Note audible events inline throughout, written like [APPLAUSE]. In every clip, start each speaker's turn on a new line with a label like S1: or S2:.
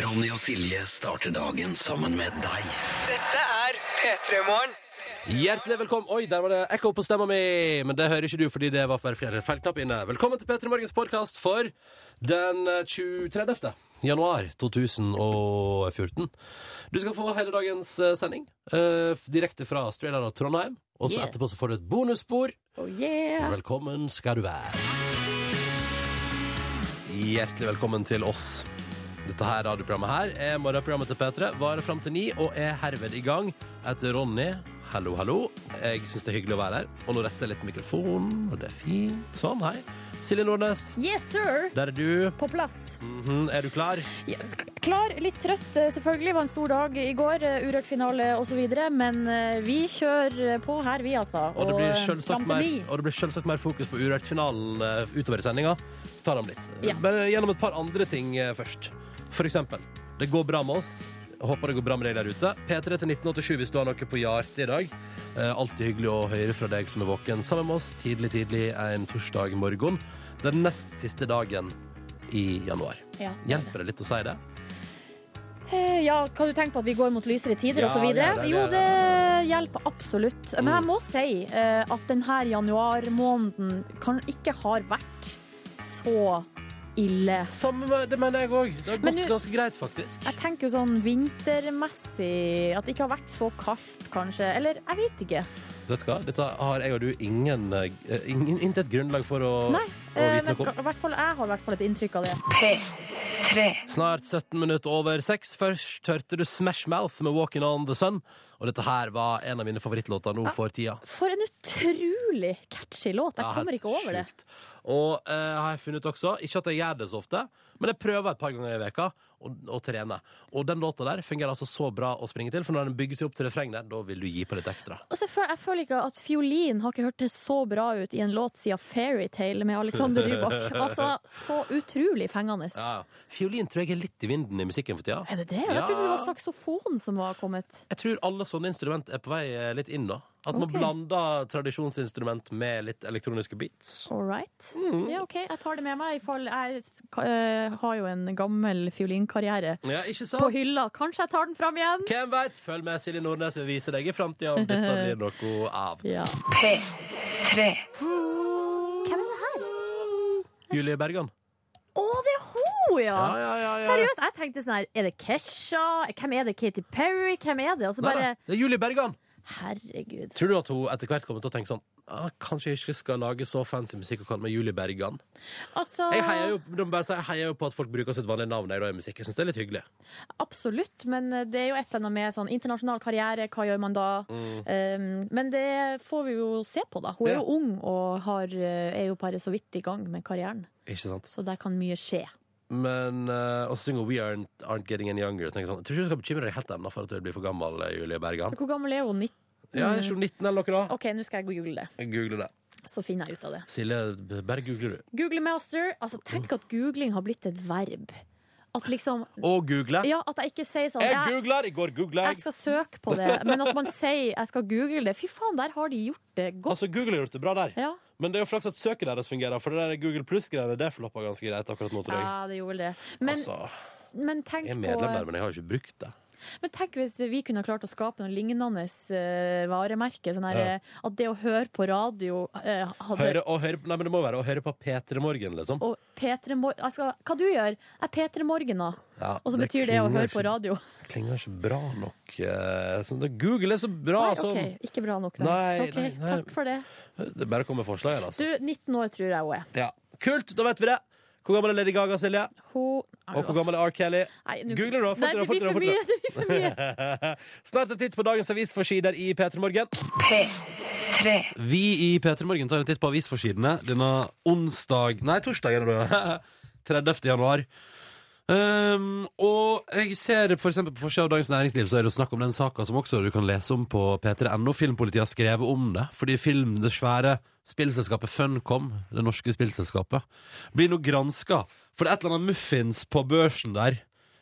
S1: Ronny og Silje starter dagen sammen med deg.
S2: Dette er P3 Morgen.
S3: Hjertelig velkommen Oi, der var det ekko på stemma mi! Men det hører ikke du fordi det var for flere feilknapp inne. Velkommen til P3 Morgens podkast for den eh, 23. januar 2014. Du skal få hele dagens eh, sending eh, f- direkte fra Australia og Trondheim. Og så
S4: Yeah.
S3: etterpå så får du et bonusspor.
S4: Oh yeah!
S3: Velkommen skal du være. Hjertelig velkommen til oss. Dette her radioprogrammet her er morgenprogrammet til P3. Varer fram til ni og er herved i gang. Jeg heter Ronny. Hallo, hallo. Jeg syns det er hyggelig å være her. Og nå retter jeg litt mikrofonen, og det er fint. Sånn, hei. Silje Nordnes,
S4: Yes, sir!
S3: der er du.
S4: På plass.
S3: Mhm, Er du klar?
S4: Ja, Klar, litt trøtt eh, selvfølgelig. Var en stor dag i går. eh, Urørt-finale osv. Men eh, vi kjører på her, vi, altså.
S3: Og det blir
S4: eh,
S3: selvsagt
S4: fram til
S3: mer,
S4: ni.
S3: og det blir selvsagt mer fokus på Urørt-finalen eh, utover i sendinga. Ta dem litt.
S4: Ja.
S3: Men eh, gjennom et par andre ting eh, først. For eksempel, det går bra med oss. Jeg Håper det går bra med deg der ute. P3 til 1987 hvis du har noe på hjertet i dag. Eh, Alltid hyggelig å høre fra deg som er våken sammen med oss tidlig, tidlig en torsdag morgen. Den nest siste dagen i januar.
S4: Ja.
S3: Hjelper det litt å si det?
S4: Eh, ja, kan du tenke på at vi går mot lysere tider
S3: Ja,
S4: og så videre?
S3: det er det,
S4: Jo,
S3: det Mm.
S4: det
S3: er
S4: hjelper absolutt. Men jeg må si eh, at denne januarmåneden kan ikke har vært så ille.
S3: Samme med det mener jeg òg. Det har
S4: Men
S3: gått
S4: du-
S3: ganske greit, faktisk.
S4: Jeg tenker jo sånn vintermessig At det ikke har vært så kaldt, kanskje. Eller jeg vet ikke.
S3: Vet du hva? Dette har jeg og du ingen, eh, ingen Intet grunnlag for å,
S4: Nei,
S3: å
S4: eh,
S3: vite
S4: men
S3: noe om.
S4: ka- i hvert fall, jeg har i hvert fall et inntrykk av det.
S3: Snart 17 minutter over 6. Først hørte du Smash Mouth med 'Walking on the Sun'. Og dette her var en av mine favorittlåter nå for tida.
S4: For en utrolig catchy låt. Jeg
S3: Ja,
S4: kommer
S3: helt
S4: ikke over det.
S3: sjukt. Og eh, har jeg funnet ut også, ikke at jeg gjør det så ofte, men jeg prøver et par ganger i veka å, å trene. Og den låta der fungerer altså så bra å springe til, for når den bygger seg opp til refreng der, da vil du gi på litt ekstra.
S4: Og så føler, Altså, jeg føler ikke at fiolin har ikke hørt det så bra ut i en låt siden 'Fairytale' med Alexander
S3: [LAUGHS]
S4: Rybak. Altså, så utrolig fengende.
S3: Ja. ja. Fiolin tror jeg er litt i vinden i musikken for tida.
S4: Er det det? Jeg trodde det var
S3: Ja.
S4: saksofon som var kommet.
S3: Jeg tror alle sånne instrument er på vei eh, litt inn, da. At man
S4: Ok.
S3: blander tradisjonsinstrument med litt elektroniske beats.
S4: All right.
S3: Mm.
S4: Ja, OK, jeg tar det med meg. i fall Jeg eh, har jo en gammel fiolinkarriere
S3: Ja, ikke sant?
S4: på hylla. Kanskje jeg tar den fram igjen?
S3: Hvem veit? Følg med, Silje Nordnes vil vise deg i framtida
S4: [LAUGHS]
S3: om dette blir noe av.
S4: Ja. Hvem er det her?
S3: Julie Bergan.
S4: Å, det er hun, ja!
S3: Ja, ja, ja. ja.
S4: Seriøst, jeg tenkte sånn her, er det Kesha? Hvem er det? Katy Perry? Hvem er det? Og så
S3: Nei,
S4: bare,
S3: nei, det er Julie Bergan.
S4: herregud.
S3: Tror du at hun etter hvert kommer til å tenke sånn ah, Kanskje jeg ikke skal lage så fancy musikk og kalle meg Julie Bergan?
S4: Altså,
S3: Jeg heier jo, de bare sier, jeg heier jo på at folk bruker sitt vanlige navn når de lager musikk. Jeg syns det er litt hyggelig.
S4: absolutt, men det er jo et eller annet med sånn internasjonal karriere, hva gjør man da?
S3: Mm.
S4: Um, men det får vi jo se på da. Hun er
S3: Ja.
S4: jo ung og har, eh, er jo bare så vidt i gang med karrieren,
S3: Ikke sant?
S4: så der kan mye skje.
S3: Men eh, Og så synger hun We aren't, aren't Getting Any Younger. Så tenker jeg sånn, jeg tror ikke du skal bekymre deg helt ennå for at du blir for gammel, eh, Julie Bergan.
S4: Hvor gammel er hun? Nitt-
S3: Ja, jeg er ikke hun 19 eller noe da.
S4: Ok, nå skal jeg google det,
S3: Google det.
S4: så finner jeg ut av det.
S3: Silje, bare googler du.
S4: Google Master, altså tenk at googling har blitt et verb. At liksom,
S3: Og google.
S4: ja, at jeg ikke sier sånn,
S3: Jeg
S4: jeg-
S3: googler! I går googla jeg.
S4: Jeg skal søke på det, men at man sier jeg skal google det Fy faen, der har de gjort det godt.
S3: Altså, Google har gjort det bra der.
S4: Ja,
S3: Men det er jo flaks at søket deres fungerer, for det der Google Pluss-greiene det floppa ganske greit akkurat nå, tror jeg.
S4: ja det gjorde vel det. Men,
S3: altså,
S4: men, tenk
S3: jeg er
S4: på,
S3: medlem der, men jeg har jo ikke brukt det.
S4: men tenk hvis vi kunne ha klart å skape noe lignende eh, varemerke. Sånn her,
S3: Ja.
S4: eh, At det å høre på radio eh, hadde
S3: Høre, og høre, nei, men det må være å høre på P3 Morgen, liksom.
S4: Og Petre Mor jeg skal, Hva du gjør? Jeg er Petre Morgen, da.
S3: Ja,
S4: Og så betyr det å
S3: klinger
S4: høre
S3: ikke-
S4: på radio.
S3: Klinger ikke bra nok. eh, sånn, det- Google er så bra,
S4: Nei,
S3: sånn.
S4: OK, ikke bra nok,
S3: Nei,
S4: Ok,
S3: nei, nei.
S4: Takk for det.
S3: Det er bare å komme med forslag her,
S4: Du,
S3: altså.
S4: 19 år tror jeg hun er.
S3: Ja. Kult, da vet vi det. Hvor gammel er Lady Gaga, Silje?
S4: Hun altså-
S3: Og hvor gammel er R. Kelly?
S4: Nei, nå-
S3: Google det, da.
S4: Nei,
S3: Fortere,
S4: det
S3: fortere, [LAUGHS]
S4: blir for mye. Det blir for mye.
S3: Snart en titt på dagens avisforsider i P3 Morgen. Vi i P3 Morgen tar en titt på avisforsidene denne onsdag Nei, torsdag er det. da. [LAUGHS] 30. januar. Um, og jeg ser for eksempel på forsida av Dagens Næringsliv så er det jo snakk om den saka som også du kan lese om på p3.no. Filmpolitiet har skrevet om det. Fordi film, det svære spillselskapet Funcom, det norske spillselskapet, blir nå granska for det er et eller annet muffins på børsen der.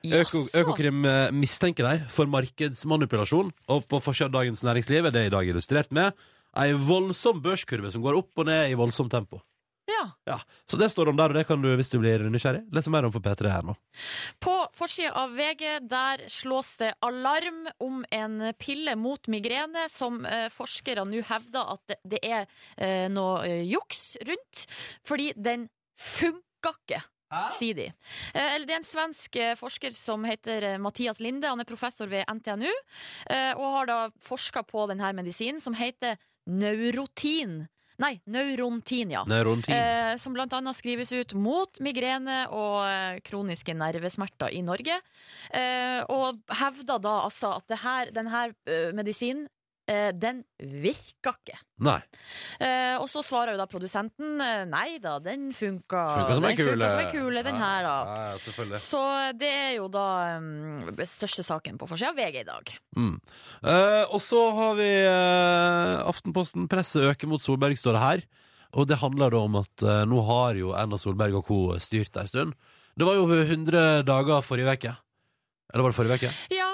S3: Øko, Økokrim eh, mistenker deg for markedsmanipulasjon, og på forsida av Dagens Næringsliv er det i dag illustrert med ei voldsom børskurve som går opp og ned i voldsomt tempo.
S4: Ja, ja.
S3: Ja, Så det står om der, og det kan du hvis du blir nysgjerrig. Lese mer om på P3 her nå.
S4: På forsida av VG der slås det alarm om en pille mot migrene som eh, forskere nå hevder at det, det er eh, noe eh, juks rundt, fordi den funka ikke. Sier de. Eh, eller det er en svensk eh, forsker som heter eh, Mathias Linde. Han er professor ved NTNU eh, og har da forska på denne medisinen som heter neurotin. Nei, neurontin, ja.
S3: Neurontin.
S4: Eh, som blant annet skrives ut mot migrene og eh, kroniske nervesmerter i Norge. Eh, og hevder da altså at det her, den her eh, medisinen eh, den virka ikke.
S3: Nei.
S4: Eh, og så svarer jo da produsenten eh, nei da, den funka.
S3: Funka som
S4: den
S3: ei kule.
S4: Funka som en kule, den her, da.
S3: Ja, ja, selvfølgelig.
S4: Så det er jo da mm, den største saken på forsida av VG i dag.
S3: Mm. Eh, og så har vi eh, Aftenposten. Presset øker mot Solberg, står det her. Og det handler da om at eh, nå har jo Erna Solberg og co. styrt ei stund. Det var jo 100 dager forrige uke. Eller var det forrige uke?
S4: Ja,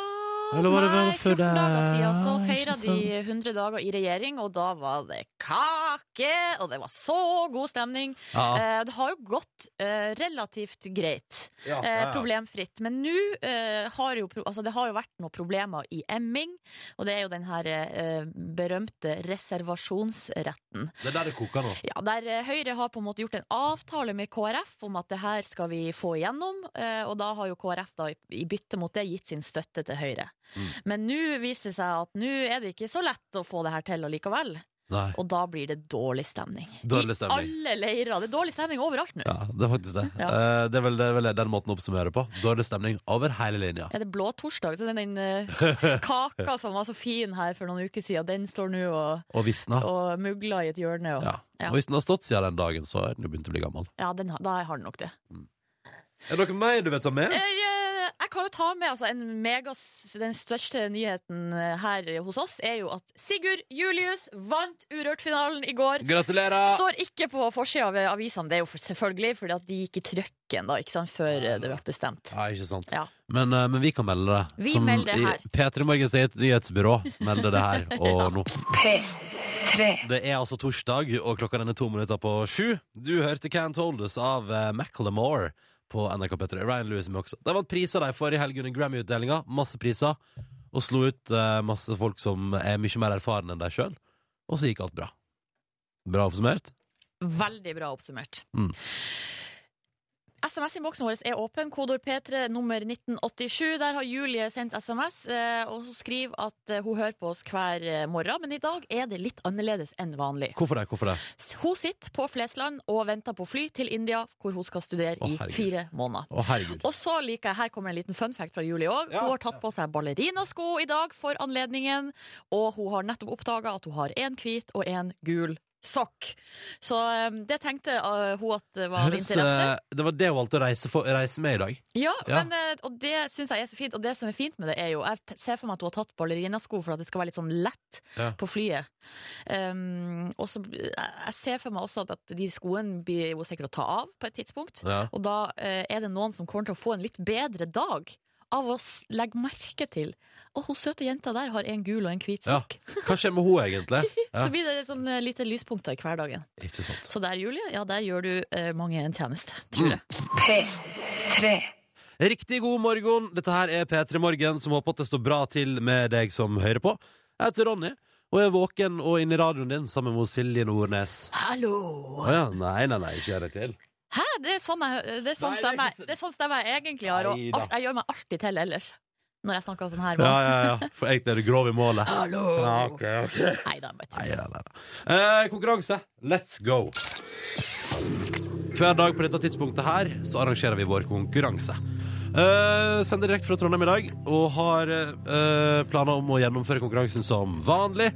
S3: Eller var det
S4: nei,
S3: bare før
S4: 14 dager
S3: det?
S4: siden så
S3: Ikke
S4: feira de
S3: sant.
S4: 100 dager i regjering, og da var det kake, og det var så god stemning.
S3: Ja.
S4: Eh, det har jo gått eh, relativt greit,
S3: Ah, Ja,
S4: eh, problemfritt. Men nå eh, har jo pro altså, det har jo vært noen problemer i Emming, og det er jo den her eh, berømte reservasjonsretten.
S3: Det er der det koker nå.
S4: Ja, der eh, Høyre har på en måte gjort en avtale med KrF om at det her skal vi få igjennom, eh, og da har jo KrF da i- i bytte mot det gitt sin støtte til Høyre.
S3: Mm.
S4: Men nå viser det seg at nå er det ikke så lett å få det her til allikevel,
S3: Nei.
S4: og da blir det dårlig stemning.
S3: Dårlig stemning.
S4: I alle leirer. Det er dårlig stemning overalt nå.
S3: Ja, det er faktisk det.
S4: Ja.
S3: Eh, det, er vel, det er vel den måten å oppsummere på. Dårlig stemning over hele linja.
S4: Er det blå torsdag? Så den, den
S3: [LAUGHS]
S4: eh, kaka som var så fin her for noen uker siden, den står nå og,
S3: Og visna.
S4: og mugler i et hjørne. Og,
S3: Ja.
S4: Ja.
S3: Og hvis den har stått siden den dagen, så er den jo begynt å bli gammel.
S4: ja, den, har- da har den nok det.
S3: Er det noe mer du vil ta med?
S4: Jeg, eh, jeg kan jo ta med altså, en megas, Den største nyheten eh, her hos oss er jo at Sigurd Julius vant Urørt-finalen i går.
S3: Gratulerer!
S4: Står ikke på forsida av avisene, det er jo for, selvfølgelig, fordi at de gikk i trøkken da, ikke sant, før eh, det ble bestemt.
S3: Ja, ikke sant.
S4: Ja.
S3: Men, eh, men vi kan melde det.
S4: Vi melder det her.
S3: P3 Morgens eget nyhetsbyrå melder det
S4: [LAUGHS]
S3: her og nå.
S2: Tre.
S3: Det er altså torsdag, og klokka den er to minutter på sju. Du hørte Can't Hold Us av uh, Macklemore på NRK P3. Ryan Lewis er med også. De vant priser de for i helgen under Grammy-utdelinga. Masse priser. Og slo ut eh, masse folk som er mye mer erfarne enn deg sjøl. Og så gikk alt bra. Bra oppsummert.
S4: Veldig bra oppsummert.
S3: Mm.
S4: SMS-innboksen vår er åpen. Kodord P3 nummer 1987. Der har Julie sendt SMS, eh, og hun skriver at eh, hun hører på oss hver eh, morgen, men i dag er det litt annerledes enn vanlig.
S3: Hvorfor det? Hvorfor det?
S4: S- Hun sitter på Flesland og venter på fly til India, hvor hun skal studere
S3: Å,
S4: i
S3: herregud.
S4: fire måneder.
S3: Å, herregud.
S4: Og så liker jeg, Her kommer en liten fun fact fra Julie òg.
S3: Ja.
S4: Hun har tatt på seg ballerinasko i dag for anledningen, og hun har nettopp oppdaga at hun har én hvit og én gul sokk. Så eh, det tenkte eh, hun at det var av
S3: Høres,
S4: interesse.
S3: eh, det var det hun valgte å reise, for, reise med i dag.
S4: Ja,
S3: ja.
S4: Men, eh, og det syns jeg er så fint. Og det som er fint med det, er jo Jeg t- ser for meg at hun har tatt ballerinasko for at det skal være litt sånn lett
S3: Ja.
S4: på flyet. Um, og så jeg jeg ser for meg også at de skoene blir hun sikkert å ta av på et tidspunkt.
S3: Ja.
S4: Og da eh, er det noen som kommer til å få en litt bedre dag av å s- legge merke til Å, hun søte jenta der har en gul og en hvit
S3: Ja.
S4: sokk.
S3: Hva skjer med hun egentlig? Ja.
S4: Så blir det sånn eh, lite lyspunkter i hverdagen.
S3: [LAUGHS] Ikke sant.
S4: Så der, Julie, ja, der gjør du eh, mange en tjeneste, tror
S3: Mm.
S4: jeg.
S2: P3.
S3: Riktig god morgen. Dette her er P3 Morgen, som håper at det står bra til med deg som hører på. Jeg heter Ronny, og jeg er våken og inne i radioen din sammen med Silje Nordnes.
S4: Hallo!
S3: Å ja, nei, nei, nei, ikke gjør det til.
S4: Hæ, det er sånn, jeg, det er sånn,
S3: Nei, det er
S4: stemmer,
S3: ikke så-
S4: det er sånn stemmer jeg egentlig har, og
S3: Neida.
S4: alt, jeg gjør meg alltid til ellers. Når jeg snakker sånn her.
S3: Ja, ja, ja. For egentlig er du grov i målet.
S4: Hallo!
S3: Ja, ok, ok.
S4: Nei da, bare
S3: Nei,
S4: tull.
S3: nei, nei. nei. Eh, konkurranse. Let's go. Hver dag på dette tidspunktet her så arrangerer vi vår konkurranse. Eh, sender direkte fra Trondheim i dag og har eh, planer om å gjennomføre konkurransen som vanlig.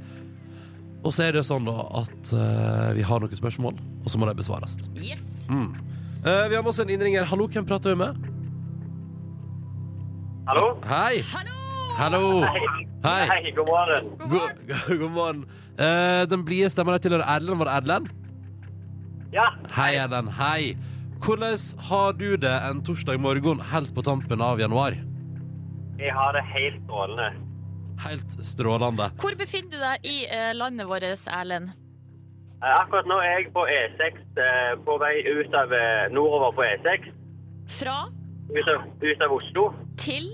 S3: Og så er det jo sånn da at eh, vi har noen spørsmål, og så må de besvares.
S4: Yes!
S3: Eh, vi har med oss en innringer. Hallo, hvem prater vi med?
S5: Hallo?
S3: Hei!
S4: Hallo!
S3: Hallo! Hei!
S5: Hei, god morgen.
S4: God
S3: God,
S4: morgen!
S3: god [LAUGHS] morgen. Eh, den blide stemmen her tilhører Erlend. Var det Erlend?
S5: Ja,
S3: Hei, Ellen. Hei. Hvordan har du det en torsdag morgen helt på tampen av januar?
S5: jeg har det helt strålende.
S3: Helt strålende.
S4: Hvor befinner du deg i eh, landet vårt, Erlend?
S5: Eh, Akkurat nå er jeg på E6, eh, på vei ut av eh, nordover på E6,
S4: Fra
S5: ut av, ut av Oslo.
S4: til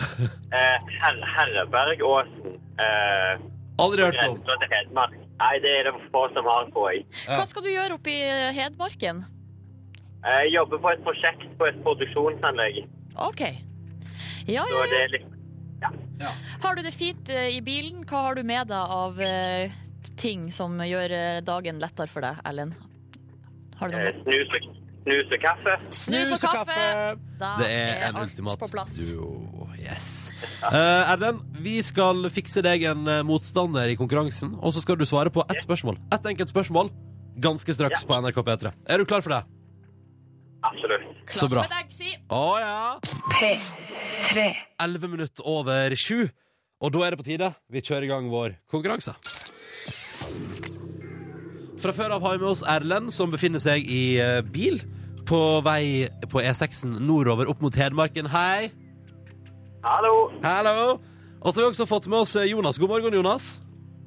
S5: Eh, Her Herrebergåsen. Eh,
S3: Aldri hørt om.
S5: Grensa til Hedmark. Nei, det er det få som har på i.
S3: Ja.
S4: Hva skal du gjøre oppe i Hedmarken?
S5: Eh, Jeg jobber på et prosjekt på et produksjonsanlegg,
S4: OK. Ja, ja,
S5: så det er litt
S4: ja. Har du det fint eh, i bilen? Hva har du med deg av eh, ting som gjør eh, dagen lettere for deg, Ellen? Har du
S5: eh,
S4: noe?
S5: snus og, snus og kaffe.
S4: Snus og kaffe! Da
S3: Det er en
S4: alt
S3: ultimat
S4: på plass.
S3: duo. Yes. Eh, Erlend, vi skal fikse deg en eh, motstander i konkurransen, og så skal du svare på ett spørsmål. Ett enkelt spørsmål ganske straks på NRK P3. Er du klar for det?
S5: Absolutt.
S4: Klar
S3: Så bra.
S4: som et egg, si.
S3: Å ja.
S2: P3.
S3: 11 minutter over 7. Og da er det på tide. Vi kjører i gang vår konkurranse. Fra før av har vi med oss Erlend, som befinner seg i eh, bil på vei på E6-en nordover opp mot Hedmarken. Hei!
S5: Hallo.
S3: Hallo! Og så har vi også fått med oss eh, Jonas. God morgen, Jonas.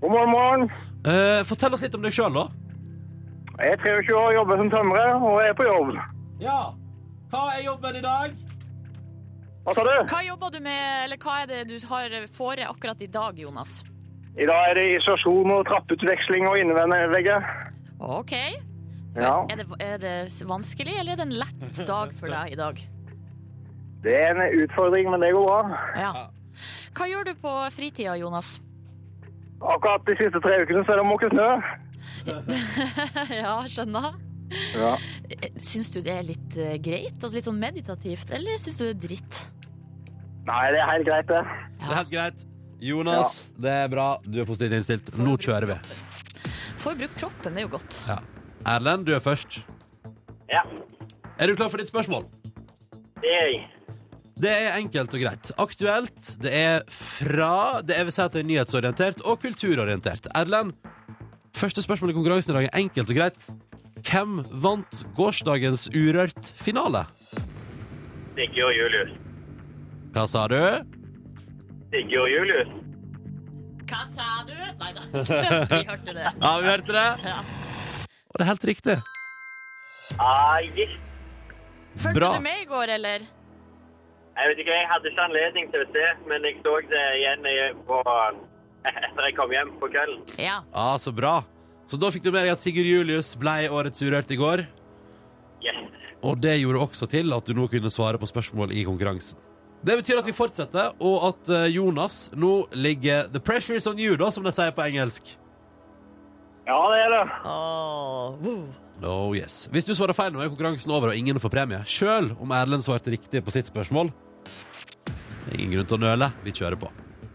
S6: God morgen, morgen.
S3: Eh, fortell oss litt om deg sjøl, da.
S6: Jeg er 23 år, jobber som tømrer og er på jobb.
S3: Ja. Hva er jobben i dag?
S6: Hva sa du?
S4: Hva jobber du med, eller hva er det du har fore akkurat i dag, Jonas?
S6: I dag er det isolasjon og trapputveksling og innevegger.
S4: OK.
S6: Ja,
S4: Er det, er det s- vanskelig, eller er det en lett dag for deg i dag?
S6: det er en utfordring, men det går bra.
S4: Ja. Hva gjør du på fritida, Jonas?
S6: Akkurat de siste tre ukene så er det måke snø.
S4: [LAUGHS] ja, skjønner.
S6: Ja.
S4: Eh, Syns du det er litt eh, greit? Altså litt sånn meditativt, eller syns du det er dritt?
S6: Nei, det er helt greit det.
S3: Det er helt greit. Jonas, det er bra. Du er positivt innstilt. Nå kjører vi.
S4: Får bruke kroppen, det er jo godt.
S3: Ja. Erlend, du er først.
S5: Ja,
S3: Er du klar for ditt spørsmål?
S5: det er jeg.
S3: Det er enkelt og greit. Aktuelt. Det er fra Det er, vil si at det er nyhetsorientert og kulturorientert. Erlend, første spørsmål i konkurransen i dag er enkelt og greit. Hvem vant gårsdagens Urørt-finale?
S5: Sigurd Julius.
S3: Hva sa du?
S5: Sigurd Julius.
S4: Hva sa du? Nei
S3: [LAUGHS]
S4: da. [LAUGHS] Vi hørte det.
S3: Ja, vi hørte det.
S4: Ja.
S3: Og det er helt riktig.
S5: Ah, gitt.
S4: Fulgte
S3: Bra.
S4: du med i går, eller?
S5: Jeg vet ikke, jeg hadde ikke anledning til å se, men jeg så det igjen i- på, [LAUGHS] etter jeg kom hjem på kvelden.
S4: Ja.
S3: Ja, så bra. Så da fikk du med deg at Sigurd Julius ble årets Urørt i går.
S5: Yes.
S3: Og det gjorde også til at du nå kunne svare på spørsmål i konkurransen. Det betyr at vi fortsetter, og at eh, Jonas nå ligger The pressure is on you, da, som de sier på engelsk.
S6: Ja, det er det.
S3: Oh yes. Hvis du svarer feil nå, er konkurransen over, og ingen får premie. Sjøl om Erlend svarte riktig på sitt spørsmål. Det er Ingen grunn til å nøle. Vi kjører på.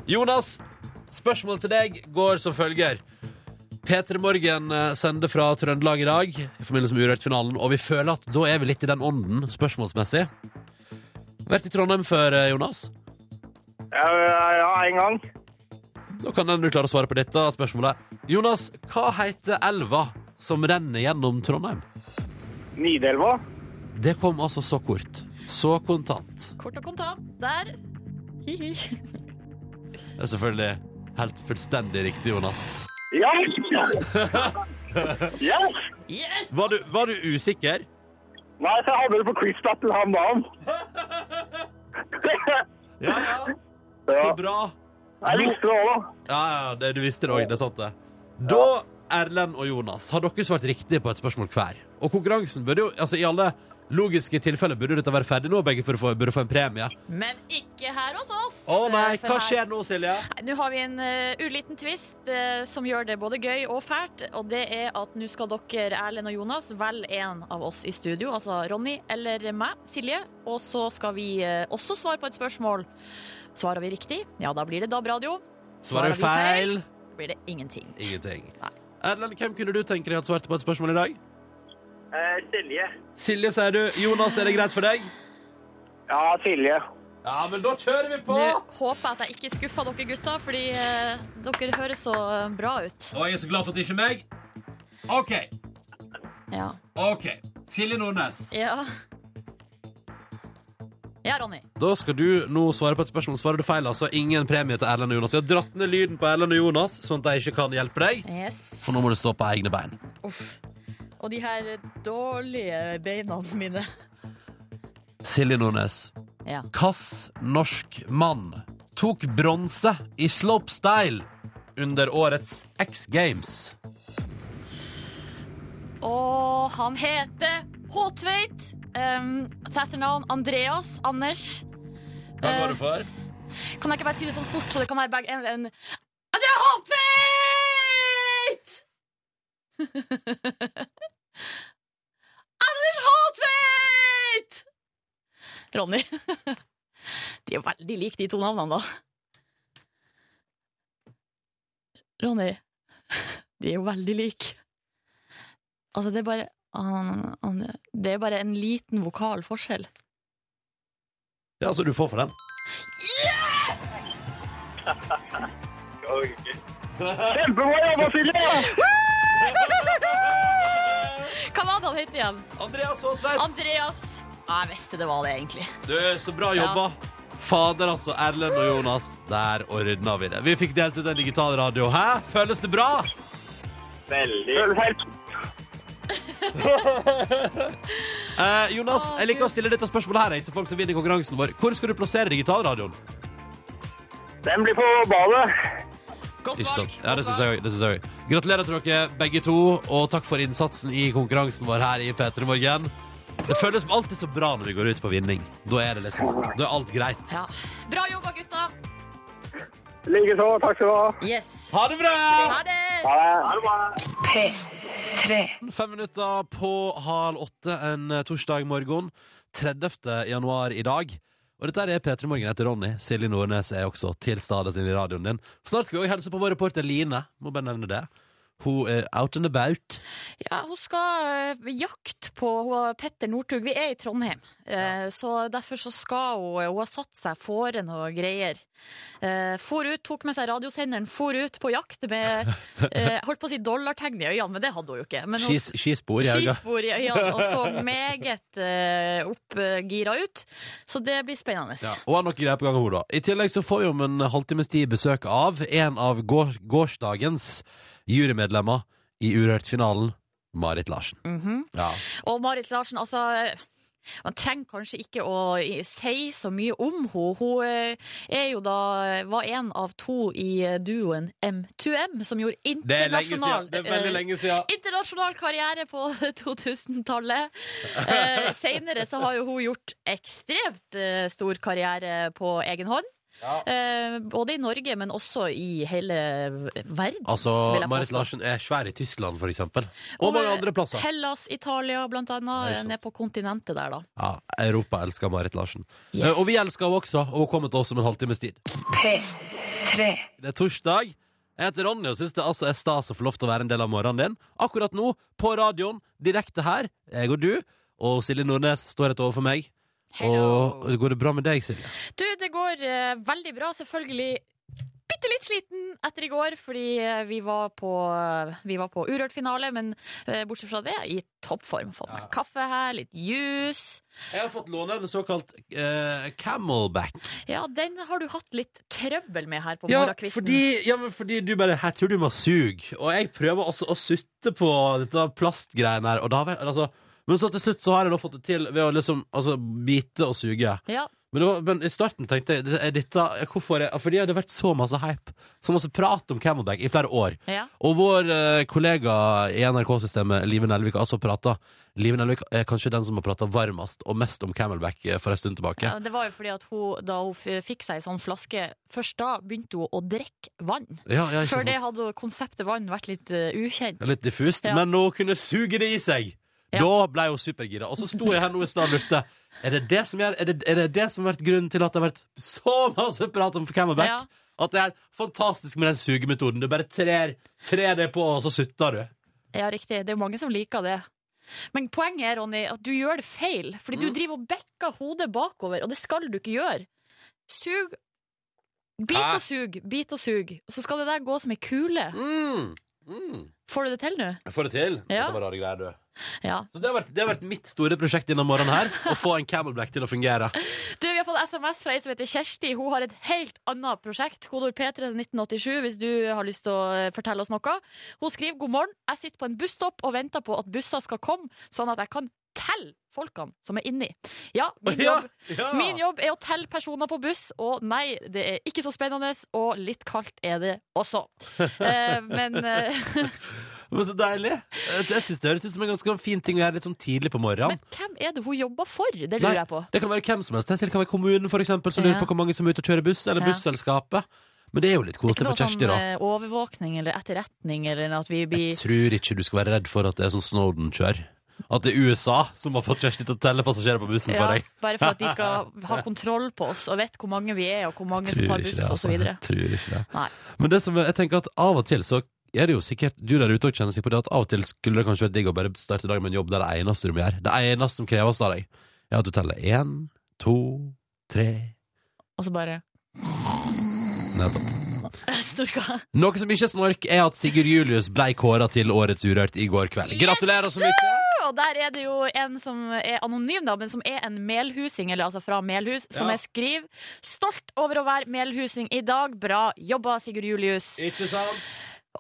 S3: Jonas, spørsmålet til deg går som følger. P3 Morgen eh, sender fra Trøndelag i dag i forbindelse med Urørt-finalen, og vi føler at da er vi litt i den ånden spørsmålsmessig. Vært i Trondheim før, eh, Jonas?
S6: Ja, ja, en gang.
S3: Da kan den du klarer å svare på dette spørsmålet. Jonas, hva heter elva som renner gjennom Trondheim?
S6: Nidelva.
S3: Det kom altså så kort. Så kontant.
S4: Kort og kontant. Der. Hihi.
S3: Det er selvfølgelig helt fullstendig riktig, Jonas. [LAUGHS]
S6: Ja! ja!
S4: Yes!
S3: Var du, var du usikker?
S6: Nei, så jeg hadde det på quizstaten her om dagen.
S3: Ja, ja. Så
S6: [LAUGHS] Ja.
S3: bra.
S6: Jeg
S3: Nå-
S6: visste det også da.
S3: Ja, ja, det, du visste det òg. Det er sant, det. Da, Erlend og Jonas, har dere svart riktig på et spørsmål hver. Og konkurransen burde jo altså I alle logiske tilfeller burde dette være ferdig nå, begge for å få, burde få en premie.
S4: Men ikke her hos oss.
S3: Å nei,
S4: Eh, For
S3: hva
S4: her-
S3: skjer nå, Silje?
S4: Nei, Nå har vi en eh, uliten twist eh, som gjør det både gøy og fælt. Og det er at nå skal dere, Erlend og Jonas, velge en av oss i studio. Altså Ronny eller meg, Silje. Og så skal vi eh, også svare på et spørsmål. Svarer vi riktig, ja da blir det DAB-radio.
S3: Svarer du
S4: vi
S3: feil?
S4: Da blir det ingenting.
S3: Ingenting. Erlend, hvem kunne du tenke deg at svarte på et spørsmål i dag?
S5: Eh, Silje.
S3: Silje, sier du. Jonas, er det greit for deg?
S6: Ja, Silje.
S3: Ja, men da kjører vi på!
S4: Nå håper jeg at jeg ikke skuffa dere gutter, fordi eh, dere høres så eh, bra ut.
S3: Og jeg er så glad for at det ikke er meg. OK.
S4: Ja.
S3: ok Silje Nordnes.
S4: Ja, ja Ronny.
S3: Da skal du nå svare på et spørsmål. Svarer du feil, altså ingen premie til Erlend og Jonas. Vi har dratt ned lyden på Erlend og Jonas, sånn at de ikke kan hjelpe deg.
S4: Yes.
S3: For nå må du stå på egne bein.
S4: Å,
S7: Uff. Og de her dårlige beina mine.
S3: Silje Nordnes.
S7: Ja.
S3: Kass norsk mann tok bronse i slopestyle under årets X Games.
S7: Og han heter Håtveit. Um, til etternavn Andreas Anders.
S3: Hva går det for?
S7: Kan jeg ikke bare si det sånn fort, så det kan være begge en, en Andreas Håtveit! Anders Håtveit! Ronny. De er jo veldig like, de to navnene, da. Ronny. De er jo veldig like. Altså, det er bare an- an- Det er bare en liten vokal forskjell.
S3: Ja, altså, du får for den.
S5: Og-
S6: Kjempebra jobba, Silje!
S7: Hva var det han het igjen?
S3: Andreas Håtvedt!
S7: Andreas. Ja, jeg visste det var det, egentlig.
S3: Du, så bra jobba. Fader, altså. Erlend og Jonas. Der ordna vi det. Vi fikk delt ut en digital radio. Hæ? Føles det bra?
S5: Veldig.
S6: Føles helt
S3: Eh, Jonas, jeg liker å stille dette spørsmålet her jeg, til folk som vinner konkurransen vår. Hvor skal du plassere digitalradioen?
S6: Den blir på badet.
S7: Godt
S3: Ikke
S7: valg.
S3: sant? Ja, det synes jeg også, det synes jeg også. Gratulerer til dere begge to, og takk for innsatsen i konkurransen vår her i P3 Morgen. Det føles alltid så bra når vi går ut på vinning. Da er det liksom, da er alt greit.
S7: Ja. Bra jobba, gutta.
S6: Likeså. Takk skal du ha.
S7: Yes.
S3: Ha det bra!
S7: Ha det.
S6: Ha det. Ha det bra.
S8: P3.
S3: Fem minutter på halv åtte en eh, torsdag morgen. 30. januar i dag. Og dette er P3 Morgen etter Ronny. Silje Nordnes er også til stede inne i radioen din. Snart skal vi også hilse på vår reporter Line. Må bare nevne det. Hun er out and about.
S7: Ja, hun skal eh, jakte på hun og Petter Northug. Vi er i Trondheim, eh, så derfor så skal hun eh, Hun har satt seg fore noe greier. Eh, for ut, tok med seg radiosenderen, for ut på jakt med eh, Holdt på å si dollartegn i øynene, men det hadde hun jo ikke. Men hun
S3: Skis- Skispor i helga.
S7: skispor i øynene og så meget eh, oppgira ut. Så det blir spennende.
S3: Ja, og har noe greier på gang hun da I tillegg så får vi om en halvtimes tid besøk av En av går gårsdagens jurymedlemmer i Urørt-finalen Marit Larsen
S7: Mhm.
S3: ja.
S7: Og Marit Larsen, altså man trenger kanskje ikke å i- si så mye om henne. Hun eh, er jo da var en av to i eh, duoen M2M, som gjorde
S3: Det er lenge
S7: internasjonal
S3: siden, det er veldig
S7: eh,
S3: lenge siden
S7: Internasjonal karriere på
S4: [LAUGHS]
S7: 2000-tallet. Eh, senere så har jo hun gjort ekstremt eh, stor karriere på egen hånd.
S3: Ja.
S7: Eh, både i Norge, men også i hele verden.
S3: Altså,
S7: Vil jeg
S3: Marit
S7: påstå.
S3: Larsen er svær i Tyskland for eksempel Og mange andre plasser
S7: Hellas, Italia, blant
S3: Nei,
S7: annet.
S3: sant.
S7: Ned på kontinentet der, da.
S3: ja, Europa elsker Marit Larsen
S7: Yes.
S3: Eh, Og vi elsker henne også, og hun kommer til oss om en halvtimes tid
S8: P3.
S3: Det er torsdag. Jeg heter Ronny og syns det altså er stas å få lov til å være en del av morgenen din. Akkurat nå, på radioen, direkte her, jeg og du, og Silje Nordnes står rett overfor meg.
S7: Hello.
S3: Og går det bra med deg, Silje?
S7: Du, det går eh, veldig bra. Selvfølgelig bitte litt sliten etter i går, fordi eh, vi var på, vi var på Urørt-finale. Men eh, bortsett fra det, i toppform. Fått meg kaffe her, litt juice.
S3: Jeg har fått låne en såkalt eh, camelback.
S7: Ja, den har du hatt litt trøbbel med her på
S3: Ja
S7: morgenkvisten.
S3: fordi, ja, men fordi du bare Her tror du må suge. Og jeg prøver altså å sutte på dette plastgreiene her, og da har jeg- altså men så til slutt så har jeg da fått det til ved å liksom altså, bite og suge.
S7: Ja.
S3: Men, det var, men i starten tenkte jeg det er dette, hvorfor er, Fordi det har vært så masse hype, så masse prat om Camelback i flere år.
S7: Ja.
S3: Og vår eh, kollega i NRK-systemet, Live Nelvik, har altså prata Live Nelvik er kanskje den som har prata varmest og mest om Camelback eh, for en stund tilbake.
S7: Ja, det var jo fordi at hun, da hun f- fikk seg ei sånn flaske, først da begynte hun å drikke vann.
S3: Ja, ja, ikke
S7: Før
S3: sant?
S7: det hadde konseptet vann vært litt eh, ukjent.
S3: Det er Litt diffust,
S7: Ja.
S3: men hun kunne suge det i seg.
S7: Ja.
S3: Da ble hun supergira. Og så sto jeg her nå i stad og lurte. Er det det som gjør- er det, er det det som har vært grunnen til at det har vært så masse prat om Camelback?
S7: Ja.
S3: At det er fantastisk med den sugemetoden. Du bare trer, trer det på, og så sutter du.
S7: Ja, riktig. Det er mange som liker det. Men poenget er, Ronny, at du gjør det feil. Fordi
S3: Mm.
S7: du driver og bekker hodet bakover, og det skal du ikke gjøre. Sug. Bit
S3: Hæ?
S7: og sug, bit og sug. Og så skal det der gå som ei kule.
S3: Mm. Mm.
S7: Får du det til nå?
S3: Jeg får det til.
S7: Ja.
S3: Dette var rare greier, du.
S7: Ja. [LAUGHS]
S3: Så det har vært, det har vært mitt store prosjekt denne morgenen her. Å få en Camelback til å fungere.
S7: Du, vi har
S4: har fått SMS fra ei som heter Kjersti. Hun har et helt annet prosjekt. Kodord P3 til 1987 hvis du har lyst til å eh, fortelle oss noe. Hun skriver god morgen. Jeg sitter på en busstopp og venter på at busser skal komme, sånn at jeg kan telle folkene som er inni. Ja, min
S3: Ja,
S4: jobb
S3: ja.
S4: Min jobb er å telle personer på buss, og nei, det er ikke så spennende, og litt kaldt er det
S3: [LAUGHS]
S4: også. Eh, men eh,
S3: Men så deilig! Jeg synes det høres ut som en ganske fin ting å gjøre litt sånn tidlig på morgenen.
S4: men hvem er det hun jobber for? Det
S3: Nei,
S4: lurer jeg på.
S3: Det kan være hvem som helst. Det kan være kommunen for eksempel, som lurer
S4: Ja.
S3: på hvor mange som er ute og kjører buss, eller
S4: Ja.
S3: busselskapet. Men det er jo litt
S4: Det er
S3: koselig
S4: ikke
S3: for
S4: noe sånn
S3: Kjersti, da.
S4: eh, overvåkning eller etterretning eller at vi
S3: Jeg
S4: blir
S3: tror ikke du skal være redd for at det er sånn Snowden kjør. At det er USA som har fått Kjersti til å telle passasjerer på bussen for
S4: ja,
S3: deg.
S4: Bare for at
S3: [LAUGHS]
S4: de skal ha kontroll på oss og vet hvor mange vi er, og hvor mange som tar buss, og så
S3: Jeg
S4: videre.
S3: altså. Tror ikke det.
S4: Nei.
S3: Men det som er- jeg tenker at av og til så er det jo sikkert du der ute og kjenner seg på det at av og til skulle det kanskje vært digg å bare starte dagen med en jobb der det eneste du må gjøre, det eneste som kreves av deg, er at du teller én, to, tre
S4: Og så bare [LAUGHS]
S3: Nettopp.
S4: snorka.
S3: Noe som ikke er snork, er at Sigurd Julius blei kåra til Årets Urørt i går kveld. Gratulerer så mye!
S4: Og der er det jo en som er anonym, da, men som er en melhusing, eller altså fra Melhus, som
S3: Ja.
S4: jeg skriver. Stolt over å være melhusing i dag. Bra jobba, Sigurd Julius.
S3: Ikke sant?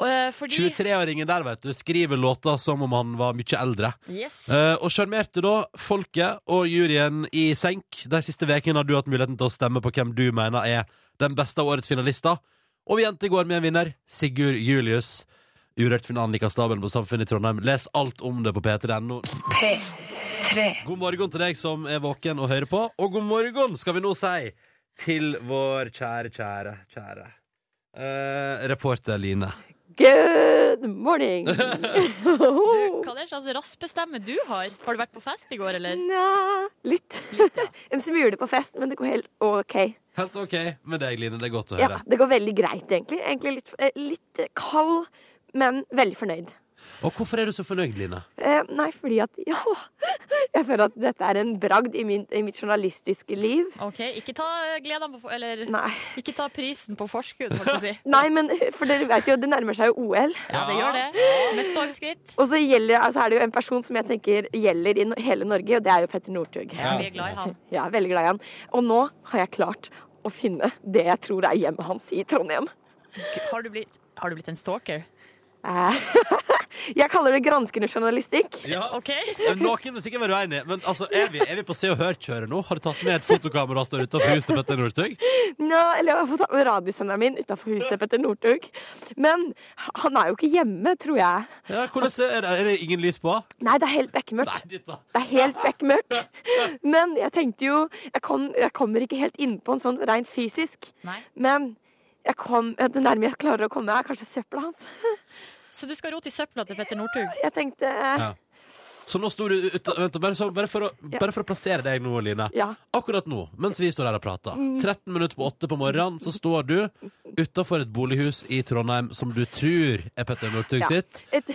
S4: Eh, fordi
S3: 23-åringen der, vet du, skriver låter som om han var mye eldre.
S4: yes.
S3: Eh, og sjarmerte da folket og juryen i senk. De siste vekene har du hatt muligheten til å stemme på hvem du mener er den beste av årets finalister. Og vi endte i går med en vinner. Sigurd Julius. Urørt finalen like av stabelen på Samfunnet i Trondheim. Les alt om det på p3.no.
S2: P3.
S3: God morgen til deg som er våken og hører på. Og god morgen skal vi nå si til vår kjære, kjære, kjære eh, reporter Line.
S9: Good morning!
S4: Du, hva er det slags raspestemme du har? Har du vært på fest i går, eller?
S9: Nja, litt.
S4: Litt, ja.
S9: [LAUGHS] En smule på fest, men det går helt OK.
S3: Helt OK med deg, Line. Det er godt å
S9: Ja,
S3: høre.
S9: det går veldig greit, egentlig. Egentlig litt, eh, litt kald, men veldig fornøyd.
S3: Og hvorfor er du så fornøyd, Line?
S9: Eh, Nei, fordi at [LAUGHS] ja, jeg føler at dette er en bragd i, min, i mitt journalistiske liv.
S4: OK, ikke ta eh, gleden på for- Eller
S9: Nei.
S4: ikke ta prisen på forskudd, holdt jeg på å si. [LAUGHS]
S9: Nei, men eh, for dere vet jo, det nærmer seg jo OL.
S4: Ja, det gjør det. Med stormskritt.
S9: Og så gjelder, altså er det jo en person som jeg tenker gjelder i no- hele Norge, og det er jo Petter Northug.
S4: Ja, vi er glad i han.
S9: Jeg er veldig glad i han. Og nå har jeg klart å finne det jeg tror er hjemmet hans i Trondheim.
S4: Har du blitt, har du blitt en stalker?
S9: Eh, [LAUGHS] Jeg kaller det granskende journalistikk.
S3: Ja, Eh,
S4: OK?
S3: Noen vil sikkert være uenig, men altså, er, vi, er vi på Se og Hør-kjøret nå? Har du tatt med et fotokamera og står utenfor huset til Petter Northug?
S9: Nå, eller jeg har fått ta med radiosenderen min utenfor huset Petter Northug. Men han er jo ikke hjemme, tror jeg.
S3: Ja, hvordan er det? Er det ingen lys på?
S9: Nei, det er helt
S3: Nei,
S9: bekmørkt.
S3: dette.
S9: Det er helt bekmørkt. Men jeg tenkte jo Jeg, kom, jeg kommer ikke helt innpå en sånn rent fysisk.
S4: Nei.
S9: Men jeg kom, det nærmere jeg klarer å komme, er kanskje søpla hans.
S4: Så du skal rote i søpla til Petter Northug?
S9: Jeg tenkte eh,
S3: Ja. Så nå sto du ute Vent, bare, så, bare, for å, bare for å plassere deg nå, Line.
S9: Ja. Mm.
S3: Akkurat nå, mens vi står her og prater, 13 minutter på 8 på morgenen, så står du utafor et bolighus i Trondheim som du tror er Petter Northug
S9: Ja.
S3: sitt,
S9: Et,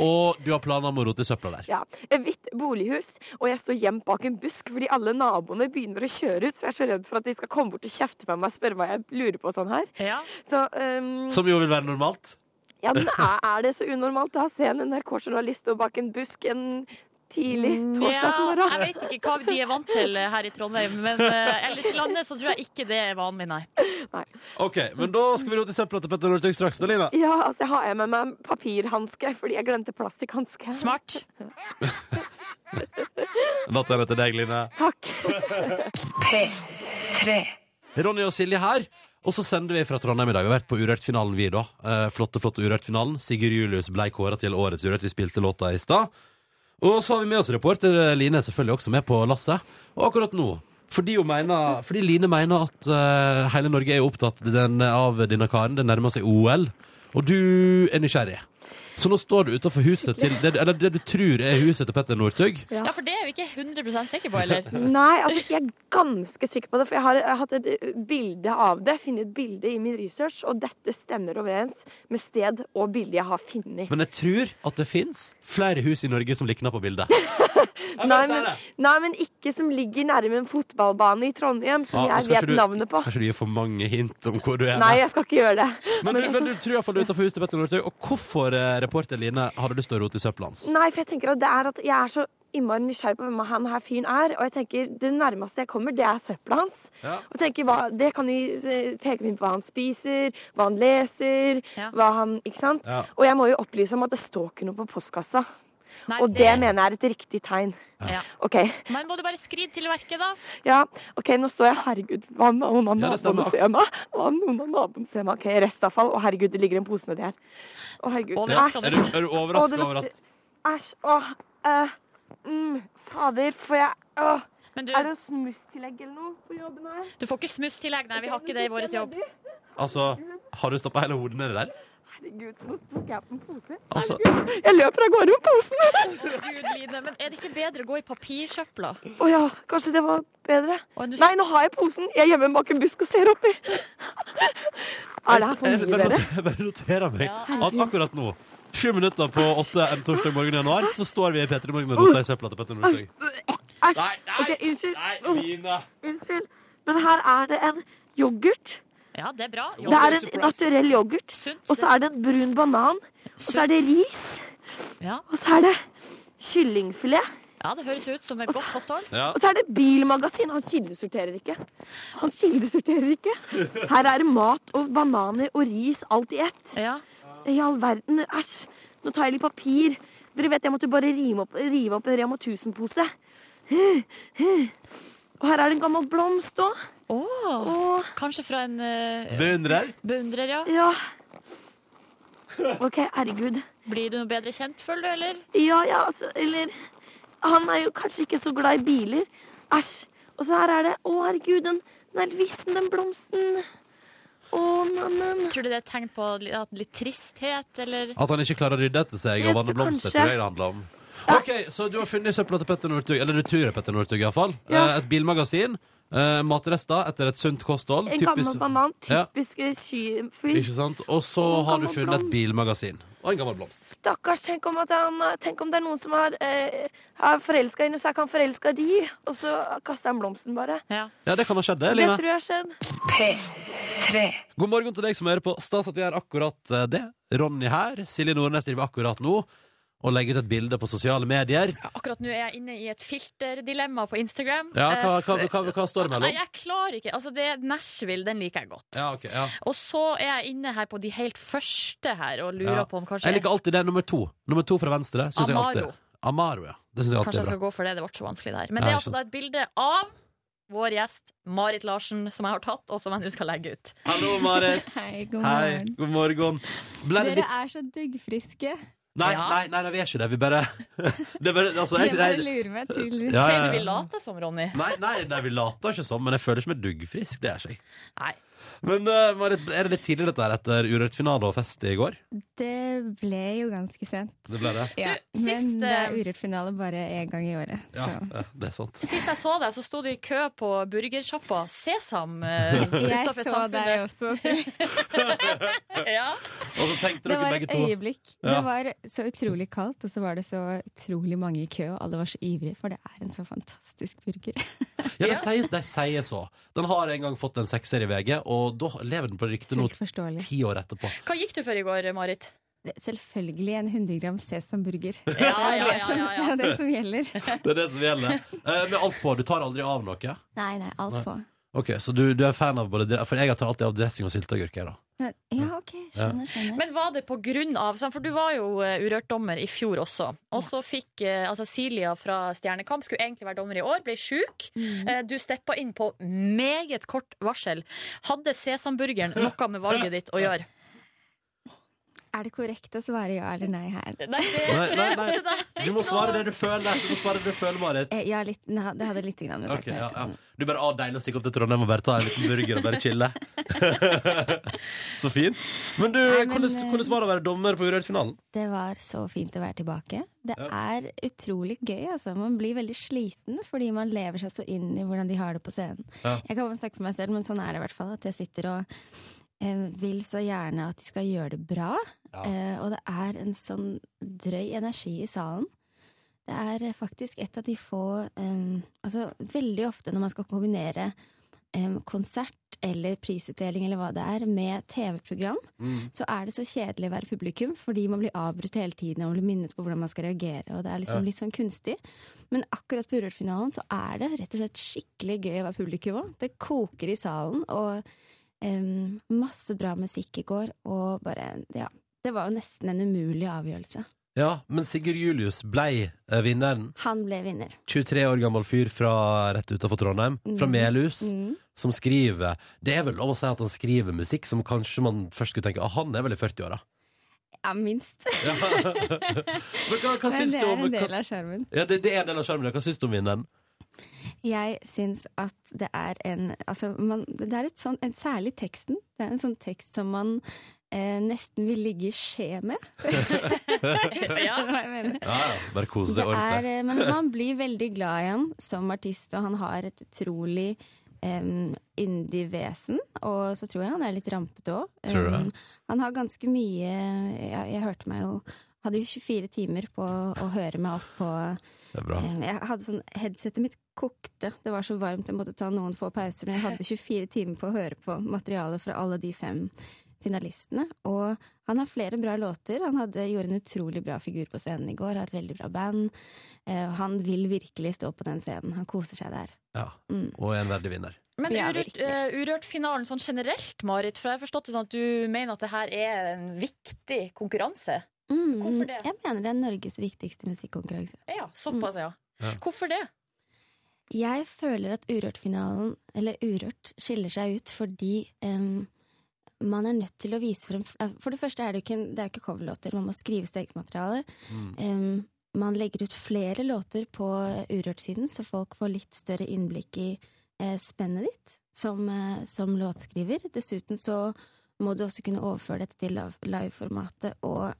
S3: og du har planer om å rote i søpla der.
S9: ja, et hvitt bolighus, og jeg står gjemt bak en busk fordi alle naboene begynner å kjøre ut, for jeg er så redd for at de skal komme bort og kjefte på meg og spørre hva jeg lurer på og sånn her.
S4: Ja.
S9: Så ehm,
S3: Som jo vil være normalt.
S9: ja, men er, er det så unormalt da å se en NRK-journalist stå bak en busk en tidlig
S4: Mm. Ja,
S9: torsdagsmorgen?
S4: jeg vet ikke hva de er vant til her i Trondheim, men eh, ellers i landet så tror jeg ikke det er vanlig, nei.
S3: OK, men da skal vi rote i søpla til Petter Northug straks, da, Line.
S9: Ja, altså jeg har jeg med meg en papirhanske fordi jeg glemte plastikkhanske.
S4: Smart.
S3: Natta til deg, Line.
S9: Takk.
S2: P3.
S3: Ronny og Silje her. Og så sender vi fra Trondheim i dag. Vi har vært på Urørt-finalen, vi, da. Eh, flotte, flotte Urørt-finalen. Sigurd Julius blei kåra til Årets Urørt. Vi spilte låta i stad. Og så har vi med oss reporter eh, Line, er selvfølgelig også med på lasset. Og akkurat nå, fordi, hun mener, fordi Line mener at eh, hele Norge er jo opptatt den, av denne karen. Det nærmer seg OL. Og du er nysgjerrig. Så nå står du utafor huset til det, Eller det du tror er huset til Petter Northug.
S4: Ja, for det er vi ikke 100 sikre på, eller?
S9: Nei, altså jeg er ganske sikker på det, for jeg har, jeg har hatt et eh, bilde av det. Funnet et bilde i min research, og dette stemmer overens med sted og bilde jeg har funnet.
S3: Men jeg tror at det fins flere hus i Norge som likner på
S9: [LAUGHS]
S3: bildet.
S9: Nei men, nei, men ikke som ligger nærme en fotballbane i Trondheim, som
S3: Ja,
S9: jeg
S3: Ah, skal ikke
S9: vet
S3: du-
S9: navnet på.
S3: Skal ikke du gi for mange hint om hvor du er?
S9: Nei, jeg skal ikke gjøre det.
S3: men,
S9: Men
S3: du,
S9: jeg-
S3: men du tror iallfall du er utenfor huset til Petter Northug. Og hvorfor, eh, reporter Line, hadde lyst til å rote i søpla hans?
S9: Nei, for jeg tenker at det er at jeg er så innmari nysgjerrig på hvem han her fyren er. Og jeg tenker, det nærmeste jeg kommer, det er søpla hans.
S3: Ja.
S9: Og tenker, hva, Det kan jo eh, peke meg inn på hva han spiser, hva han leser,
S4: Ja.
S9: hva han Ikke sant?
S3: Ja.
S9: Og jeg må jo opplyse om at det står ikke noe på postkassa.
S4: Nei,
S9: og det, mener jeg er et riktig tegn.
S4: Ja.
S9: OK.
S4: Men må du bare skride til verket, da?
S9: Ja, ok, nå står jeg Herregud, hva om noen av
S3: Ja, det stemmer.
S9: naboene ser meg? Hva om noen av naboen ser meg? OK, restavfall. Å, herregud, det ligger en pose nedi her. Å, herregud.
S3: Ja.
S4: Overraskende.
S3: Er du, er du
S9: Å,
S3: overraska
S9: det
S3: over at
S9: lukter- Æsj. Å. eh, mm, fader, får jeg åh,
S4: Men du,
S9: Er det en smusstillegg eller noe på jobben her?
S4: du får ikke smusstillegg, nei. Vi har ikke det i vår jobb.
S3: Altså, har du stappa hele hodet nedi der?
S9: Herregud, nå tok jeg på en pose.
S3: Altså,
S9: Jeg løper av gårde med posen.
S4: Gud, Line. Men er det ikke bedre å gå i papirsøpla?
S9: Å ja, kanskje det var bedre.
S4: Og du-
S9: Nei, nå har jeg posen. Jeg gjemmer den bak en busk og ser oppi. Er det her for
S3: jeg
S9: mye,
S3: bare
S9: dere?
S3: noter- [LAUGHS] bare noterer meg
S4: Ja.
S3: at akkurat nå, sju minutter på åtte en torsdag morgen i januar, så står vi i P3 Morgen og roter i søpla til Petter Northug.
S9: Æsj.
S3: Nei, nei,
S9: Ok, unnskyld.
S3: nei, Line.
S9: Unnskyld. Men her er det en yoghurt.
S4: Ja, det er bra. Jo,
S9: Det er en naturell yoghurt.
S4: sunt.
S9: Og så er det en brun banan. Og så er det ris.
S4: Ja.
S9: Og så er det kyllingfilet.
S4: ja, det høres ut som et godt kosthold.
S3: Ja.
S9: Og så er det bilmagasin. Han kildesorterer ikke. Han kildesorterer ikke. Her er det mat og bananer og ris, alt i ett.
S4: Ja.
S9: I all verden, æsj. Nå tar jeg litt papir. Dere vet jeg måtte bare rive opp, rive opp en Rema 1000-pose. Og her er det en gammel blomst òg.
S4: Åh,
S9: Og
S4: kanskje fra en eh,
S3: Beundrer.
S4: beundrer, ja.
S9: ja. OK, herregud.
S4: Blir du noe bedre kjent, føler du, eller?
S9: Ja, ja, altså Eller Han er jo kanskje ikke så glad i biler. Æsj. Og så her er det Å, herregud, den, den er helt vissen, den blomsten. Å, neimen.
S4: Tror du det er et tegn på li- at litt tristhet, eller
S3: At han ikke klarer å rydde etter seg og
S9: Jeg
S3: vanne
S9: tror
S3: blomster,
S9: kanskje-
S3: tror jeg det handler om. Ok, Så du har funnet søpla til Petter Northug, eller du tror det er Petter Northug iallfall.
S9: Ja.
S3: fall Eh, Et bilmagasin, eh, matrester etter et sunt kosthold.
S9: En gammel banan.
S3: sånn. Ja.
S9: Typisk eh, skyfyr.
S3: Ikke sant? Og så
S9: Og en
S3: har du
S9: gammel
S3: funnet et
S9: blomst.
S3: bilmagasin. Og en gammel blomst.
S9: Stakkars, tenk om, at han, tenk om det er noen som er, eh, er forelska i henne, så jeg kan forelske de. Og så kaster han blomsten bare.
S4: Ja.
S3: Ja, det kan ha skjedd, det,
S9: Det
S3: Line.
S9: tror jeg har skjedd.
S2: P3.
S3: God morgen til deg som hører på. Stas at vi gjør akkurat eh, det. Ronny her. Silje Nordnes driver akkurat nå og legger ut et bilde på sosiale medier.
S4: Akkurat nå er jeg inne i et filterdilemma på Instagram.
S3: Ja, hva,
S4: Eh,
S3: hva, hva, hva står det
S4: Nei,
S3: mellom?
S4: jeg klarer ikke. Altså, det er Nashville, den liker jeg godt.
S3: Ja, ok, ja.
S4: Og så er jeg inne her på de helt første her og lurer
S3: Ja.
S4: på om kanskje
S3: Jeg liker alltid det nummer to. Nummer to fra venstre. Synes Jeg
S4: Amaro.
S3: alltid. Amaro, ja. Det syns jeg
S4: Kanskje
S3: alltid
S4: jeg
S3: er bra.
S4: skal gå for det. Det ble så vanskelig der.
S3: Nei,
S4: Men det er
S3: ikke
S4: altså da et bilde av vår gjest Marit Larsen, som jeg har tatt, og som jeg nå skal legge ut.
S3: Hallo, Marit.
S10: Hei, god
S3: Hei,
S10: morgen.
S3: god morgen. Ble det
S10: Dere
S3: litt
S10: er så duggfriske.
S3: nei,
S4: Ja.
S3: nei, nei, nei, vi er ikke det. Vi bare [LAUGHS] det er bare, altså,
S10: Dere
S3: jeg,
S10: bare
S3: jeg,
S10: lurer meg til
S3: Ja,
S4: Sier
S3: ja, ja.
S4: du vi later som, Ronny?
S3: nei, nei, nei, vi later ikke sånn, men jeg føler ikke meg duggfrisk. Det er ikke jeg.
S4: Nei.
S3: Men eh, Marit, er det litt tidlig dette her etter Urørt-finale og fest i går?
S10: Det ble jo ganske sent.
S3: Det ble det.
S10: Ja.
S4: sist,
S10: Men det
S4: eh,
S10: er Urørt-finale bare én gang i året.
S3: Ja,
S10: Så.
S3: ja, det er sant.
S4: Sist jeg så deg, så sto du i kø på burgersjappa Sesam uh,
S10: [LAUGHS] Jeg
S4: utafor
S10: så
S4: samfunnet.
S10: deg også.
S4: Ja.
S3: Og så tenkte
S10: [LAUGHS] Det
S3: dere
S10: var
S3: begge
S10: et
S3: to
S10: øyeblikk.
S3: Ja.
S10: Det var så utrolig kaldt, og så var det så utrolig mange i kø, og alle var så ivrige, for det er en så fantastisk burger.
S3: Ja, de sier, de sier så. Den har en gang fått en sekser i VG, og da lever den på ryktet nå
S10: Fullt forståelig.
S3: ti år etterpå.
S4: Hva gikk du for i går, Marit?
S10: Det er Selvfølgelig en 100 gram sesamburger. Det
S4: Ja,
S10: er
S4: ja,
S10: det
S4: ja,
S10: som-
S4: ja, ja.
S10: det er det som gjelder.
S3: Det er det som gjelder. Eh, med alt på. Du tar aldri av noe.
S10: Nei, nei, alt på.
S3: Ok, Så du, du er fan av både dre- For jeg tar alltid av dressing og sylteagurk. jeg, da.
S10: Men- Ja, OK. Skjønner, skjønner.
S4: Men var det på grunn av sånn, For du var jo eh, Urørt-dommer i fjor også. Og så fikk eh, altså Silja fra Stjernekamp, skulle egentlig være dommer i år, ble sjuk. Eh, Du steppa inn på meget kort varsel. Hadde sesamburgeren noe med valget ditt å gjøre?
S10: Er det korrekt å svare ja eller nei her?
S4: Nei, det,
S3: Nei, nei,
S10: [LAUGHS]
S3: nei. Du må svare det du føler. Du må svare det du føler, Marit.
S10: Eh, Ja, litt, nei, det hadde litt grann med
S3: Ok,
S10: saken
S3: ja,
S10: å
S3: ja.
S10: gjøre.
S3: Du bare ah, deilig å stikke opp til Trondheim og bare ta en liten burger og bare
S10: [LAUGHS]
S3: chille. så fint. Men du,
S10: Nei, men, eh,
S3: hvordan, hvordan var det å være dommer på Urørt-finalen?
S10: Det var så fint å være tilbake. Det er utrolig gøy. Altså. Man blir veldig sliten fordi man lever seg så inn i hvordan de har det på scenen.
S3: Ja.
S10: Jeg kan bare snakke for meg selv, men sånn er det i hvert fall. At jeg sitter og eh, vil så gjerne at de skal gjøre det bra.
S3: Ja.
S10: Eh, og det er en sånn drøy energi i salen. Det er eh, faktisk et av de få eh, Altså veldig ofte når man skal kombinere em, konsert eller prisutdeling eller hva det er, med TV-program,
S3: Mm.
S10: så er det så kjedelig å være publikum, fordi man blir avbrutt hele tiden og blir minnet på hvordan man skal reagere, og det er liksom litt sånn kunstig. Men akkurat på Urørt-finalen så er det rett og slett skikkelig gøy å være publikum òg. Det koker i salen, og em, masse bra musikk i går, og bare Ja. Det var jo nesten en umulig avgjørelse.
S3: Ja, men Sigurd Julius blei eh, vinneren.
S10: Han ble vinner.
S3: 23 år gammel fyr fra rett utenfor Trondheim, fra
S10: Mm.
S3: Melhus,
S10: Mm.
S3: som skriver Det er vel lov å si at han skriver musikk som kanskje man først skulle tenke ah, han er vel i 40-åra.
S10: Ja, minst.
S3: Ja. Men hva, hva
S10: Men
S3: syns
S10: det
S3: du
S10: er
S3: om
S10: en del
S3: hva,
S10: av skjermen.
S3: ja, det, det er en del av skjermen. ja. Hva syns du om vinneren?
S10: Jeg syns at det er en Altså, man, det er et sånn en, Særlig teksten. Det er en sånn tekst som man eh, nesten vil ligge i skje med. [LAUGHS]
S3: [LAUGHS]
S4: Ja.
S10: Hva jeg mener.
S3: Ja, ja. Bare kos
S10: Det
S3: deg
S10: er,
S3: ordentlig.
S10: eh, men man blir veldig glad i han som artist, og han har et utrolig um, indie-vesen. Og så tror jeg han er litt rampete òg.
S3: Tror du det?
S10: han har ganske mye jeg, jeg hørte meg jo Hadde jo 24 timer på å høre meg opp på
S3: Det er bra.
S10: um, Jeg hadde sånn Headsetet mitt kokte. Det var så varmt, jeg måtte ta noen få pauser. Men jeg hadde 24 timer på å høre på materialet fra alle de fem finalistene. Og han har flere bra låter. Han hadde, gjorde en utrolig bra figur på scenen i går, har et veldig bra band. Eh, han vil virkelig stå på den scenen. Han koser seg der.
S3: Ja.
S10: Mm.
S3: Og er en verdig vinner.
S4: Men
S10: Ja,
S4: urørt,
S10: virkelig.
S4: eh, Urørt-finalen sånn generelt, Marit, for jeg har forstått det sånn at du mener at det her er en viktig konkurranse.
S10: Mm,
S4: Hvorfor det?
S10: Jeg mener det er Norges viktigste musikkonkurranse.
S4: Ja, såpass, ja.
S3: Ja.
S4: Hvorfor det?
S10: Jeg føler at Urørt-finalen, eller Urørt, skiller seg ut fordi em, man er nødt til å vise frem eh, For det første er det jo ikke, en- det er jo ikke coverlåter, man må skrive sitt eget materiale.
S3: Mm.
S10: Em, man legger ut flere låter på Urørt-siden, så folk får litt større innblikk i eh, spennet ditt som, eh, som låtskriver. Dessuten så må du også kunne overføre dette til live- liveformatet og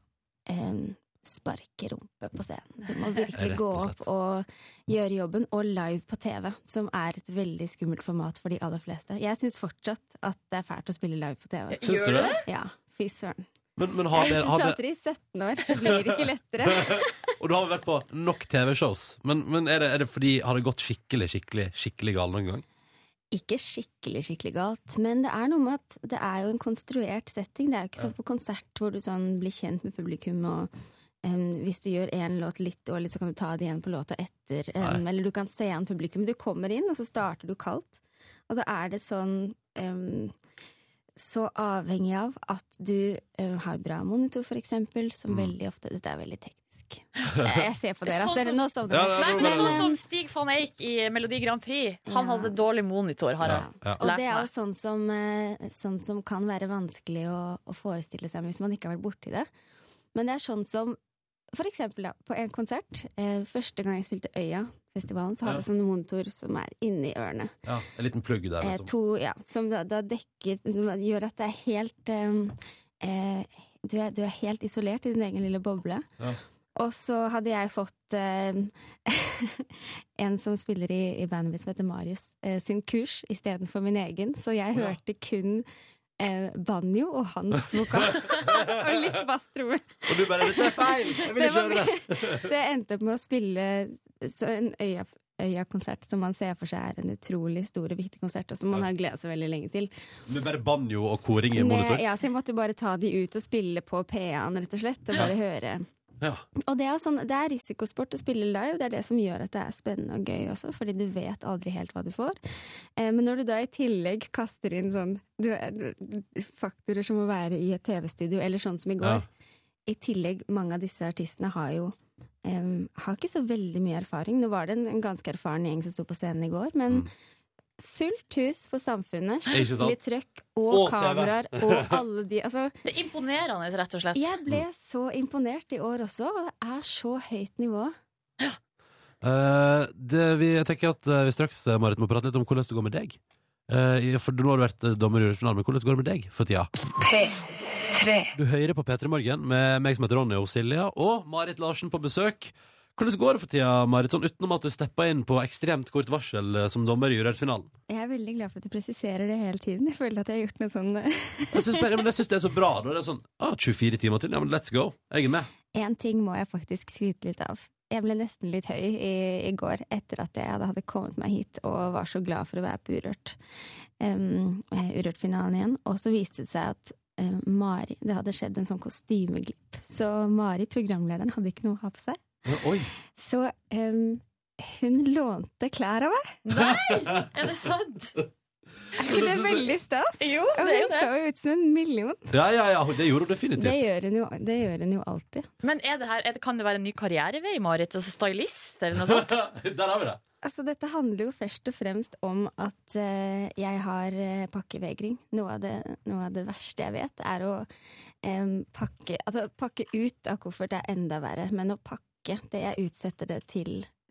S10: em, sparke rumpe på scenen. Du
S3: [LAUGHS] Rett
S10: må
S3: og
S10: virkelig gå
S3: slett.
S10: opp og gjøre jobben, og live på TV, som er et veldig skummelt format for de aller fleste. Jeg syns fortsatt at det er fælt å spille live på TV.
S3: Syns du det?
S10: Ja, fy søren.
S3: Men, men har
S10: Jeg
S3: det,
S10: har
S3: har det,
S10: [LAUGHS] plater i 17 år, det blir ikke lettere.
S3: Og du har vel vært på nok TV-shows. Men, men er, det, er det fordi har det gått skikkelig skikkelig, skikkelig galt noen gang?
S10: Ikke skikkelig, skikkelig galt, men det er noe med at det er jo en konstruert setting. Det er jo ikke som på konsert hvor du sånn blir kjent med publikum og em, hvis du gjør én låt litt dårlig, så kan du ta det igjen på låta etter. em, eller du kan se an publikum. Du kommer inn, og så starter du kaldt. Og så er det sånn em, så avhengig av at du em, har bra monitor, for eksempel, som veldig ofte Dette er veldig teknisk. Jeg ser på dere
S4: Sånn
S10: at dere
S4: som-
S10: nå sovner.
S3: Ja, ja,
S10: dere.
S4: Nei, men
S10: Men,
S4: sånn
S10: eh,
S4: som Stig van Eijk i Melodi Grand Prix. Han
S10: Ja.
S4: hadde dårlig monitor, har jeg
S3: Ja, ja.
S10: Og
S4: lært
S10: det er jo
S4: meg.
S10: sånn som, eh, sånn som kan være vanskelig å, å forestille seg hvis man ikke har vært borti det. Men det er sånn som for eksempel da, på en konsert. Eh, første gang jeg spilte Øya-festivalen,
S3: Ja.
S10: så hadde jeg sånn monitor som er inni ørene.
S3: Ja, En liten plugg der,
S10: Eh,
S3: liksom.
S10: to, ja, som da, da dekker Som gjør at det er helt eh, eh, du, er, du er helt isolert i din egen lille boble.
S3: Ja.
S10: Og så hadde jeg fått eh, [LAUGHS] en som spiller i, i bandet mitt som heter Marius, eh, sin kurs istedenfor min egen, så jeg
S3: Ja.
S10: hørte kun eh, banjo og hans
S3: [LAUGHS]
S10: vokal. [LAUGHS] og litt basstromme.
S3: Og du bare 'Dette er feil! Jeg vil
S10: Det
S3: ikke
S10: var
S3: høre det!'
S10: [LAUGHS] Så jeg endte opp med å spille så en øya, Øya-konsert som man ser for seg er en utrolig stor og viktig konsert, og som man har gleda seg veldig lenge til.
S3: Med bare banjo og koring i
S10: Med,
S3: monitor.
S10: ja, så jeg måtte bare ta de ut og spille på PA-en, rett og slett. Og bare høre.
S3: Ja.
S10: Og det er, jo sånn, det er risikosport å spille live. Det er det som gjør at det er spennende og gøy også, fordi du vet aldri helt hva du får. Eh, men når du da i tillegg kaster inn sånn du, du- faktorer som å være i et TV-studio, eller sånn som i går
S3: Ja.
S10: I tillegg, mange av disse artistene har jo em, har ikke så veldig mye erfaring. Nå var det en, en ganske erfaren gjeng som sto på scenen i går, men fullt hus for samfunnet.
S3: Mm. Ikke sant?
S10: Skikkelig trøkk og,
S3: Og TV.
S10: kameraer
S3: [LAUGHS]
S10: og alle de altså,
S4: Det er imponerende, rett og slett.
S10: Jeg ble så imponert i år også, og det er så høyt nivå.
S3: Eh, det, vi, jeg tenker at eh, vi straks eh, Marit, må prate litt om hvordan det går med deg. Eh, for nå har du vært eh, dommer i Urørt-finalen, men hvordan går det med deg for tida?
S2: P3.
S3: Du hører på P3 Morgen med meg som heter Ronny og Silja, og Marit Larsen på besøk. Hvordan går det for tida, Marit, sånn utenom at du steppa inn på ekstremt kort varsel eh, som dommer i Urørt-finalen?
S10: Jeg er veldig glad for at du presiserer det hele tiden. Jeg føler at jeg har gjort noe sånn
S3: Jeg syns, bare, men jeg synes det er så bra. Da. Det er sånn ah, 24 timer til, ja, men let's go. Jeg er med.
S10: Én ting må jeg faktisk skryte litt av. jeg ble nesten litt høy i, i går etter at jeg hadde kommet meg hit og var så glad for å være på Urørt. Um, eh, Urørt-finalen igjen. Og så viste det seg at eh, Mari Det hadde skjedd en sånn kostymeglipp. Så Mari, programlederen, hadde ikke noe å ha på seg.
S3: Oi!
S10: Så em, hun lånte klær av meg.
S4: Er det sant?
S10: Er ikke det veldig stas?
S4: Jo,
S10: Og hun så jo ut som en million.
S3: Ja, ja, ja, det gjorde hun definitivt.
S10: Det gjør hun jo, det gjør hun jo alltid.
S4: Men er det her, er det, kan det være en ny karrierevei, Marit? Altså stylist, eller noe sånt?
S3: [LAUGHS] Der har vi det.
S10: Altså, dette handler jo først og fremst om at eh, jeg har eh, pakkevegring. Noe av, det, noe av det verste jeg vet, er å em, pakke Altså, pakke ut av koffert er enda verre, men å pakke det Jeg utsetter det til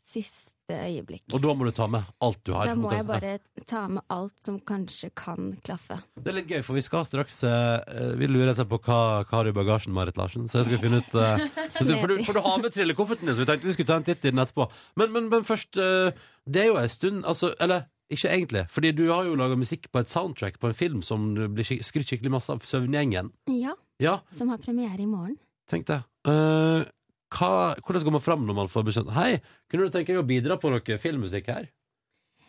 S10: siste øyeblikk.
S3: Og da må du ta med alt du har.
S10: Da må
S3: på en
S10: jeg
S3: måte.
S10: bare ta med alt som kanskje kan klaffe.
S3: Det er litt gøy, for vi skal straks eh, Vi lurer seg på hva, hva har du i bagasjen, Marit Larsen. Så jeg skal finne ut eh, så skal- for, du, for du har med trillekofferten din, så vi tenkte vi skulle ta en titt i den etterpå. Men, men, men først eh, Det er jo ei stund Altså, eller ikke egentlig, fordi du har jo laga musikk på et soundtrack på en film som du blir skik skrytt skikkelig masse av Søvngjengen.
S10: Ja,
S3: Ja,
S10: som har premiere i morgen.
S3: tenk det. Eh, hva, hvordan går man fram når man får beskjed Hei, kunne du tenke deg å bidra på noe filmmusikk her?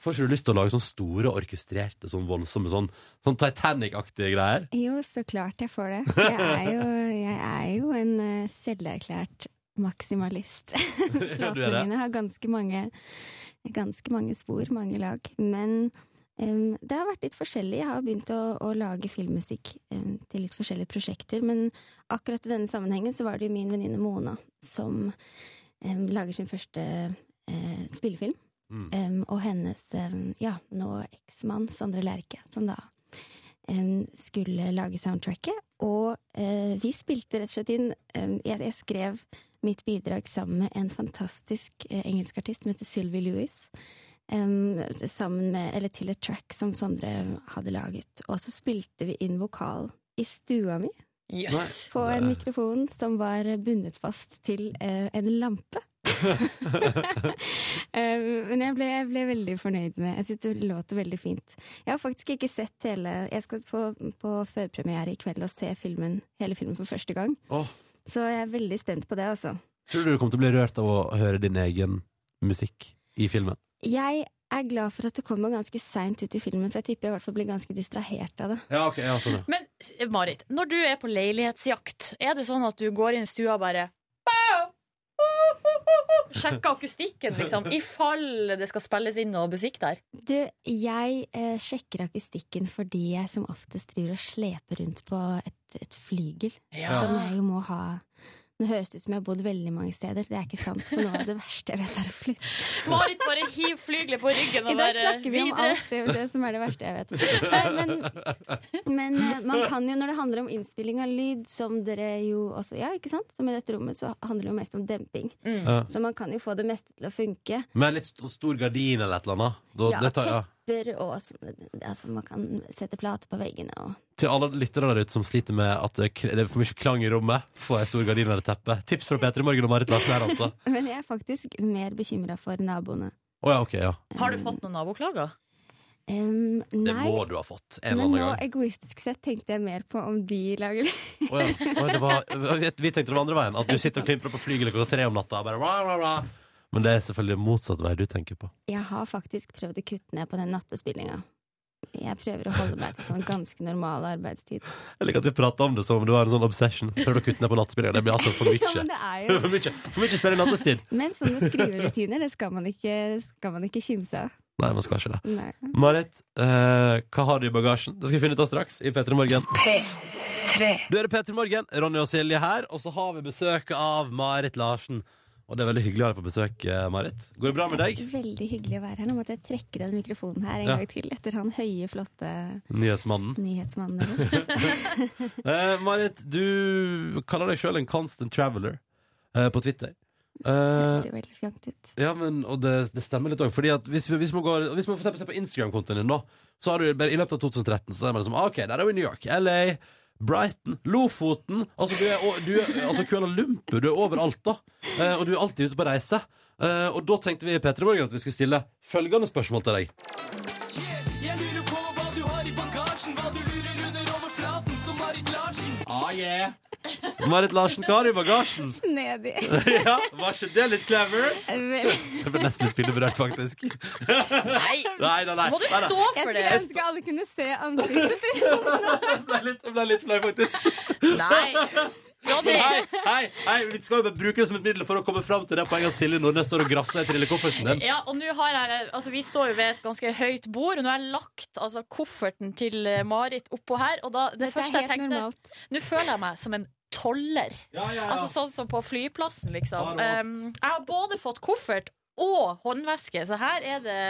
S3: Får ikke du lyst til å lage sånne store, orkestrerte, sånn voldsomme, sånn, sånn Titanic-aktige greier?
S10: Jo, så klart jeg får
S3: [LAUGHS]
S10: det. Jeg er jo, jeg er jo en eh, selverklært
S3: [LAUGHS]
S10: maksimalist.
S3: du er det.
S10: Platene mine har ganske mange, ganske mange spor, mange lag. Men em, det har vært litt forskjellig. Jeg har begynt å, å lage filmmusikk em, til litt forskjellige prosjekter. Men akkurat i denne sammenhengen så var det jo min venninne Mona som em, lager sin første eh, spillefilm.
S3: Mm.
S10: Em, og hennes em, ja, nå eksmann Sondre Lerche, som da em, skulle lage soundtracket. Og eh, vi spilte rett og slett inn em, jeg, jeg skrev mitt bidrag sammen med en fantastisk eh, engelsk artist som heter Sylvie Lewis. em, sammen med, eller til et track som Sondre hadde laget. Og så spilte vi inn vokal i stua mi
S4: Yes.
S10: på en
S3: Det-
S10: mikrofon som var bundet fast til eh, en
S3: [LAUGHS]
S10: lampe. Eh, men jeg ble, jeg ble veldig fornøyd med Jeg syns det låter veldig fint. Jeg har faktisk ikke sett hele Jeg skal på, på førpremiere i kveld og se filmen, hele filmen for første gang.
S3: Åh.
S10: Så jeg er veldig spent på det, altså.
S3: Tror du du kommer til å bli rørt av å høre din egen musikk i filmen?
S10: Jeg er glad for at det kommer ganske seint ut i filmen, for jeg tipper jeg i hvert fall blir ganske distrahert av det.
S3: Ja, ok, ja, sånn
S4: Men eh, Marit, når du er på leilighetsjakt, er det sånn at du går inn i stua og bare «Pow! Oh, oh, oh, oh!» Sjekker akustikken, liksom, i fall det skal spilles inn noe musikk der?
S10: Du, jeg eh, sjekker akustikken fordi jeg som oftest driver og sleper rundt på et, et flygel. Som jeg jo må ha. Nå høres det ut som jeg har bodd veldig mange steder. Det er ikke sant, for noe av det verste jeg vet, er å flytte.
S4: Marit bare hiv flygelet på ryggen og
S10: I dag
S4: bare
S10: snakker vi om
S4: videre.
S10: alt det, det som er det verste jeg vet. Nei, men, men eh, man kan jo, når det handler om innspilling av lyd, som dere jo også Ja, ikke sant? Som i dette rommet, så handler det jo mest om demping.
S4: Mm.
S3: Ja.
S10: Så man kan jo få det meste til å funke.
S3: Med litt st stor gardin eller et eller annet. Da,
S10: Ja,
S3: det tar, ja.
S10: tepper og sånn. Altså, man kan sette plater på veggene og
S3: Til alle lyttere der ute som sliter med at eh, det k- det er for mye klang i rommet, få ei stor gardin eller teppe. Tips fra Peter i Morgen og Marit Larsen her, altså.
S10: Men jeg er faktisk mer bekymra for naboene.
S3: Å ja, ok, ja.
S4: Har du fått noen naboklager?
S10: Em,
S3: Det
S10: nei,
S3: må du ha fått en eller
S10: men
S3: annen
S10: nå
S3: gang.
S10: egoistisk sett tenkte jeg mer på om de lager lyd.
S3: Å ja. Å, det var, vi- vi tenkte det var andre veien. At du sitter og klimprer på flygelet klokka tre om natta. og Bare, rah, rah, rah. Men det er selvfølgelig motsatt vei du tenker på.
S10: [LAUGHS] Jeg har faktisk prøvd å kutte ned på den nattespillinga. Jeg prøver å holde meg til sånn ganske normal arbeidstid.
S3: Jeg liker at vi prater om det som om det var en sånn obsession. Prøvde å kutte ned [LAUGHS] på nattespillinga. Det blir altså for
S10: [LAUGHS] Ja,
S3: mye.
S10: men det er jo
S3: [LAUGHS] For mye, for mye spilling nattestid.
S10: Men sånne skriverutiner, det skal man ikke, skal man ikke kimse av.
S3: Nei, man skal ikke det.
S10: Nei.
S3: Marit, eh, hva har du i bagasjen? Det skal vi finne ut av straks i P3 Morgen.
S2: P3.
S3: Du er P3 Morgen, Ronny og Silje her, og så har vi besøk av Marit Larsen. Og det er veldig hyggelig å ha deg på besøk, eh, Marit. Går det bra med deg?
S10: Veldig hyggelig å være her. Nå måtte jeg trekke den mikrofonen her en
S3: Ja.
S10: gang til etter han høye, flotte
S3: Nyhetsmannen.
S10: nyhetsmannen
S3: [LAUGHS]
S10: deres.
S3: Eh, Marit, du kaller deg sjøl en constant traveler eh, på Twitter. Eh,
S10: Det ser jo veldig fjongt ut.
S3: ja, men, og det, det stemmer litt òg. Hvis, vi- hvis man går- hvis man for eksempel ser på Instagram-kontoen din, da, så har du bare i løpet av 2013 så er man liksom ah, OK, der er vi i New York. LA, Brighton, Lofoten Altså, du er, og- du er altså Kuala Lumpur. Du er overalt, da. Eh, og du er alltid ute på reise. Eh, og da tenkte vi i P3 Morgen at vi skulle stille følgende spørsmål til deg. Ah, Marit Larsen, hva har du i bagasjen?
S10: Snedig.
S3: [LAUGHS]
S10: [LAUGHS]
S3: ja, Var ikke det litt clever?
S10: Vel,
S3: Jeg ble nesten litt pinneberørt, faktisk.
S4: Nei!
S3: Nei, nei, nei.
S4: Må du
S3: nei, nei.
S4: stå
S10: Jeg
S4: for
S10: skulle
S4: det?
S10: ønske alle kunne se ansiktet
S4: [LAUGHS]
S10: til
S3: Jeg ble litt, jeg ble litt flau, faktisk.
S4: Nei. Ronny,
S3: Hei, hei, hei, vi skal jo bare bruke det som et middel for å komme fram til det poenget at Silje Nordnes står og grafser i trillekofferten din.
S4: Ja, og nå har jeg Altså, vi står jo ved et ganske høyt bord, og nå har jeg lagt altså, kofferten til eh, Marit oppå her, og da Det
S10: Dette
S4: første
S10: er
S4: jeg
S10: helt
S4: tenkte
S10: normalt.
S4: Nå føler jeg meg som en toller.
S3: Ja, ja,
S4: Altså sånn som på flyplassen, liksom.
S3: Ja, rått.
S4: Um, jeg har både fått koffert og håndveske, så her er det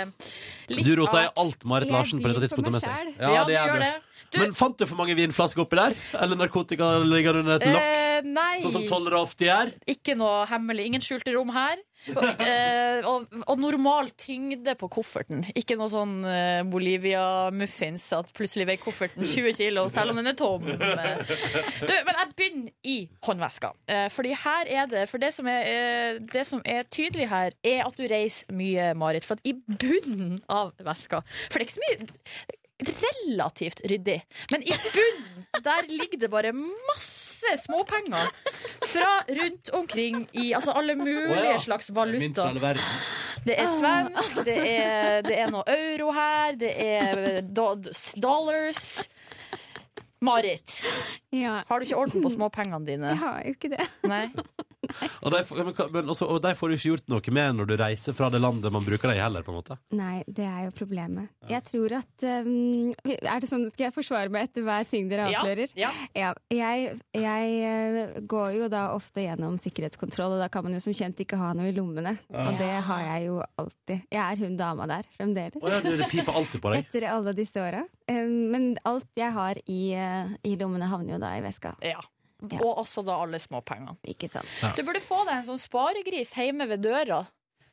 S4: litt
S3: Du rota i
S4: av-
S3: alt Marit
S10: Jeg
S3: Larsen på dette
S10: blir for
S3: tidspunktet
S10: meg
S3: med seg.
S10: selv.
S4: Ja, du
S3: er
S4: gjør
S3: du.
S4: det. Du-
S3: Men fant du for mange vinflasker oppi der? Eller narkotika ligger under et lokk?
S4: Eh, nei,
S3: Sånn som tollere ofte gjør?
S4: ikke noe hemmelig. Ingen skjulte rom her. Og, eh, og, og normal tyngde på kofferten. Ikke noe sånn eh, Bolivia-muffins at plutselig veier kofferten 20 kilo, selv om den er
S3: [LAUGHS]
S4: tom. Eh, Du, men jeg begynner i håndveska. Eh, fordi her er det For det som er, eh, det som er tydelig her, er at du reiser mye, Marit. For at i bunnen av veska For det er ikke så mye relativt ryddig, men i bunnen der ligger det bare masse småpenger fra rundt omkring i altså alle mulige
S3: Å ja.
S4: slags
S3: Mynt fra
S4: valutaer.
S3: hele verden.
S4: Det er svensk, det er, det er noe euro her, det er do dollars. Marit,
S10: Ja,
S4: har du ikke orden på småpengene dine?
S10: jeg har jo ikke det.
S4: Nei.
S3: Og de, får- men, hva- men også, og de får du ikke gjort noe med når du reiser fra det landet man bruker deg i heller, på en måte.
S10: Nei, det er jo problemet. Jeg tror at um, Er det sånn, Skal jeg forsvare meg etter hver ting dere
S4: Ja,
S10: avslører?
S4: ja.
S10: Ja, jeg, jeg eh, går jo da ofte gjennom sikkerhetskontroll, og da kan man jo som kjent ikke ha noe i lommene.
S4: Ah.
S10: Og det har jeg jo alltid. Jeg er hun dama der fremdeles.
S3: Å ja, du, det piper alltid på deg.
S10: Etter alle disse åra. Um, men alt jeg har i, eh, i lommene, havner jo da i veska.
S4: Ja. Og også da alle småpengene.
S10: Ikke sant?
S4: Du burde få deg en sånn sparegris hjemme ved døra.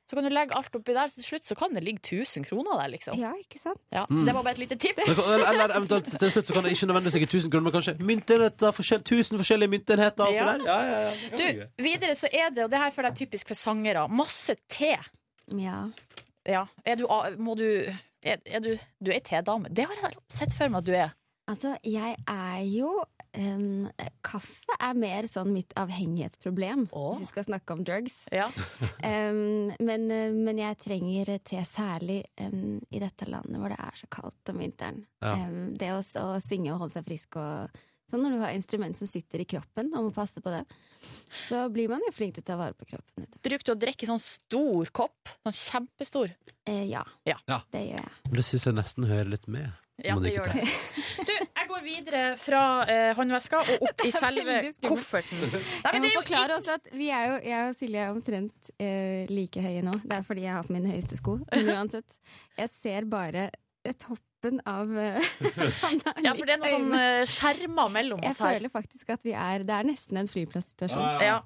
S4: Så kan du legge alt oppi der, så til slutt så kan det ligge 1000 kroner der, liksom.
S10: Ja, ikke sant?
S4: Ja, det var bare et lite
S3: Men
S4: tips.
S3: kan- Eller, eller eventuelt til slutt så kan det ikke nødvendigvis ligge 1000 kroner, men kanskje myntenheter, forskjell, 1000 forskjellige myntenheter oppi
S4: Ja.
S3: der. Ja, ja, ja. det kan
S4: Du,
S3: ligge.
S4: videre så er det, og det her føler jeg er typisk for sangere, masse te.
S10: Ja.
S4: Ja. Er du, a- må du er, er du, du er ei tedame. Det har jeg sett for meg at du er.
S10: Altså, jeg er jo um, Kaffe er mer sånn mitt avhengighetsproblem,
S4: Åh.
S10: hvis vi skal snakke om drugs. [LAUGHS]
S4: Ja.
S10: Um, men, uh, men jeg trenger te særlig um, i dette landet hvor det er så kaldt om vinteren.
S3: Ja.
S10: Um, det å, s- å synge og holde seg frisk og sånn når du har instrument som sitter i kroppen og må passe på det, så blir man jo flink til å ta vare på kroppen. etter-
S4: Bruker du å drikke sånn stor kopp? Sånn kjempestor?
S10: Eh, ja,
S4: Ja.
S3: Ja.
S10: det gjør jeg.
S3: Men det syns jeg nesten hører litt med.
S4: Ja,
S3: Om man
S4: det
S3: drikker
S4: gjør
S3: te.
S4: det. Du, jeg går videre fra eh, håndveska og opp [LAUGHS] i selve
S10: veldig skummelt.
S4: kofferten. Nei,
S10: Jeg
S4: men
S10: må
S4: det er jo
S10: forklare også at vi er jo, jeg og Silje er omtrent eh, like høye nå. Det er fordi jeg har på mine høyeste sko.
S4: [LAUGHS]
S10: Men uansett, jeg ser bare eh, toppen av eh, [LAUGHS] Han er
S4: Ja, for det er noe
S10: litt
S4: sånn
S10: øyne.
S4: eh, skjermer mellom
S10: Jeg
S4: oss her.
S10: føler faktisk at vi er Det er nesten en flyplassituasjon.
S4: Ja.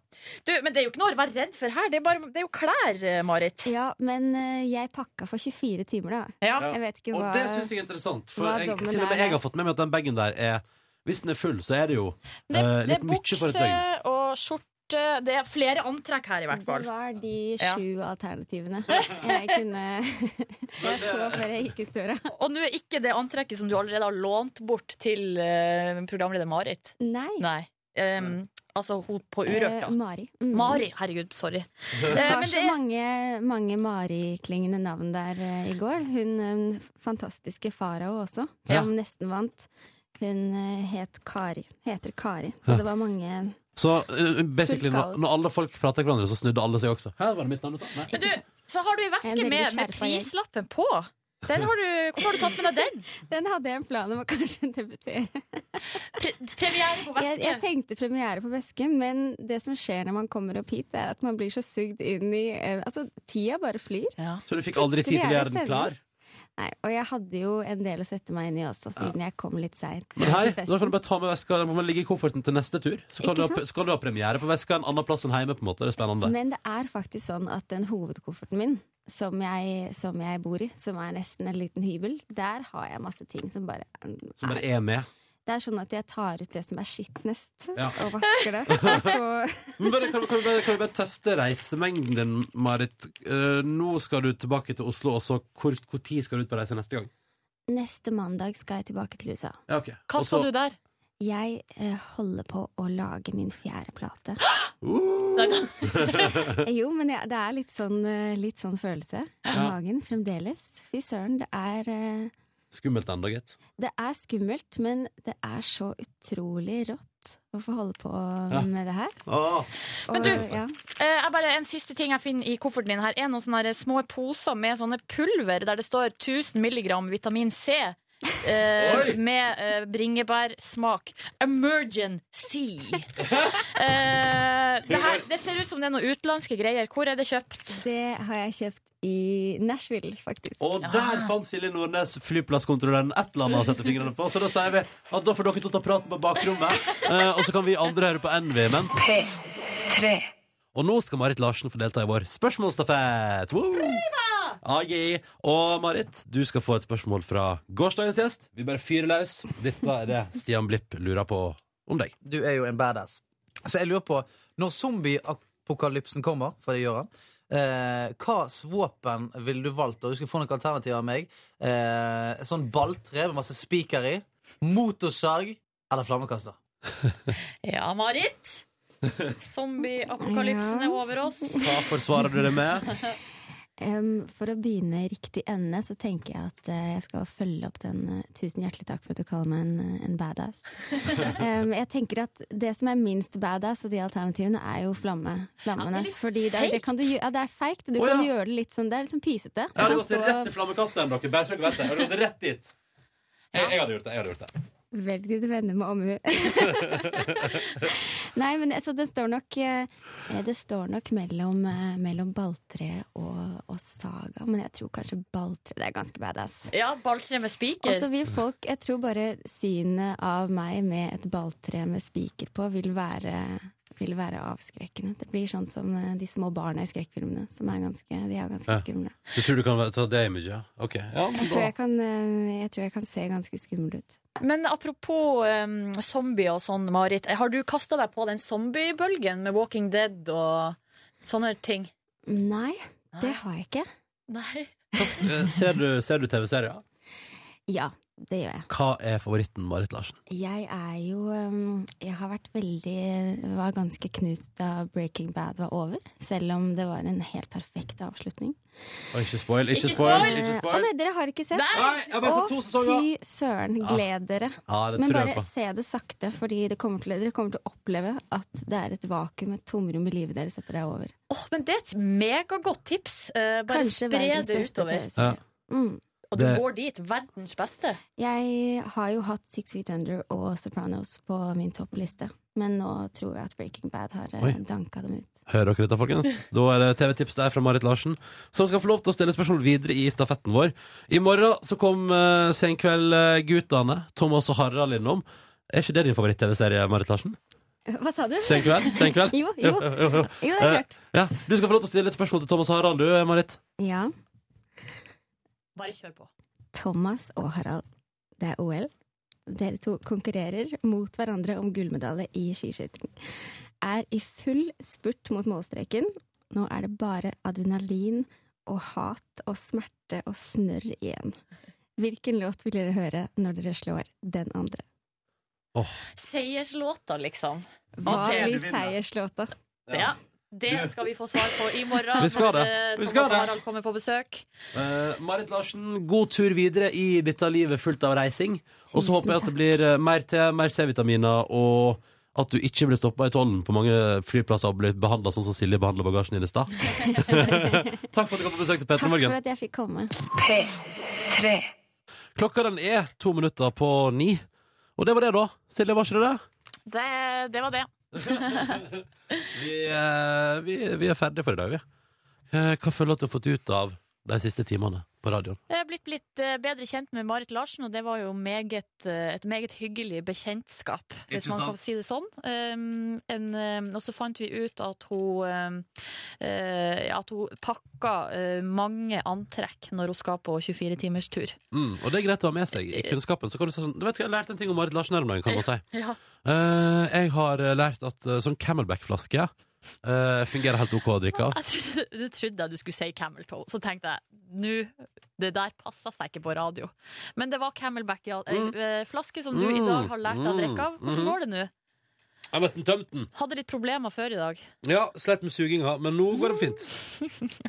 S4: Du, men det er jo ikke noe å være redd for her. Det er, bare, det er jo klær, eh, Marit.
S10: Ja, men eh, jeg pakka for 24 timer, da.
S4: Ja.
S10: Jeg vet ikke
S3: Og
S10: hva
S3: det syns jeg er interessant, for
S10: hva
S3: jeg,
S10: dommen
S3: til og
S10: er
S3: med jeg
S10: der.
S3: har fått med meg at den bagen der er Hvis den er full, så er det jo
S4: Det,
S3: eh,
S4: det
S3: litt
S4: er
S3: mye for et
S4: bukse
S3: døgn.
S4: og skjorte. Det er flere antrekk her, i hvert
S10: Det
S4: fall.
S10: var de
S4: Ja.
S10: sju alternativene [LAUGHS] jeg kunne [LAUGHS] Jeg så før jeg gikk i døra.
S4: Og nå er ikke det antrekket som du allerede har lånt bort til eh, programleder Marit.
S10: Nei.
S4: Nei. Em, altså hun på Urørt,
S10: eh,
S4: da.
S10: Mari. Mm.
S4: Mari. Herregud,
S3: [LAUGHS]
S4: sorry. Eh,
S10: Det var
S4: men
S10: så
S4: det er
S10: mange, mange Mari-klingende navn der eh, i går. Hun eh, fantastiske farao også, som nesten vant. Hun eh, het Kari, heter Kari, så
S3: Ja.
S10: det var mange
S3: Så eh, basically,
S10: Fullt
S3: når,
S10: kaos.
S3: når alle folk prater hverandre, så snudde alle seg også. Her var det mitt navn du sa. Nei.
S4: Men du, så har du ei
S10: Jeg er
S4: veske
S10: veldig
S4: med, med
S10: skjerpa gjeng.
S4: prislappen på. Den har du, hvorfor har du tatt med deg den?
S10: Den hadde jeg en plan om å kanskje [LAUGHS] debutere.
S4: Pre premiere på
S10: Jeg, jeg
S4: veske.
S10: tenkte premiere på Veske, men det som skjer når man kommer opp hit, er at man blir så sugd inn i eh, Altså, tida bare flyr.
S4: Ja.
S3: Så du fikk aldri tid
S10: Plutselig
S3: til å
S10: er
S3: gjøre
S10: det
S3: den klar?
S10: sending. Nei, og jeg hadde jo en del å sette meg inn i også, siden jeg kom litt seint.
S3: Men hei, da kan du bare ta med veska. Den må man ligge i kofferten til neste tur. Så kan,
S10: Ikke
S3: du ha,
S10: sant?
S3: så kan du ha premiere på veska en annen plass enn hjemme. på en måte. Det er spennende.
S10: Men det er faktisk sånn at den hovedkofferten min, som jeg, som jeg bor i, som er nesten en liten hybel, der har jeg masse ting som bare,
S3: Som bare er med.
S10: Det er sånn at jeg tar ut det som er skitnest,
S3: Ja.
S10: og
S3: [LAUGHS]
S10: vasker det. Og så
S3: Men bare, kan, kan, vi bare, kan vi bare teste reisemengden din, Marit? Eh, nå skal du tilbake til Oslo, og så hvor, hvor tid skal du ut på reise neste gang?
S10: neste mandag skal jeg tilbake til USA.
S3: Ja, ok.
S4: Hva
S3: Og så-
S4: skal du der?
S10: Jeg eh, holder på å lage min fjerde plate.
S3: Uh!
S10: Eh, [LAUGHS] jo, men jeg, det er litt sånn, eh, litt sånn følelse i
S3: Ja.
S10: magen fremdeles. Fy søren, det er eh,
S3: Skummelt enda, gitt.
S10: Det er skummelt, men det er så utrolig rått å få holde på
S3: Ja.
S10: med det her.
S3: Åh,
S4: Men du-
S10: ja.
S4: Eh, jeg bare, en siste ting jeg finner i kofferten din her, er noen sånne her små poser med sånne pulver der det står 1000 milligram vitamin C. eh,
S3: Oi!
S4: med eh, bringebærsmak. Emergency! Eh, det, her, det ser ut som det er noen utenlandske greier. Hvor er det kjøpt?
S10: Det har jeg kjøpt i Nashville, faktisk.
S3: Og der fant Silje Nordnes flyplasskontrolløren et eller annet å sette fingrene på. Så da sier vi at da får dere to ta praten på bakrommet, eh, og så kan vi andre høre på Envy. Men
S2: P3.
S3: Og nå skal Marit Larsen få delta i vår spørsmålstafett. Woo! Agi. Og Marit, du skal få et spørsmål fra gårsdagens gjest. Vi bare fyrer løs. Dette er det Stian Blipp lurer på om deg.
S11: Du er jo en badass. Så jeg lurer på, når zombieapokalypsen kommer, for det gjør han, eh, hva slags våpen ville du valgt? Og du skal få noen alternativer av meg. Eh, et sånn balltre med masse spiker i. Motorsag eller flammekaster.
S4: Ja, Marit? Zombieapokalypsen
S10: Ja.
S4: er over oss.
S3: Hva forsvarer du det med?
S10: Em, for å begynne i riktig ende, så tenker jeg at eh, jeg skal følge opp den eh, Tusen hjertelig takk for at du kaller meg en, eh, en
S4: [LAUGHS]
S10: badass. Em, jeg tenker at det som er minst badass av de alternativene, er jo flamme.
S4: Ja, det
S10: Flammene.
S4: er litt
S10: Fordi det, er- det kan du, gjø- ja, det er feigt. Du
S3: Å,
S10: kan
S3: ja.
S10: gjøre det litt sånn Det er litt sånn pysete. Du
S3: Jeg hadde
S10: kan
S3: gått rett til flammekasteren, dere. Bare så dere vet det. Jeg hadde gått rett dit. Jeg, jeg hadde gjort det. jeg hadde gjort det
S10: Velg dine venner med omhu. Nei, men altså, det står nok eh, Det står nok mellom, eh, mellom balltre og, og saga, men jeg tror kanskje balltre Det er ganske badass.
S4: Ja, balltre med
S10: Og
S4: spiker.
S10: så vil folk Jeg tror bare synet av meg med et balltre med spiker på vil være vil være avskrekkende. Det blir sånn som eh, de små barna i skrekkfilmene. Som er ganske, de er ganske
S3: Ja.
S10: skumle.
S3: Du tror du kan ta det imaget? Ok. Ja, men
S10: Jeg tror
S3: da.
S10: jeg, kan, eh, jeg tror jeg kan se ganske skummel ut.
S4: Men apropos um, zombier og sånn, Marit. Har du kasta deg på den zombiebølgen med Walking Dead og sånne ting?
S10: Nei, det har jeg ikke.
S4: Nei.
S3: Eh, Ser du, ser du TV-serier?
S10: Ja, det gjør jeg.
S3: Hva er favoritten, Marit Larsen?
S10: Jeg er jo um, Jeg har vært veldig Var ganske knust da Breaking Bad var over. Selv om det var en helt perfekt avslutning.
S3: Og ikke spoil,
S4: Ikke
S3: ikke spoil!
S4: spoil!
S3: Ikke
S10: Eh, Å
S3: spoil.
S10: nei, dere har ikke sett?
S4: Nei!
S3: Nei, jeg har bare sett to
S10: Å
S3: sesonger!
S10: fy søren, gled dere.
S3: Ja, det
S10: Men
S3: tror jeg
S10: bare
S3: på.
S10: se det sakte, Fordi det kommer til, dere kommer til å oppleve at det er et vakuum, et tomrom i livet deres etter det er over.
S4: Åh, men det er et megagodt tips. Eh, bare
S10: Kanskje
S4: spre
S10: verdens
S4: det
S10: beste
S4: utover.
S10: TV-serie. Mm.
S4: Og du
S3: Det-
S4: går dit. Verdens beste.
S10: Jeg har jo hatt Six Feet Under og Sopranos på min toppliste, men nå tror jeg at Breaking Bad har eh,
S3: Oi.
S10: danka dem ut.
S3: Hører dere dette, folkens? Da er det TV-tips der fra Marit Larsen, som skal få lov til å stille spørsmål videre i stafetten vår. I morgen så kom uh, Senkveld-guttene, Thomas og Harald, innom. Er ikke det din favoritt-TV-serie, Marit Larsen?
S10: [LAUGHS] Hva sa du?
S3: Senkveld? Senkveld?
S10: Jo, jo.
S3: jo.
S10: Jo, det er klart.
S3: Eh, ja. Du skal få lov til å stille et spørsmål til Thomas og Harald, du, eh, Marit.
S10: Ja.
S4: Bare kjør på.
S10: Thomas og Harald, det er OL. Dere to konkurrerer mot hverandre om gullmedalje i skiskyting. Er i full spurt mot målstreken. Nå er det bare adrenalin og hat og smerte og snørr igjen. Hvilken låt vil dere høre når dere slår den andre?
S4: Seierslåta, liksom.
S10: Hva
S4: Ok,
S10: blir
S11: du vinner.
S10: seierslåta?
S4: Ja. Det skal vi få svar på i morgen
S3: Vi skal
S4: når
S3: det.
S4: eh,
S3: Vi
S4: Thomas
S3: skal det.
S4: Harald kommer på besøk.
S3: Eh, Marit Larsen, god tur videre i dette livet fullt av reising. Og så
S10: Tusen
S3: håper jeg at det
S10: takk.
S3: blir eh, mer te, mer C-vitaminer, og at du ikke blir stoppa i tollen på mange flyplasser og blir behandla sånn som Silje behandla bagasjen din i
S10: [LAUGHS]
S3: stad. Takk for at du kom på besøk til
S10: Takk
S3: Petter
S10: for
S3: Morgen.
S10: at jeg fikk komme.
S2: P3.
S3: Klokka den er to minutter på ni. Og det var det, da. Silje, var ikke det det?
S4: Det, det var det.
S3: Vi, eh, vi, vi er ferdige for i dag, vi. Eh, Hva føler du at du har fått ut av de siste timene på radioen?
S4: Jeg er blitt litt eh, bedre kjent med Marit Larsen, og det var jo meget, eh, et meget hyggelig bekjentskap, hvis man kan si det sånn. Um, en, um, og så fant vi ut at hun, um, eh, ja, at hun pakka eh, mange antrekk når hun skal på 24-timerstur.
S3: Mm, og det er greit å ha med seg i kunnskapen. Så kan du si sånn, du vet, hva, jeg har lært en ting om Marit Larsen her om dagen, kan man si.
S4: Ja.
S3: Eh, jeg har eh, lært at eh, sånn Camelback-flaske
S12: Eh, fungerer helt OK å drikke av.
S13: Jeg trodde, du trodde jeg du skulle si Camel Toe, så tenkte jeg nå det der passa seg ikke på radio. Men det var Camelback i all- eh, flaske som du i dag har lært deg å drikke av. Hvordan går det nå?
S12: Jeg har nesten tømt den.
S13: Hadde litt problemer før i dag.
S12: Ja, slett med suginga, men nå går det fint.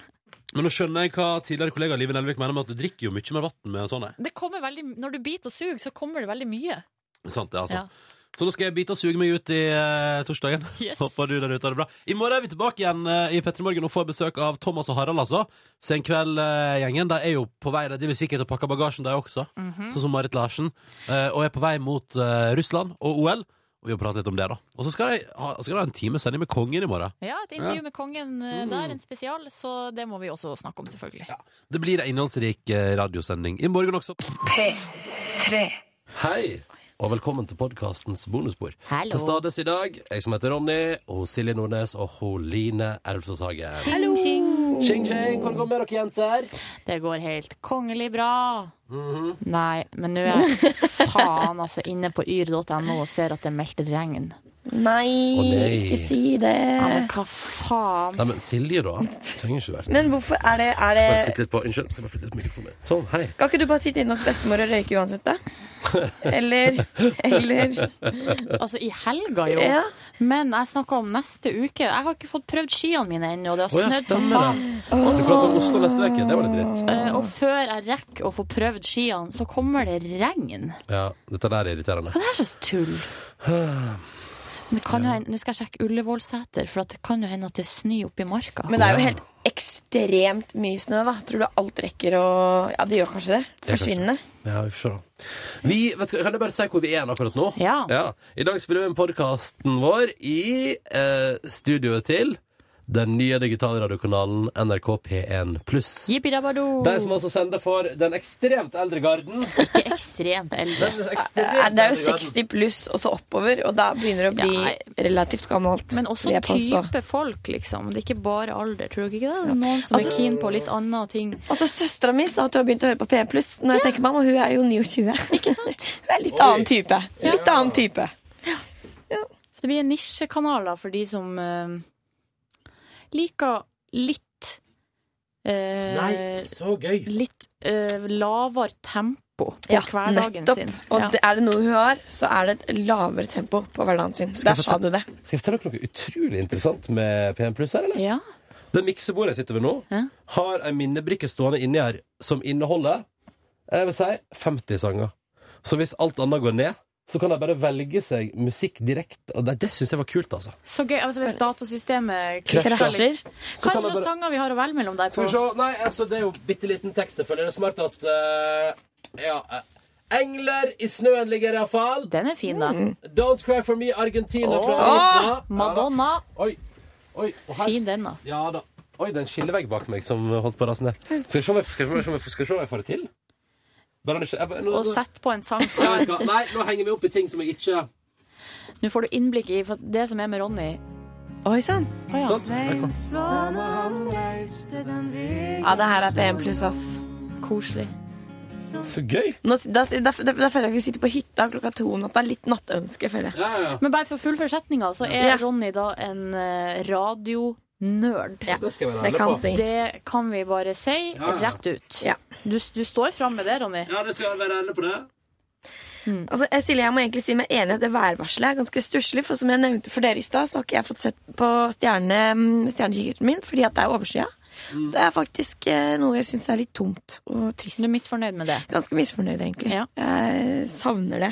S12: Men nå skjønner jeg hva tidligere kollega Live Nelvik mener med at du drikker jo mye mer vann med en sånn en.
S13: Det kommer veldig, når du biter og suger, så kommer det veldig mye.
S12: Sant det, altså.
S13: Ja.
S12: Så nå skal jeg bite og suge meg ut i eh, torsdagen.
S13: Yes.
S12: Håper du der ute har det bra. I morgen er vi tilbake igjen eh, i Petter Morgen og får besøk av Thomas og Harald, altså. Senkveld-gjengen. eh, de er jo på vei, de vil sikkert pakke bagasjen, de også.
S4: Mm.
S13: Mhm.
S12: Sånn som Marit Larsen. eh, og er på vei mot eh, Russland og OL. Og vi har pratet litt om det, da. Og så skal de ha, skal de ha en time sending med Kongen i morgen.
S13: Ja, et
S12: Ja.
S13: intervju med kongen eh, der, en spesial, så det må vi også snakke om, selvfølgelig.
S12: Det blir en innholdsrik eh, radiosending i morgen også.
S14: P3.
S3: Hei, og velkommen til podkastens bonusbord.
S14: Hallo.
S3: Til stades i dag, jeg som heter Ronny, og Silje Nordnes og hun Line Elvsås Hagen.
S13: Hallo!
S3: Tjing, tjing. Hvordan går det med dere jenter?
S4: Det går helt kongelig bra. Nei, men nå er jeg faen altså inne på yr.no og ser at det er meldt regn.
S9: Nei,
S3: Å, nei.
S9: ikke si det.
S4: Ja,
S13: Eh,
S4: men hva faen?
S3: Nei, men Silje, da. Trenger ikke være
S9: Men eh, hvorfor er det, er det
S3: Bare flytt litt på. Unnskyld. Skal bare flytte litt mikrofonen. Sånn, hei.
S9: Skal ikke du bare sitte inne hos bestemor og røyke uansett, da? Eller Eller
S4: Altså, i helga, jo.
S9: Ja.
S4: Men jeg snakka om neste uke. Jeg har ikke fått prøvd skiene mine ennå. Det har
S3: Å, ja,
S4: snødd som
S3: stemmer
S4: faen.
S3: det. Du prater om Oslo neste uke. Det var litt dritt.
S4: Eh, Og før jeg rekker å få prøvd skiene, så kommer det regn.
S3: Ja, dette der er irriterende.
S4: Hva er det her slags tull? Men det kan jo hende, Nå skal jeg sjekke Ullevålseter, for at det kan jo hende at det snør oppi marka.
S9: Men det er jo helt ekstremt mye snø, da. Tror du alt rekker å Ja, det gjør kanskje det.
S3: Det gjør kanskje
S9: Forsvinne.
S3: Ja, vi får se, da. Vi, vet du, hva, kan jeg bare si hvor vi er akkurat nå?
S4: Ja.
S3: I dag spiller vi inn podkasten vår i eh, studioet til den nye digitalradiokanalen NRK P1 Pluss.
S4: Jippidabado.
S3: De som altså sender for den ekstremt eldre garden.
S4: Ikke ekstremt eldre.
S9: Eh, Det er jo 60 pluss og så oppover, og da begynner det å bli relativt gammelt.
S4: Men også
S9: vil jeg påstå.
S4: type folk, liksom. Det er ikke bare alder, tror dere ikke det? Det er Noen som
S9: Altså-
S4: er keen på litt andre ting.
S9: Altså, Søstera mi sa at hun har begynt å høre på P1 pluss. Når jeg tenker meg om, og hun er jo 29.
S4: Ikke sant?
S9: [LAUGHS] Hun er litt annen type. Litt annen type.
S4: Det blir en nisjekanal da, for de som eh, liker litt eh,
S3: så gøy!
S4: Litt eh, lavere tempo på
S9: Ja,
S4: hverdagen
S9: nettopp.
S4: sin.
S9: Og
S4: Ja.
S9: det, er det noe hun har, så er det et lavere tempo på hverdagen sin.
S3: Skal
S9: Der
S3: jeg
S9: sa du
S3: fortelle-
S9: det.
S3: Skal jeg fortelle dere noe utrolig interessant med P1 Pluss her, eller?
S4: Ja.
S3: Det miksebordet jeg sitter ved nå,
S4: Ja.
S3: har ei minnebrikke stående inni her som inneholder jeg vil si 50 sanger. Så hvis alt annet går ned, så kan de bare velge seg musikk direkte. Og det, det syns jeg var kult, altså.
S4: Så gøy. Altså, hvis datasystemet
S3: Krasjer.
S4: litt-
S3: Så
S4: Hva
S3: kan
S4: er
S3: jeg
S4: det slags
S3: bare-
S4: sanger vi har å velge mellom der
S3: Skal
S4: på?
S3: vi se. Nei, altså, det er jo bitte liten tekst, selvfølgelig. Det er smart at eh, Ja. eh, Engler i snøen ligger iallfall.
S4: Den er fin, da.
S3: Don't cry for me, Argentina fra
S4: Åh!
S3: Argentina.
S4: Madonna.
S3: Oi. Oi. Og her
S4: Fin den, da.
S3: Ja da. Oi, det er en skillevegg bak meg som holdt på å rase ned. Skal vi se om jeg, skal vi se om jeg, skal vi se om jeg får det til? Bare han ikke jeg bare- nå,
S4: Og
S3: nå-
S4: sett på en sang fra
S3: Nei, vet du hva? Nei, nå henger jeg meg opp i ting som jeg ikke
S4: Nå får du innblikk i for det som er med Ronny.
S9: Oi sann.
S4: Å, ja.
S3: Sant? Der kom-
S9: Ja, det her er P1 pluss, ass.
S4: Koselig.
S3: Så gøy!
S9: Nå, da, da, da, da føler jeg at vi sitter på hytta klokka to om natta. Litt nattønske, føler jeg.
S3: Ja, ja, ja.
S4: Men bare for å fullføre setninga, så er Ronny da en eh, radionerd.
S3: Det skal jeg være
S9: Det
S3: ærlig
S9: kan
S3: på.
S9: si.
S4: Det kan vi bare si
S3: Ja, ja.
S4: rett ut.
S9: Ja.
S4: Du, du står fram med det, Ronny.
S3: Ja, det skal jeg være ærlig på det.
S9: Altså, jeg, Silje, jeg må egentlig si meg enig i at det værvarselet er ganske stusslig. For som jeg nevnte for dere i stad, så har ikke jeg fått sett på stjerne, stjernekikkerten min fordi at det er overskya. Det er faktisk eh, noe jeg syns er litt tomt og
S4: Du
S9: trist.
S4: er misfornøyd med det.
S9: Ganske misfornøyd, egentlig.
S4: Ja.
S9: Jeg savner det.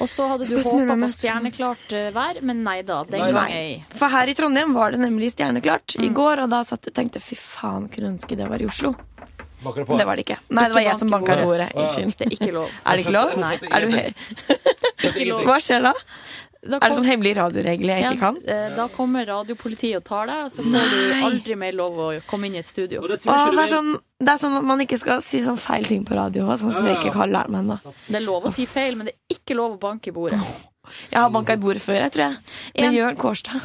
S4: Og så hadde du
S9: Skal jeg smøre
S4: håpa
S9: meg
S4: på
S9: mest?
S4: stjerneklart eh, vær, men nei da. Den
S3: Nei, nei.
S4: gang ei.
S9: For her i Trondheim var det nemlig stjerneklart i går, og da satt jeg og tenkte fy faen, kunne ønske det var i Oslo.
S3: Banker det på?
S9: Men det var det ikke. Nei, det var jeg som banka i bordet. Unnskyld.
S4: Det er ikke lov.
S9: Er det ikke lov?
S3: Nei.
S9: Er du
S3: Ikke
S9: he-
S3: lov.
S9: Hva skjer da?
S4: Da
S9: Er det
S4: kom-
S9: sånn hemmelige radioregler jeg
S4: ja,
S9: ikke kan?
S4: eh, Da kommer radiopolitiet og tar deg, og så får du aldri mer lov å komme inn i et studio.
S3: Og det tror
S9: Å,
S3: jeg ikke
S9: det, er
S3: du vil.
S9: sånn, det er sånn at man ikke skal si sånn feil ting på radio. og Sånn som jeg ikke har lært meg ennå.
S4: Det er lov å si feil, men det er ikke lov å banke i bordet.
S9: Jeg har banka i bordet før, jeg, tror jeg.
S4: En-
S9: Med Jørn Kårstad.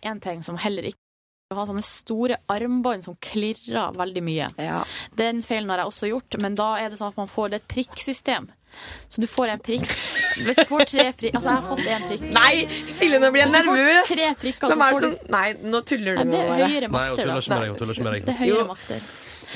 S4: En ting som heller ikke å ha sånne store armbånd som klirrer veldig mye. Den feilen har jeg også gjort, men da er det sånn at man får det er et prikksystem. Så du får en prikk. Hvis du får tre prikk Altså, jeg har fått én prikk.
S9: Nei, Silje, nå blir jeg nervøs!
S4: Hvis du får tre prikker,
S9: Hvem
S4: så
S9: er det
S4: får
S9: som
S4: du
S9: Nei, nå tuller
S4: Ja,
S9: du
S4: det er
S9: med
S4: høyere Nei, hun makter, tuller da. ikke med deg, hun tuller ikke med deg. Det er høyere makter.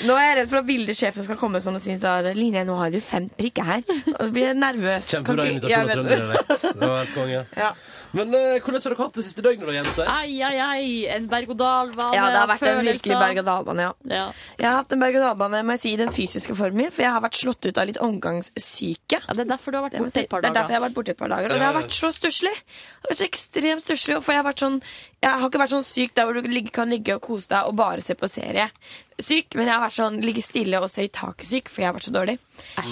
S9: Nå er jeg redd for at Vilde sjefen skal komme sånn og si sånn Line, nå har du fem prikker [LAUGHS] her. Og Da blir jeg nervøs.
S3: Kjempebra
S9: Kan ikke-
S3: invitasjon av
S9: jeg vet-
S3: trønderdialekt. Det var helt
S4: [LAUGHS]
S3: konge. Men eh, hvordan har dere hatt det siste døgnet, da,
S4: Ah.
S3: jenter?
S15: Ai, ai, ai. En berg-og-dal-bane.
S9: Ja, det har
S15: av
S9: vært en virkelig
S15: følelser.
S9: berg-og-dal-bane, ja. Jeg har hatt en berg-og-dal-bane, må jeg si, i den fysiske formen min, for jeg har vært slått ut av litt omgangssyke.
S4: det er derfor du har vært borte et par
S9: Det er
S4: dager.
S9: derfor jeg har vært borte et par dager, og det har
S4: Ja.
S9: vært så stusslig. Det har vært så ekstremt stusslig, og for jeg har vært sånn Jeg har ikke vært sånn syk der hvor du ligge- kan ligge og kose deg og bare se på serie. Syk, men jeg har vært sånn ligge stille og se i taket syk, for jeg har vært så dårlig.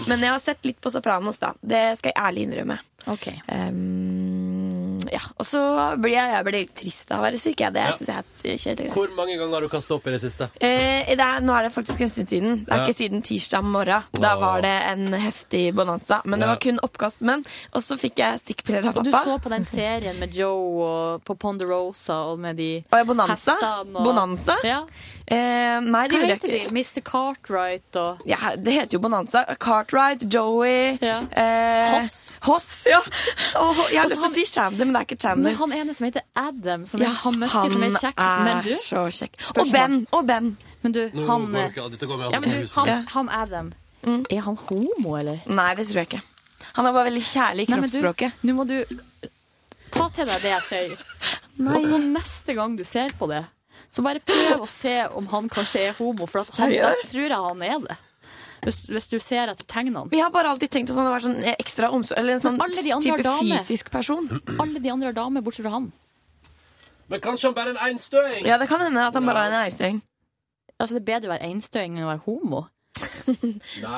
S9: Men jeg har sett litt på Sopranos, da. Det skal jeg ærlig innrømme. Um, ja, og så blir jeg, jeg blir litt trist av å være syk. Jeg. Det
S3: Ja.
S9: synes jeg er helt kjedelig.
S3: Hvor mange ganger har du kastet opp i det siste?
S9: Eh, det er, nå er det faktisk en stund siden. Det er
S3: Ja.
S9: ikke siden tirsdag morgen. Da
S3: Åh.
S9: var det en heftig bonanza. Men det
S4: Ja.
S9: var kun oppkastmenn. Og så fikk jeg stikkprøver av
S4: Og du
S9: pappa.
S4: så på den serien med Joe og på Ponderosa og med de
S9: Og jeg bonanza?
S4: hestene
S9: Bonanza?
S4: Ja.
S9: Eh, nei, det
S4: Hva
S9: gjorde jeg
S4: heter
S9: ikke.
S4: de? Mr. Cartwright og
S9: Ja, det heter jo Bonanza. Cartwright, Joey eh,
S4: Hoss.
S9: Hoss, ja. Åh, jeg har
S4: Og så
S9: lyst til å si Chandler, men det er ikke
S4: Men
S9: Chandler.
S4: han ene som heter Adam, som
S9: Ja,
S4: er han mørke, som er kjekk.
S9: han
S4: Men du?
S9: er så kjekk. Og
S4: Spørsmål.
S9: Ben. Og Ben.
S4: Men du,
S9: Nå
S4: han, eh,
S9: går
S3: ikke- dette går med
S4: ja,
S3: alle
S4: men du,
S3: som
S4: han,
S3: husmenn.
S4: han Adam, er han homo, eller?
S9: Nei, det tror jeg ikke. Han er bare veldig kjærlig i
S4: Nei, men du,
S9: kroppsspråket.
S4: Nå må du ta til deg det jeg sier. Og så neste gang du ser på det, så bare prøv å se om han kanskje er homo, for at han, da
S9: Seriøst?
S4: tror jeg han er det. Hvis, hvis du ser etter tegnene.
S9: Vi har bare alltid tenkt at han har vært sånn ekstra omsorg... Eller en sånn
S4: Men alle de andre har
S9: type
S4: dame.
S9: fysisk person.
S4: Alle de andre er damer, bortsett fra han.
S3: Men kanskje han bare er en einstøing?
S9: Ja, det kan hende at han bare er en einstøing.
S4: Altså, det er bedre å være einstøing enn å være homo.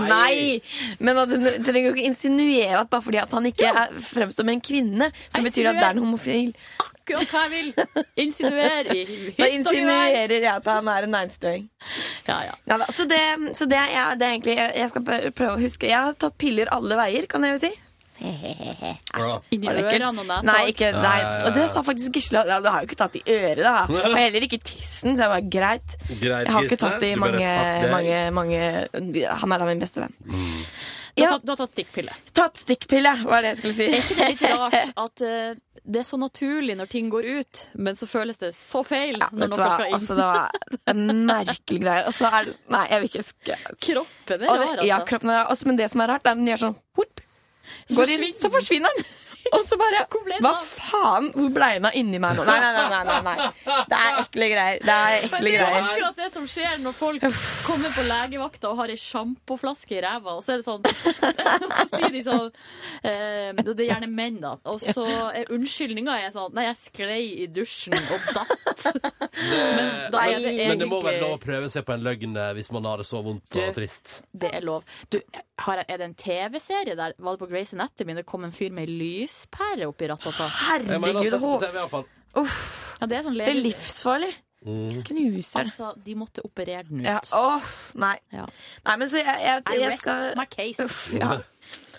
S9: Nei. Men at, du trenger jo ikke insinuere at bare fordi at han ikke er fremstår med en kvinne, så
S4: Jeg
S9: betyr det at det er en homofil.
S4: Akkurat hva jeg vil! Insinuere i hytt
S9: Da
S4: og gevær.
S9: insinuerer jeg at han er en einstøing.
S4: Ja, ja.
S9: Ja da, så det, så det, er, jeg- det er egentlig jeg, jeg skal prø- prøve å huske. Jeg har tatt piller alle veier, kan jeg jo si.
S4: Æsj. Inni
S9: Var det ekkelt?
S4: ørene og nesa.
S9: Nei, ikke, nei. Og det sa faktisk Gisle. Ja, du har jo ikke tatt i øret, da. [LAUGHS] Og heller ikke i tissen. Så jeg var greit.
S4: Greit,
S9: Jeg har ikke
S4: Gisle.
S9: tatt det i
S4: Du bare
S9: mange,
S4: fuck deg.
S9: mange, mange Han er da min beste venn.
S4: Du har, tatt, du har tatt stikkpille.
S9: Tatt stikkpille, var det jeg skulle si.
S4: Er ikke det litt rart at eh, det er så naturlig når ting går ut, men så føles det så feil når
S9: Vet du
S4: noe
S9: hva,
S4: skal inn?
S9: altså det var en merkelig greie. Og så er det Nei, jeg vil ikke sk-
S4: Kroppen er
S9: Og det-
S4: rar, altså.
S9: Ja, kroppen er rar. Også, men det som er rart, er at den gjør sånn whoop,
S4: Så
S9: går inn, så forsvinner den. Og så bare [LAUGHS] Hva faen? Hvor ble den av inni meg nå? Nei, nei, nei. nei, nei, nei. Det er ekle greier. Det er
S4: Men
S9: ekle
S4: det er jo
S9: greier.
S4: akkurat det som skjer når folk kommer på legevakta og har ei sjampoflaske i ræva, og så er det sånn [LAUGHS] Og så sier de sånn eh, Det er gjerne menn, da. Og så er unnskyldninga er sånn Nei, jeg sklei i dusjen og datt. [LAUGHS] Men da er det
S3: Men det må være
S4: egentlig-
S3: lov å prøve seg på en løgn eh, hvis man har det så vondt og
S4: Du.
S3: trist.
S4: Det er lov. Du, har jeg, er det en TV-serie der? Var det på Grace Anatomy det kom en fyr med ei lyspære oppi rattata?
S3: Jeg mener, jeg har sett det på TV i hvert fall.
S4: Ja, det er sånn
S9: Det er
S4: lege-
S9: livsfarlig. Knuser.
S4: Altså, de måtte operere den ut.
S9: Ja, åh, nei. nei, men så jeg, jeg,
S4: I
S9: jeg,
S4: rest
S9: skal
S4: my case.
S9: Uff, [LAUGHS] ja.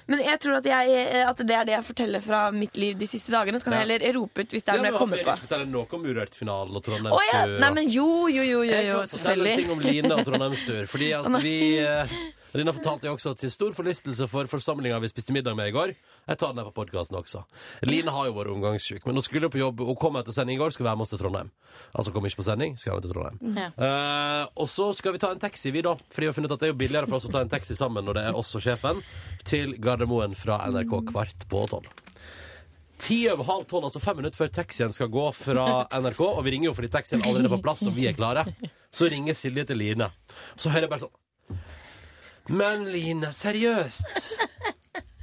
S9: Men jeg tror at, jeg, eh, at det er det jeg forteller fra mitt liv de siste dagene. Så kan
S3: Ja.
S9: jeg heller rope ut hvis det er noe jeg kommer på.
S3: ikke fortelle noe om Urørt-finalen og
S9: Å ja!
S3: Trondheimstur.
S9: Nei, men jo, jo, jo, jo, jo
S3: Fortell en ting om Line og
S9: selvfølgelig.
S3: Trondheimstur. Fordi
S9: [LAUGHS]
S3: at
S9: Å, nei.
S3: vi eh, Lina fortalte jo også til stor forlystelse for forsamlinga vi spiste middag med i går. Jeg tar den her på podkasten også. Line har jo vært omgangssyk, men hun skulle på jobb. Hun kom etter sending i går, skulle være med oss til Trondheim. Altså kom ikke på sending, skulle være med til Trondheim.
S4: Ja.
S3: Eh, og så skal vi ta en taxi, vi, da. Fordi vi har funnet ut at det er jo billigere for oss å ta en taxi sammen når det er oss og sjefen, til Gardermoen fra NRK kvart på tolv. Ti over halv tolv, altså fem minutter før taxien skal gå fra NRK. Og vi ringer jo fordi taxien allerede er på plass, og vi er klare. Så ringer Silje til Line. Så hører jeg bare sånn Men Line, seriøst.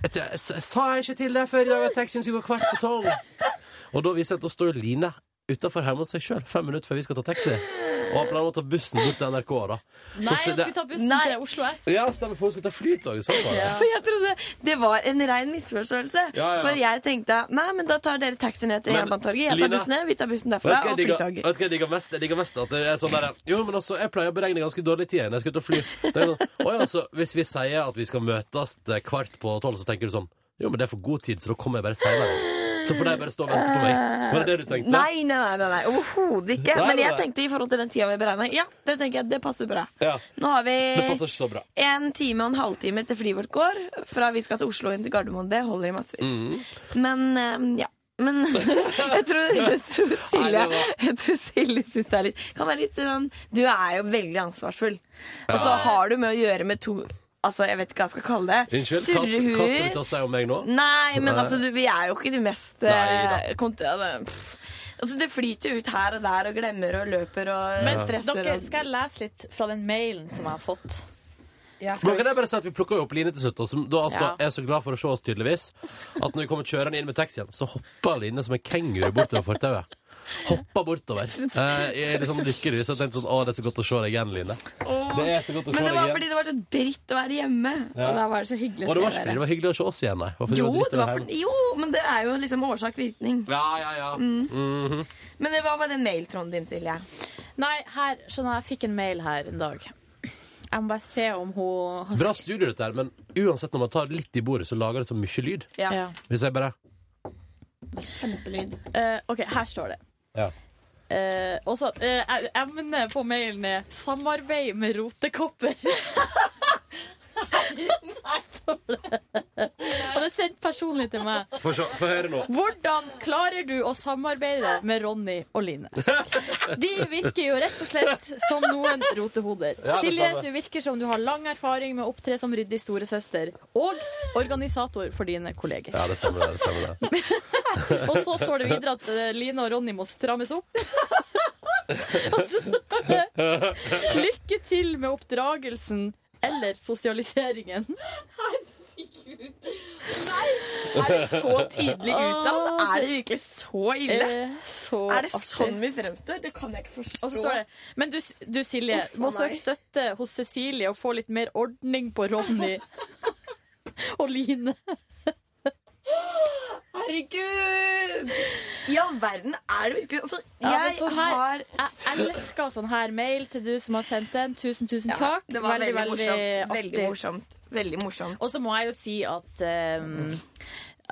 S3: Et, s- sa jeg ikke til deg før i dag at taxien skulle gå kvart på tolv? Og da viser jeg at da står jo Line utafor hjemme hos seg sjøl fem minutter før vi skal ta taxi. Og har planer om å ta bussen bort til NRK. da
S4: Nei,
S3: Så
S4: jeg
S3: det-
S4: skulle ta bussen til Oslo S.
S3: Ja, stemmer, for hun skulle ta flytoget sammen.
S9: For [LAUGHS] jeg trodde det var en rein misforståelse.
S3: Ja, ja.
S9: For jeg tenkte nei, men da tar dere taxi ned til
S3: Men,
S9: Jernbanetorget. Jeg
S3: Lina,
S9: tar bussen ned, vi tar bussen
S3: Vet du
S9: derfra
S3: hva jeg
S9: og
S3: digger-
S9: flytog.
S3: vet du hva jeg digger mest? Jeg digger mest at det er sånn der, Jo, men altså, jeg pleier å beregne ganske dårlig tid når jeg skal ut og fly. Det er sånn, «Å ja, så hvis vi sier at vi skal møtes eh, kvart på tolv, så tenker du sånn Jo, men det er for god tid, så da kommer jeg bare senere. Så får de bare stå og vente på meg. Var det det du tenkte?
S9: Nei, nei, nei, nei, nei. overhodet ikke.
S3: Nei,
S9: Men jeg
S3: nei.
S9: tenkte i forhold til den tida vi beregna, ja, det tenker jeg, det passer bra.
S3: Ja.
S9: Nå har vi
S3: Det passer ikke så bra.
S9: en time og en halvtime til flyet vårt går. Fra vi skal til Oslo inn til Gardermoen. Det holder i massevis.
S3: Mhm.
S9: Men eh, ja. Men [LAUGHS] jeg
S3: [LAUGHS]
S9: tror, jeg tror Silje,
S3: Nei, det var-
S9: jeg tror Silje syns det er litt Kan være litt sånn Du er jo veldig ansvarsfull. Og så
S3: Ja.
S9: har du med å gjøre med to Altså, jeg vet ikke hva jeg skal kalle det.
S3: Unnskyld, hva, skal- hva skal du
S9: Surrehuer.
S3: til å si om meg nå?
S9: Nei, men
S3: Nei.
S9: altså, du, vi er jo ikke de mest eh, kont ja, det- pff. Altså, Det flyter jo ut her og der og glemmer og løper og
S3: Men
S9: stresser.
S4: dere,
S9: og...
S4: skal jeg lese litt fra den mailen som jeg har fått?
S3: Men kan jeg bare si at Vi plukka jo opp Line til slutt, og som da altså
S4: Ja.
S3: er så glad for å se oss, tydeligvis, at når vi kommer kjørende inn med taxien, så hopper Line som en kenguru bortover fortauet. Hopper bortover. Eh, jeg er liksom lykkeligvis. Jeg tenkte sånn Å, det er så godt å se deg igjen, Line.
S9: Åh,
S3: Det er så godt å se
S9: Men
S3: deg
S9: det var
S3: igjen.
S9: fordi det var så dritt å være hjemme.
S3: Ja.
S9: Og da var det så
S3: Og det
S9: hyggelig å
S3: var
S9: se
S3: ikke fordi det
S9: dere.
S3: var hyggelig å se oss igjen, nei. Det var fordi
S9: Jo,
S3: det var dritt
S9: det var
S3: å være
S9: for, jo, men det er jo liksom årsak-virkning.
S3: hjemme. Ja, ja, ja.
S9: Mm.
S3: Mhm.
S9: Men det var bare den mailtråden din, Silje.
S4: Nei, her, skjønner jeg, jeg fikk en mail her en dag. Jeg må bare se om hun
S3: Bra studio, dette her, men uansett når man tar litt i bordet, så lager det så mye lyd.
S4: Ja. Ja.
S3: Hvis jeg bare
S9: Kjempelyd.
S4: Eh, OK, her står det.
S3: Ja.
S4: Eh, også, eh, emnet på mailen er 'samarbeid med rotekopper'. [LAUGHS] Så står det. Og det er sendt personlig til meg.
S3: Få se- få høre nå.
S4: Hvordan klarer du å samarbeide med Ronny og Line? De virker jo rett og slett som noen rotehoder.
S16: Ja, det
S4: Silje,
S16: stemmer.
S4: du virker som du har lang erfaring med å opptre som ryddig storesøster og organisator for dine kolleger.
S3: Ja, det stemmer, det. det stemmer det.
S4: Og så står det videre at eh, Line og Ronny må strammes opp. [LAUGHS] Og så står det Lykke til med oppdragelsen eller sosialiseringen.
S9: Er det så tydelig utad? Er det virkelig så ille?
S4: Eh, så
S9: Er det
S4: artig.
S9: sånn vi fremstår? Det kan jeg ikke forstå.
S4: Og så står det Men du, du Silje,
S9: Uff,
S4: må
S9: å nei.
S4: søke støtte hos Cecilie og få litt mer ordning på Ronny [LAUGHS] og Line.
S9: Herregud! I all verden er det virkelig altså,
S4: Ja, men
S9: Jeg
S4: sånn her-
S9: har
S4: Jeg elsker sånn her mail til du som har sendt den. Tusen, tusen
S9: Ja,
S4: takk.
S9: Det var veldig, morsomt.
S4: artig.
S9: Veldig morsomt. Veldig morsomt.
S4: Og så må jeg jo si at eh,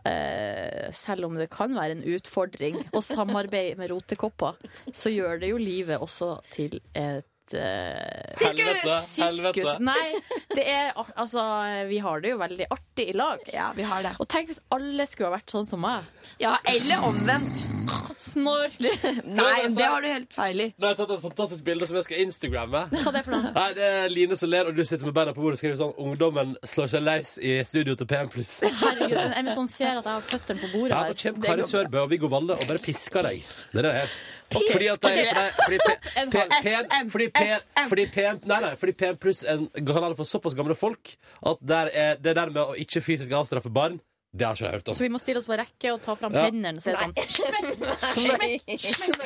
S4: eh, selv om det kan være en utfordring å samarbeide med rotekopper, så gjør det jo livet også til et eh,
S3: Helvete,
S4: Sirkus.
S3: helvete.
S4: Nei, det er ar- altså Vi har det jo veldig artig i lag.
S9: Ja, vi har det.
S4: Og tenk hvis alle skulle ha vært sånn som meg.
S9: Ja, eller omvendt. altså-
S4: Snork.
S3: Nei, det har du
S9: helt feil i.
S3: Nå har jeg tatt et fantastisk bilde som jeg skal instagramme.
S4: Hva er det for noe?
S3: Nei, det er Line som ler, og du sitter med beina på bordet og skriver sånn 'Ungdommen slår seg løs i studio til PM+'
S4: Herregud, jeg hvis noen ser at jeg har føttene på bordet
S3: Ja,
S4: her
S3: nå kommer
S4: det
S3: Kari
S4: går bra.
S3: Sørbø og Viggo Valle og bare pisker deg. Det er det her.
S4: Pisker
S3: Fordi at de,
S4: deg?
S3: fordi, fordi,
S4: Stopp en
S3: P-
S4: halv.
S3: P- fordi, P- fordi PM Nei, nei, fordi PM pluss en kanal for såpass gamle folk at der er, det der med å ikke fysisk avstraffe barn, det har ikke jeg hørt om.
S4: Så vi må stille oss på rekke og ta fram
S3: Ja.
S4: hendene og si sånn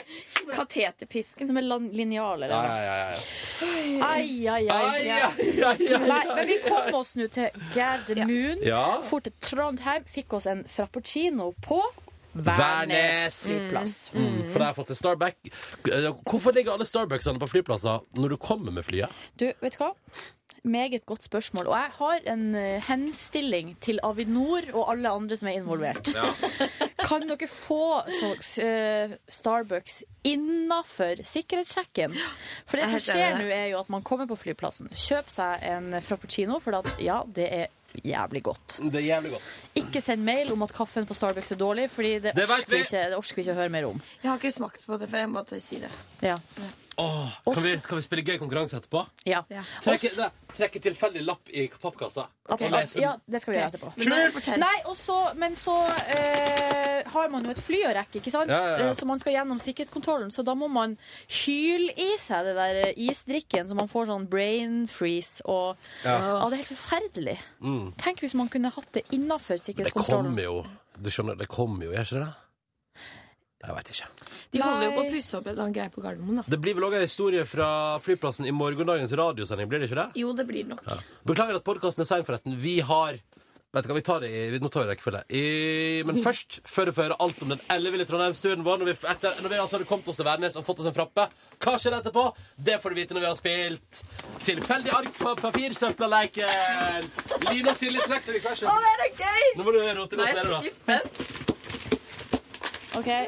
S4: [LAUGHS]
S9: Kateterpisken.
S4: Med lan- linjal eller
S3: Ja,
S4: noe.
S3: ja, ja, ja.
S4: Ai, ai, ai.
S3: Ai, ai, ai, ai, ai.
S4: Nei, men vi kom oss nå til Gardermoen.
S3: Ja.
S4: Fort til Trondheim. Fikk oss en frappuccino på
S3: Værnes.
S4: flyplass.
S3: Mm, for de har fått seg Starbuck. eh, Hvorfor ligger alle Starbucksene på flyplasser når du kommer med flyet?
S4: Du, vet du hva? Meget godt spørsmål. Og jeg har en eh, henstilling til Avinor og alle andre som er involvert. [LAUGHS] Kan dere få så, eh, Starbucks innafor sikkerhetssjekken? For
S16: Jeg
S4: det
S16: er
S4: som
S16: helt
S4: skjer
S16: enig i
S4: nå, er jo at man kommer på flyplassen, kjøper seg en frappuccino, for at, ja, det er jævlig godt.
S3: Det er jævlig godt.
S4: Ikke send mail om at kaffen på Starbucks er dårlig, Fordi det,
S3: Det vet
S4: orker,
S3: vi.
S4: vi. Ikke, det orsker vi ikke å høre mer om.
S9: Jeg har ikke smakt på det før. Jeg måtte si det.
S4: Ja.
S3: Åh, kan, vi, kan vi spille gøy konkurranse etterpå?
S4: Ja.
S3: Trekke, nei, trekke tilfeldig lapp i pappkassa.
S4: Abs-
S3: Og lese den.
S4: ja, det skal vi gjøre etterpå.
S3: Men nå- fortell.
S4: Nei, og så- men så eh, har man jo et fly å rekke, ikke sant?
S3: Ja, ja, ja.
S4: Eh, Så man skal gjennom sikkerhetskontrollen, så da må man hyle i seg det der eh, isdrikken, så man får sånn brain freeze og
S3: Ja.
S4: ja. det er helt forferdelig.
S3: Mm.
S4: Tenk hvis man kunne hatt det innafor
S3: Det
S4: sikkerhetskontrollen.
S3: kommer jo. Du skjønner, det kommer jo, gjør ikke det? Jeg veit ikke.
S9: De holder jo på å
S4: Nei.
S9: pusse opp en annen greie på Gardermoen, da.
S3: Det blir vel òg en historie fra flyplassen i morgendagens radiosending, blir det ikke det?
S9: Jo, det blir det nok.
S3: Ja. Beklager at podkasten er sein, forresten. Vi har Vet du hva, vi tar det i, Nå tar vi rekkefølge. I, men først, før du får høre alt om den elleville Trondheimsturen vår, når vi, f- etter, når vi altså hadde kommet oss til Værnes og fått oss en frappe, hva skjer etterpå? Det får du vite når vi har spilt Tilfeldig ark på papirsøppeleiken. Lina Silje trekk deg i
S9: Å,
S3: cashen.
S9: det er gøy!
S3: Nå må du rote
S9: Nå er
S3: godt
S9: jeg
S3: nede, da.
S9: skikkelig spent.
S4: OK, jeg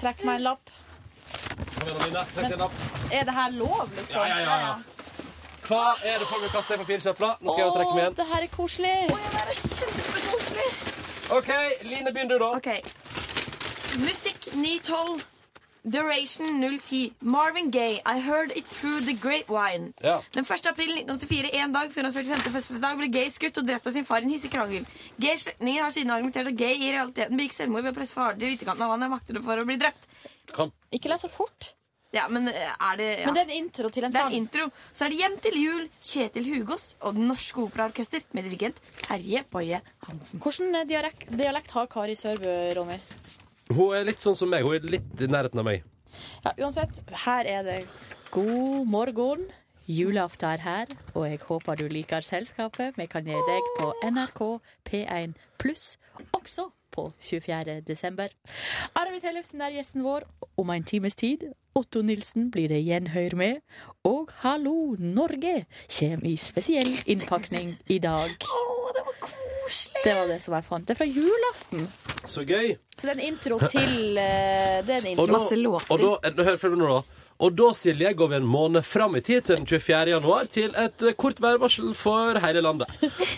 S4: trekker meg en lapp.
S3: Kom igjen, Adeline. Trekk deg en lapp.
S4: Er det her lov,
S3: Ja,
S4: liksom?
S3: ja, ja, ja. Hva er det folk vil kaste i papirsøpla? Nå skal jeg trekke meg
S4: Å, det her er koselig.
S9: Kjempekoselig.
S3: OK, Line, begynn du, da.
S9: Musikk 912. Duration 010. Marvin Gaye, I Heard It Through The Grapevine.
S17: Ja.
S9: Den 1. april 1984, en dag før hans 45. fødselsdag, ble Gay skutt og drept av sin far i en hissig krangel. Gays slektninger har siden argumentert at Gay i realiteten begikk selvmord ved å presse faren til ytterkanten av han han vakter for å bli drept.
S3: Kom.
S9: Ikke les så fort. Ja, men eh, er det ja.
S4: Men det er en intro til en
S9: Det er
S4: sang.
S9: intro. Så er det Hjem til jul, Kjetil Hugås og Det Norske Operaorkester med dirigent Terje Boje Hansen.
S4: Hvordan eh, dialekt, dialekt har Kari Sørbø, Ronny?
S3: Hun er litt sånn som meg. Hun er litt i nærheten av meg.
S4: Ja, uansett, her er det god morgen. Julaften er her, og jeg håper du liker selskapet vi kan gi deg på NRK P1 pluss, også på 24. desember. Arvid Tellefsen er gjesten vår om en times tid. Otto Nilsen blir det gjenhør med. Og Hallo Norge kommer i spesiell innpakning i dag. Det var det som jeg fant. Det er fra julaften.
S3: Så gøy.
S4: Så det er en intro til eh, Det er en intro.
S3: Og da, og da, eh, hør, følg med nå, da. Og da, Silje, går vi en måned fram i tid til den 24. januar til et eh, kort værvarsel for hele landet.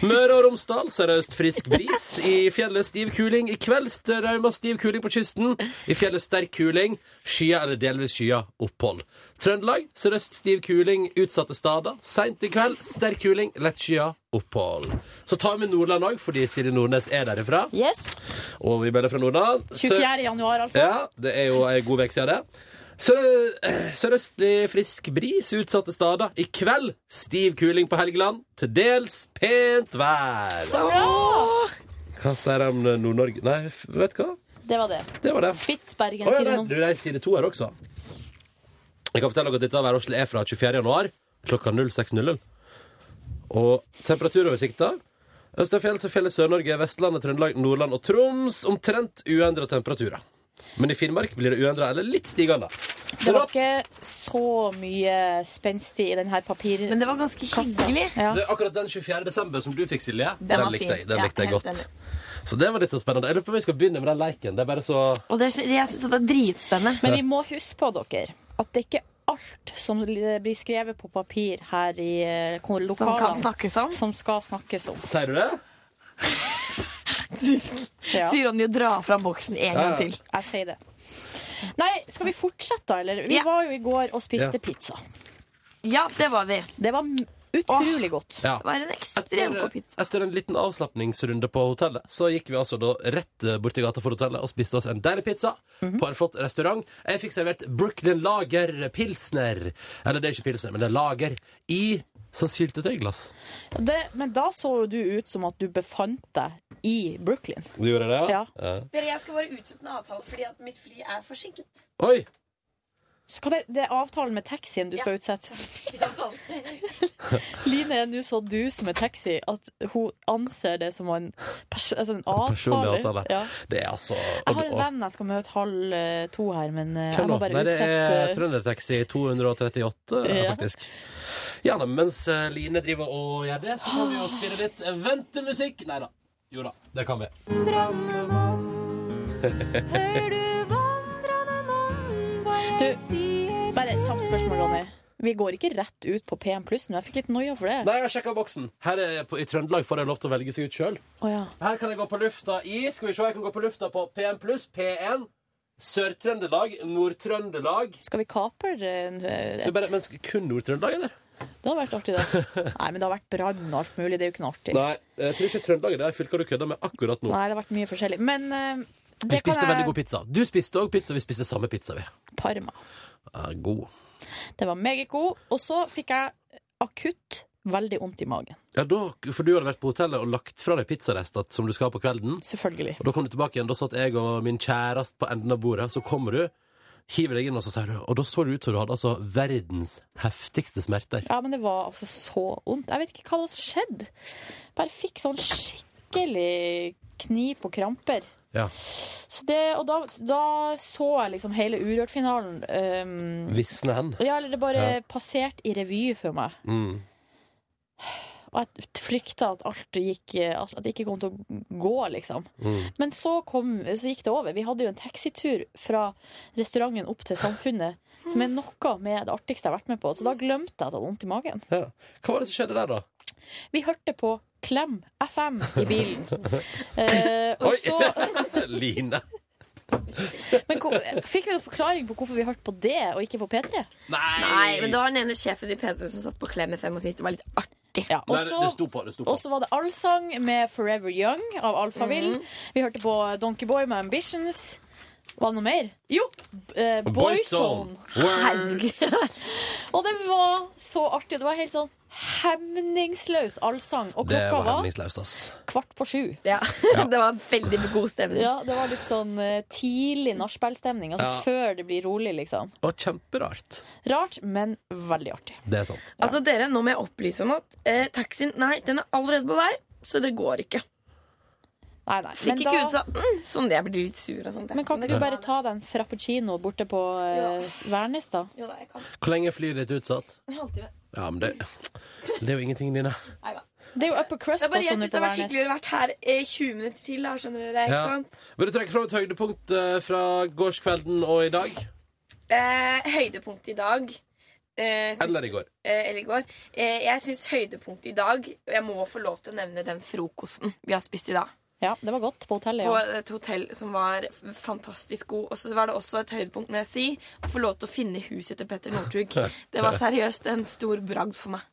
S3: Møre og Romsdal sørøst frisk bris. I fjellet stiv kuling. I kveld strømmer stiv kuling på kysten. I fjellet sterk kuling. Skya eller delvis skya. Opphold. Trøndelag sørøst stiv kuling utsatte steder. Seint i kveld sterk kuling. Lett skya. Opphold. Så tar vi med Nordland òg, fordi Silje Nordnes er derifra. Og vi melder fra Nordland. Sør-
S4: 24. januar, altså.
S3: ja, det er jo en god vekst av det. Sør- eh, Sørøstlig frisk bris utsatte steder. I kveld stiv kuling på Helgeland. Til dels pent vær.
S4: Så bra!
S3: Hva sier de om Nord-Norge? Nei, f- vet du hva?
S4: Det var det.
S3: Det var det.
S4: Spitsbergen
S3: Å, ja,
S4: sier
S3: nei,
S4: det
S3: du,
S4: nå.
S3: det er side to her også. Jeg kan fortelle dere at dette værvarselet er fra 24. januar klokka 06.00. Og temperaturoversikta Østafjell, Sørfjellet, Sør-Norge, Vestlandet, Trøndelag, Nordland og Troms omtrent uendra temperaturer. Men i Finnmark blir det uendra eller litt stigende.
S4: Det var ikke så mye spenstig i den her papirkassa. Men
S9: det var ganske
S4: hyggelig. Ja.
S3: Det er akkurat den 24. desember som du fikk, Silje. Den,
S4: var
S3: likte
S4: fin.
S3: jeg, den
S4: Ja,
S3: likte jeg
S4: helt
S3: godt. Så det var litt så spennende. Jeg lurer på om vi skal begynne med den leiken. Det er bare så
S9: Og det, jeg syns det er dritspennende.
S4: Men vi må huske på dere at det er ikke alt som li- blir skrevet på papir her i eh, kon- lokalene
S9: Som kan snakkes om.
S4: Som skal snakkes om.
S3: Sier du det?
S4: Ja.
S9: Sier Ronny å dra fram boksen en gang til.
S4: Jeg sier det. Nei, skal vi fortsette, da, eller? Vi
S9: Ja.
S4: var jo i går og spiste
S9: Ja.
S4: pizza.
S9: Ja, det var vi.
S4: Det var m- utrolig godt.
S3: Ja.
S9: Det var en ekstremt god pizza.
S3: Etter en liten avslapningsrunde på hotellet, så gikk vi altså da rett eh, borti gata for hotellet og spiste oss en deilig pizza
S4: Mhm.
S3: på en flott restaurant. Jeg fikk servert Brooklyn Lager Pilsner. Eller det er ikke Pilsner, men det er lager i sånn syltetøyglass.
S4: Det, men da så jo du ut som at du befant deg i Brooklyn.
S3: Du gjorde det,
S4: ja?
S9: Dere, jeg skal bare utsette en avtale fordi at mitt fly er forsinket.
S3: Oi!
S4: Skal det, det er avtalen med taxien du skal utsette. [LAUGHS] Line er nå så dus med taxi at hun anser det som en, pers altså en avtale.
S3: Personlig avtale.
S4: Ja.
S3: Det er altså
S4: Jeg har en venn jeg skal møte halv eh, to her, men eh, jeg
S3: Hvem
S4: må
S3: da?
S4: bare
S3: Nei, det er
S4: utsette eh,
S3: Trøndertaxi 238, eh,
S4: Ja.
S3: faktisk. Ja, nei, mens eh, Line driver og gjør det, så kan vi jo spille litt ventemusikk. Nei da. Jo da, det kan vi.
S4: Du, bare et kjapt spørsmål, Ronny. Vi går ikke rett ut på P1 pluss nå. Jeg fikk litt noia for det.
S3: Nei, jeg har sjekka boksen. Her er på, I Trøndelag får jeg lov til å velge seg ut sjøl.
S4: Å ja.
S3: Her kan jeg gå på lufta i Skal vi se, jeg kan gå på lufta på P1 pluss, P1, Sør-Trøndelag, Nord-Trøndelag.
S4: Skal vi kapre en
S3: Så bare, men skal- kun Nord-Trøndelag, eller?
S4: Det hadde vært artig, det.
S3: [LAUGHS]
S4: Nei, men det har vært brann og alt mulig. Det er jo ikke noe artig.
S3: Nei, jeg tror ikke Trøndelag er det fylket du kødder med akkurat nå.
S4: Nei, det har vært mye forskjellig. Men eh,
S3: vi
S4: det kan
S3: spiste veldig
S4: jeg
S3: god pizza. Du spiste òg pizza. Vi spiste samme pizza, vi.
S4: Parma.
S3: Ja, god.
S4: Det var meget god. Og så fikk jeg akutt veldig vondt i magen.
S3: Ja, da, For du hadde vært på hotellet og lagt fra deg pizzarester som du skal ha på kvelden.
S4: Selvfølgelig.
S3: Og da kom du tilbake igjen. Da satt jeg og min kjæreste på enden av bordet. Så kommer du, hiver deg inn, og så sier du Og da så det ut som du hadde altså verdens heftigste smerter.
S4: Ja, men det var altså så vondt. Jeg vet ikke hva det var som skjedde. Bare fikk sånn skikkelig knip og kramper.
S3: Ja.
S4: Så det, og da, da så jeg liksom hele Urørt-finalen. ehm,
S3: Visne hen. Mm.
S4: ja, eller det bare
S3: Ja.
S4: passerte i revy for meg.
S3: Mm.
S4: Og jeg frykta at alt gikk eh, At det ikke kom til å gå, liksom.
S18: Mm.
S4: Men så, kom, så gikk det over. Vi hadde jo en taxitur fra restauranten opp til Samfunnet, som er noe med det artigste jeg har vært med på. Så da glemte jeg at jeg hadde vondt i magen.
S3: Ja. Hva var det som skjedde der, da?
S4: Vi hørte på Klem FM i [LAUGHS] bilen. Eh, og så
S3: [LAUGHS] Line.
S4: Men ko- fikk vi noen forklaring på hvorfor vi hørte på det, og ikke på P3?
S9: Nei, men det var den ene sjefen i P3 som satt på klem i fem og syntes det var litt artig.
S4: Ja, og Nei, det- så- det sto
S3: på, det sto
S4: Og så var det allsang med Forever Young av Alphaville.
S9: Mhm.
S4: Vi hørte på Donkey Boy med Ambitions. Var det noe mer? Jo! b- Eh, Boyzone.
S18: Boyzone. Words.
S4: og det var så artig. Det var helt sånn hemningsløs allsang. Og
S3: Det
S4: klokka
S3: var
S4: var
S3: hemningsløst, ass.
S4: kvart på sju.
S9: Ja. [LAUGHS] det var veldig god stemning.
S4: Ja, det var litt sånn eh, tidlig nachspiel-stemning. Altså
S3: Ja.
S4: før det blir rolig, liksom.
S3: Det var kjemperart.
S4: Rart, men veldig artig.
S3: Det er sant.
S9: Altså, dere, nå må jeg opplyse om at eh, taxien Nei, den er allerede på vei, så det går ikke.
S4: Nei, nei.
S9: Fikk
S4: men
S9: ikke
S4: da-
S9: ut sånn mm, Sånn, jeg blir litt sur og sånt. jeg.
S4: Men kan ikke
S3: Ja.
S4: du bare ta deg en frappuccino borte på eh, Værnes, da?
S9: Jo da, jeg kan.
S3: Hvor lenge er flyet ditt utsatt?
S9: En halvtime.
S3: Ja, men det, det er jo ingenting, Line.
S4: Det er jo upper crust
S9: Det er bare,
S4: også
S9: jeg
S4: nå
S9: syns
S4: på
S9: det var
S4: Værnes.
S9: skikkelig å vært her i 20 minutter til, da, skjønner dere.
S3: Ja.
S9: Ikke sant?
S3: Vil du trekke fram et høydepunkt eh, fra gårdskvelden og i dag?
S9: Eh, høydepunkt i dag eh, syns-
S3: Eller i går?
S9: eh, eller i går. Eh, jeg syns høydepunkt i dag og Jeg må få lov til å nevne den frokosten vi har spist i dag.
S4: Ja, det var godt på hotellet.
S9: På
S4: Ja.
S9: et hotell som var f- fantastisk god. Og så var det også et høydepunkt må jeg si, å få lov til å finne huset til Petter Northug. Det var seriøst en stor bragd for meg.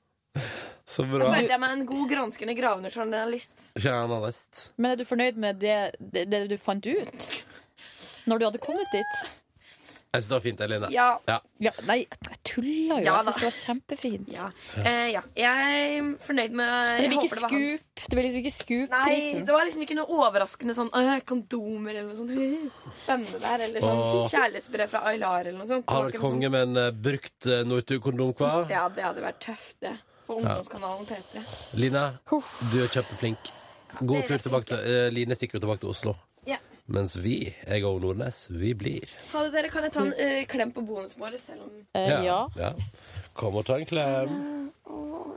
S3: Så
S9: Da
S3: bra.
S9: følte jeg meg en god granskende gravende journalist.
S3: Journalist.
S4: Men er du fornøyd med det, det, det du fant ut? Når du hadde kommet dit?
S3: Jeg syns det var fint, Eline.
S9: Ja.
S4: Ja, nei, jeg tulla jo.
S9: Ja,
S4: jeg
S9: da.
S4: syns det var kjempefint.
S9: Ja. Eh, ja. Jeg er fornøyd med
S4: Det
S9: jeg
S4: blir
S9: håper
S4: ikke
S9: var hans.
S4: skup. Det blir liksom ikke
S9: Nei,
S4: skup-prisen.
S9: det var liksom ikke noe overraskende sånn «Åh, kondomer eller noe sånt. [LAUGHS] «Åh, Spennende der, eller sånn
S3: Åh.
S9: kjærlighetsbrev fra Aylar eller noe sånt. Det
S3: Har
S9: var
S3: vært
S9: ikke noe
S3: konge med en eh, brukt eh, Northug-kondom, hva?
S9: sånt- Ja, det hadde vært tøft, det. For
S3: Ja.
S9: ungdomskanalen P3.
S3: Line, du er kjempeflink. God tur tilbake til eh, Line stikker jo tilbake til Oslo.
S9: Ja.
S3: Mens vi, jeg og Nordnes, vi blir.
S9: Ha det, dere. Kan jeg ta en eh, klem på bonusmålet, selv om
S4: Eh,
S3: ja. Kom og ta en klem.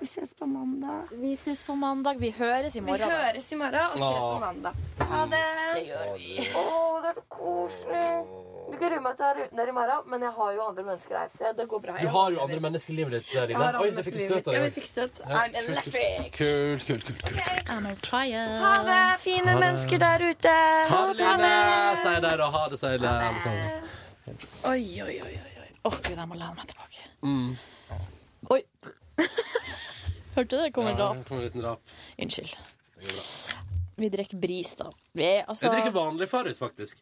S9: Vi ses på mandag.
S4: Vi ses på mandag. Vi høres i
S9: Vi
S4: morgen.
S9: høres i morgen og ses på
S3: Åh.
S9: mandag. Ha det.
S4: Det gjør vi.
S9: Å, det er så koselig. Du kan rue meg til å ha ruten her i morgen, men jeg har jo andre mennesker her. Så det går bra.
S3: Du har jo andre mennesker i livet ditt,
S9: Jeg har
S3: Line. Oi,
S9: andre
S3: det fikk
S9: mennesker i
S3: støt
S9: livet.
S3: av
S9: Ja,
S3: deg.
S9: vi fikk støt.
S3: Ja,
S9: I'm electric.
S3: Kult, kult, kult. kult.
S4: I'm on fire.
S9: Ha det, fine
S3: Ha det.
S9: mennesker der ute.
S3: Ha det, Line!
S9: Ha det.
S3: Si det, da. Ha det, si det, alle sammen.
S4: Oi, oi, oi. oi, oi. Åh, Gud, jeg må lene meg tilbake.
S3: Mm.
S4: Oi. [LAUGHS] Hørte du det? Kommer
S3: Ja,
S4: rap.
S3: det kom en liten rap.
S4: Unnskyld.
S3: Det går bra.
S4: Vi drikker bris, da. Vi er, altså,
S3: Jeg drikker vanlig Farris, faktisk.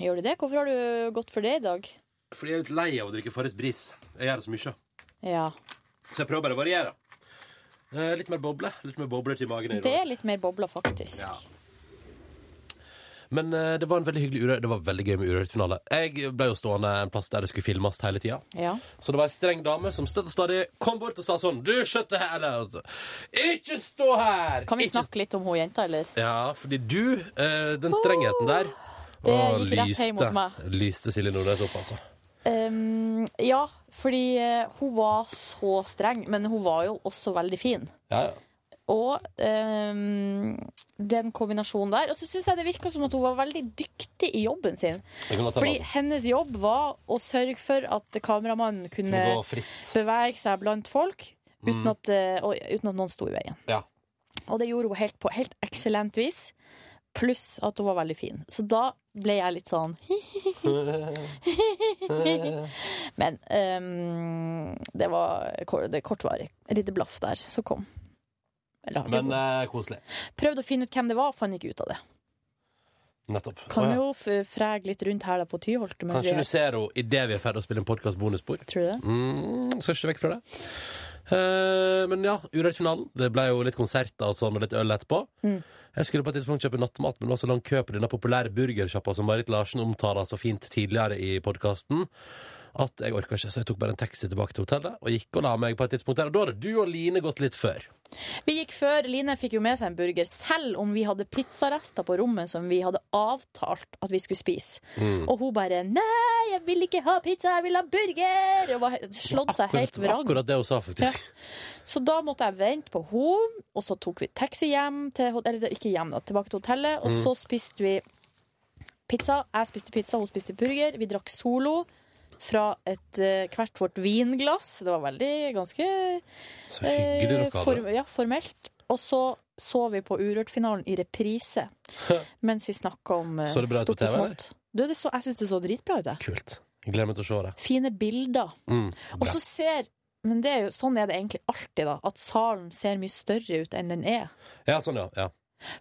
S4: gjør du det? Hvorfor har du gått for det i dag?
S3: Fordi jeg er litt lei av å drikke Farris bris. Jeg gjør det så mye.
S4: Ja.
S3: Så jeg prøver bare å variere. Eh, litt mer boble. Litt mer bobler til magen. i
S4: Det
S3: dag.
S4: er litt mer bobler, faktisk.
S3: Men eh, det var en veldig hyggelig urørt Det var veldig gøy med Urørt-finale. Jeg ble jo stående en plass der det skulle filmes hele tida.
S4: Ja.
S3: Så det var ei streng dame som støtt og stadig kom bort og sa sånn Du, skjøtt det her! Eller, altså, ikke stå her!
S4: Kan vi
S3: ikke...
S4: snakke litt om hun jenta, eller?
S3: Ja, fordi du, eh, den strengheten der
S4: Det
S3: å,
S4: gikk rett hjem hos meg.
S3: lyste Silje Nordnes opp, altså.
S4: Ehm, ja, fordi eh, hun var så streng, men hun var jo også veldig fin.
S3: Ja, ja.
S4: Og ehm, den kombinasjonen der. Og så syns jeg det virka som at hun var veldig dyktig i jobben sin.
S3: Jeg kan la ta
S4: Fordi
S3: meg, altså.
S4: hennes jobb var å sørge for at kameramannen kunne
S3: Kunne gå fritt.
S4: bevege seg blant folk uten
S3: Mm.
S4: at, eh, og, uten at noen sto i veien.
S3: Ja.
S4: Og det gjorde hun helt på helt eksellent vis. Pluss at hun var veldig fin. Så da ble jeg litt sånn
S3: Mm. [LAUGHS]
S4: Men ehm, det var kor- det kortvarig. Et lite blaff der som kom. Eller, har
S3: Men
S4: ikke-
S3: eh, koselig.
S4: Prøvde å finne ut hvem det var, fant ikke ut av det.
S3: Nettopp.
S4: Kan
S3: Å, ja.
S4: jo f- frege litt rundt her da på Tyholt. mens
S3: Kanskje
S4: vi er-
S3: du ser henne idet vi er ferdig å spille en podkast bonusbord.
S4: Tror du det?
S3: Mm, skal ikke vekk fra det. Eh, men ja, Urørt-finalen. Det ble jo litt konserter og sånn, og litt øl etterpå.
S4: Mm.
S3: Jeg skulle på et tidspunkt kjøpe nattmat, men det var så lang kø på denne populære burgersjappa som Marit Larsen omtaler så fint tidligere i podkasten, at jeg orka ikke, så jeg tok bare en taxi tilbake til hotellet og gikk og la meg på et tidspunkt der. Og da hadde du og Line gått litt før.
S4: Vi gikk før. Line fikk jo med seg en burger, selv om vi hadde pizzarester på rommet som vi hadde avtalt at vi skulle spise.
S19: Mm.
S4: Og hun bare 'Nei, jeg vil ikke ha pizza, jeg vil ha burger!' Og var he- slått seg helt
S3: Akkurat,
S4: vrang.
S3: akkurat det hun sa, faktisk.
S4: Så da måtte jeg vente på henne, og så tok vi taxi hjem til, hot- eller ikke hjem da, tilbake til hotellet, og
S3: Mm.
S4: så spiste vi pizza. Jeg spiste pizza, hun spiste burger. Vi drakk solo fra et, eh, hvert vårt vinglass. Det var veldig ganske eh,
S3: Så hyggelig dere hadde
S4: form,
S3: det.
S4: ja, formelt. Og så så vi på Urørt-finalen i reprise mens vi snakka om eh,
S3: Så det bra ut på
S4: stort og
S3: TV, eller?
S4: smått. Du, det så, jeg syns det så dritbra ut. jeg.
S3: Kult. Jeg Gleder meg til å se det.
S4: Fine bilder.
S3: Mm.
S4: Og
S3: Bra.
S4: så ser Men det er jo, sånn er det egentlig alltid, da. At salen ser mye større ut enn den er.
S3: Ja, sånn, ja. ja.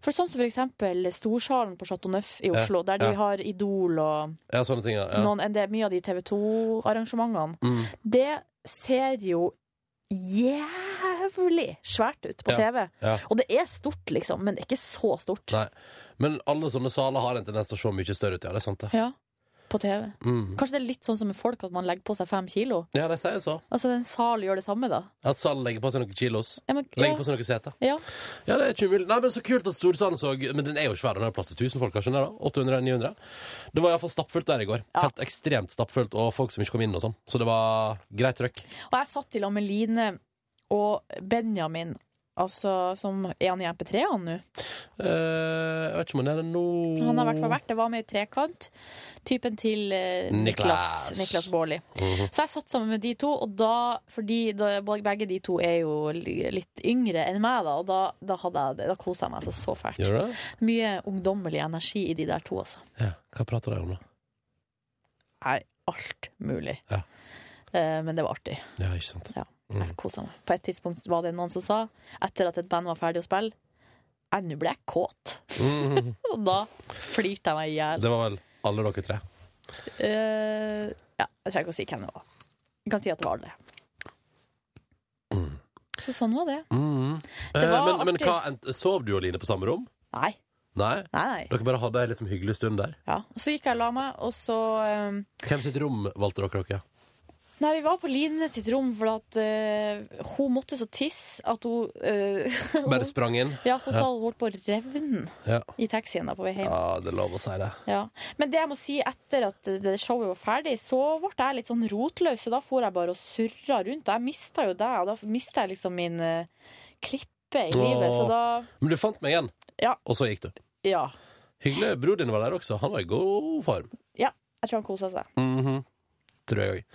S4: For sånn som for eksempel Storsalen på Chateau Neuf i
S3: Ja,
S4: Oslo, der de
S3: ja.
S4: har Idol og
S3: ja sånne ting, ja. ja.
S4: noen, en del, mye av de TV 2-arrangementene.
S3: Mm.
S4: Det ser jo jævlig svært ut på
S3: Ja,
S4: TV.
S3: ja.
S4: Og det er stort, liksom, men det er ikke så stort
S3: Nei. Men alle sånne saler har en tendens til å se mye større ut, ja. Det er sant, det.
S4: ja, på TV.
S3: Mm.
S4: Kanskje det er litt sånn som med folk, at man legger på seg fem kilo.
S3: Ja, de sier så.
S4: Altså, en sal gjør det samme, da.
S3: At salen legger på seg noen kilos.
S4: Ja, men- ja.
S3: Legger på seg noen seter.
S4: Ja.
S3: Ja, det er ikke umulig. Nei, men så kult at Storsand så Men den er jo svær, den har plass til 1000 folk, kanskje? Den er da? 800-900? Det var iallfall stappfullt der i går. Helt ekstremt stappfullt, og folk som ikke kom inn og sånn. Så det var greit trøkk.
S4: Og jeg satt i lag med Line og Benjamin, altså, som er han i MP3, han nå.
S3: Eh, jeg vet ikke om han er det nå
S4: Han har i hvert fall vært det. Var med i Trekant. Typen til eh, Niklas,
S3: Niklas.
S4: Niklas Baarli.
S3: Mhm.
S4: Så jeg satt sammen med de to, og da, fordi da, begge de to er jo li- litt yngre enn meg, da, og da, da, hadde jeg det. Da kosa jeg meg altså så fælt.
S3: Gjør det?
S4: Mye ungdommelig energi i de der to, altså.
S3: Ja, Hva prater de om, da?
S4: Nei, alt mulig.
S3: Ja. Mm.
S4: Eh, Men det var artig.
S3: Ja, ikke sant.
S4: Ja, jeg koset meg. På et tidspunkt var det noen som sa, etter at et band var ferdig å spille, «Nei, nå ble jeg kåt.
S3: Mhm.
S4: Og da flirte jeg meg i hjel.
S3: Det var vel alle dere tre.
S4: Eh, ja, jeg trenger ikke å si hvem det var. Jeg kan si at det var alle.
S3: Mm.
S4: Så sånn var det.
S3: Mhm.
S4: Det
S3: Eh,
S4: var
S3: men, men
S4: artig.
S3: hva, ent- sov du og Line på samme rom?
S4: Nei.
S3: Nei?
S4: Nei, nei.
S3: Dere bare hadde ei liksom hyggelig stund der?
S4: Ja. Så gikk jeg og la meg, og så eh,
S3: Hvem sitt rom valgte dere
S4: [LAUGHS]
S3: dere?
S4: Nei, vi var på Line sitt rom, for at eh, hun måtte så tisse at hun eh, [LAUGHS]
S3: Bare sprang inn?
S4: Ja, hun sa hun holdt på å revne
S3: Ja.
S4: i taxien da på vei hjem.
S3: ja, det er lov å si det.
S4: Ja. Men det jeg må si etter at det showet var ferdig, så ble jeg litt sånn rotløs, og da for jeg bare og surra rundt. Jeg mista jo deg, og da mista jeg liksom min eh, klippe i livet, så
S3: Åh.
S4: da
S3: Men du fant meg igjen,
S4: Ja.
S3: og så gikk du.
S4: Ja.
S3: Hyggelig. Bror din var der også. Han var i god form.
S4: ja jeg tror han kosa seg.
S3: Mhm. Tror jeg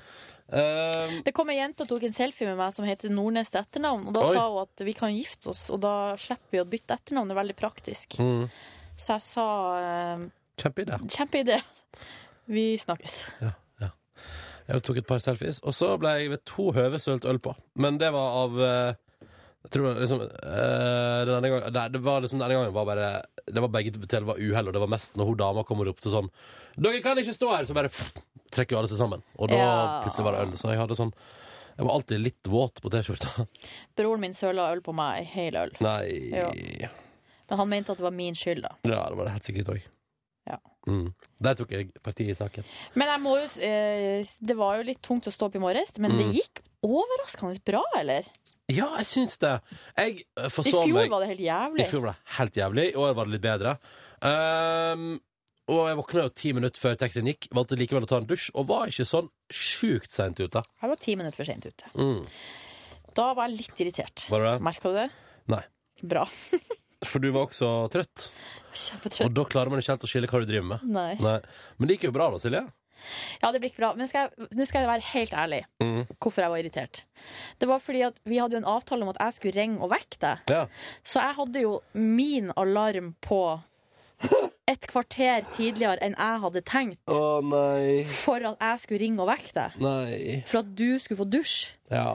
S3: Eh, òg.
S4: Det kom ei jente og tok en selfie med meg som heter Nordnes til etternavn. Og da
S3: Oi.
S4: sa hun at vi kan gifte oss, og da slipper vi å bytte etternavn. Det er veldig praktisk.
S3: Mm.
S4: Så jeg sa eh,
S3: Kjempeidé.
S4: kjempeidé. Vi snakkes.
S3: Jeg tok et par selfies, og så ble jeg ved to høve sølt øl på. Men det var av eh, Jeg tror det var liksom eh, Den ene gangen nei, det var liksom, den ene gangen var bare Det var begge til det var uhell, og det var mest når hun dama kommer opp til sånn 'Dere kan ikke stå her!' Så bare pff, trekker jo alle seg sammen. Og da
S4: Ja.
S3: plutselig var det øl. Så jeg hadde sånn Jeg var alltid litt våt på T-skjorta. [LAUGHS]
S4: Broren min søla øl på meg, ei hel øl.
S3: Nei
S4: Jo.
S3: Ja,
S4: Men han mente at det var min skyld, da.
S3: det var det helt sikkert òg.
S4: Ja.
S3: Mm. Der tok jeg parti i saken.
S4: Men jeg må jo s- eh, Det var jo litt tungt å stå opp i morges, men det
S3: Mm.
S4: gikk overraskende bra, eller?
S3: Ja, jeg syns det. Jeg eh,
S4: I
S3: forsov
S4: fjor
S3: meg
S4: var det helt
S3: I
S4: jævlig.
S3: fjor var det helt jævlig, i år var det litt bedre. Ehm, og jeg våkna jo ti minutter før taxien gikk, valgte likevel å ta en dusj, og var ikke sånn sjukt seint ute.
S4: Jeg var ti minutter for seint ute.
S3: Mm.
S4: Da var jeg litt irritert.
S3: Var du det?
S4: Merka du det?
S3: Nei.
S4: Bra. [LAUGHS]
S3: For du var også trøtt.
S4: Kjempetrøtt.
S3: Og da klarer man ikke helt å skille hva du driver med.
S4: Nei.
S3: Men det gikk jo bra, da, Silje.
S4: Ja, det blir ikke bra. Men skal jeg, nå skal jeg være helt ærlig
S3: Mm.
S4: hvorfor jeg var irritert. Det var fordi at vi hadde jo en avtale om at jeg skulle ringe og vekke deg.
S3: Ja.
S4: Så jeg hadde jo min alarm på et kvarter tidligere enn jeg hadde tenkt
S3: Å nei.
S4: for at jeg skulle ringe og vekke deg.
S3: Nei.
S4: For at du skulle få dusj.
S3: Ja.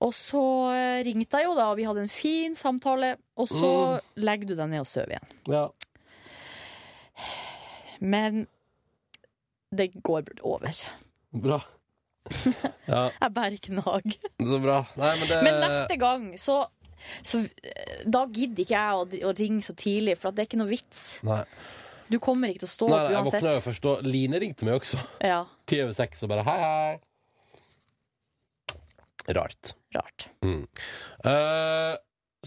S4: Og så eh, ringte jeg jo, da, og vi hadde en fin samtale. Og så legger du deg ned og sover igjen.
S3: ja.
S4: Men det går over.
S3: Bra. Ja,
S4: Jeg bærer knag.
S3: så bra. Nei, men det
S4: Men neste gang, så, så eh, Da gidder ikke jeg å, dri- å ringe så tidlig, for at det er ikke noe vits.
S3: Nei.
S4: Du kommer ikke til å stå
S3: Nei,
S4: opp
S3: nei, jeg
S4: uansett.
S3: våkna jo først, og Line ringte meg også. [LAUGHS]
S4: Ja,
S3: Ti over seks og bare hei, hei. Rart.
S4: Rart.
S3: Mm. Eh,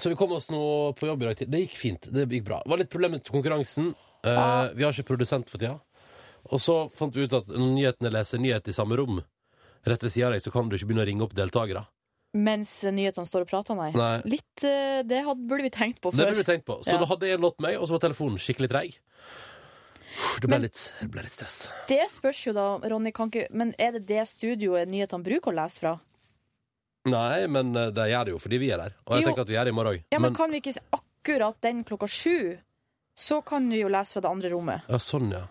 S3: Så vi kom oss nå på jobb i dag. tid. Det gikk fint. Det gikk bra. Det var litt problemer med konkurransen. Eh,
S4: Ah.
S3: Vi har ikke produsent for tida. Og så fant vi ut at når nyhetene leser nyhet i samme rom, rett ved sida av deg, så kan du ikke begynne å ringe opp deltakere.
S4: Mens nyhetene står og prater, nei.
S3: Nei.
S4: Litt, eh, det hadde, burde vi tenkt på
S3: Det
S4: før.
S3: ble vi tenkt på. Så
S4: Ja.
S3: da hadde jeg en låt med meg, og så var telefonen skikkelig treig. Det ble, litt, det ble litt stress.
S4: Det spørs jo da, Ronny, kan ikke, men er det det studioet nyhetene bruker å lese fra?
S3: Nei, men eh, de gjør det jo fordi vi er der. Og jeg
S4: Jo.
S3: tenker at vi er det i morgen òg.
S4: Ja, men, kan vi ikke s- akkurat den klokka sju, så kan du jo lese fra det andre rommet.
S3: ja, sånn, ja.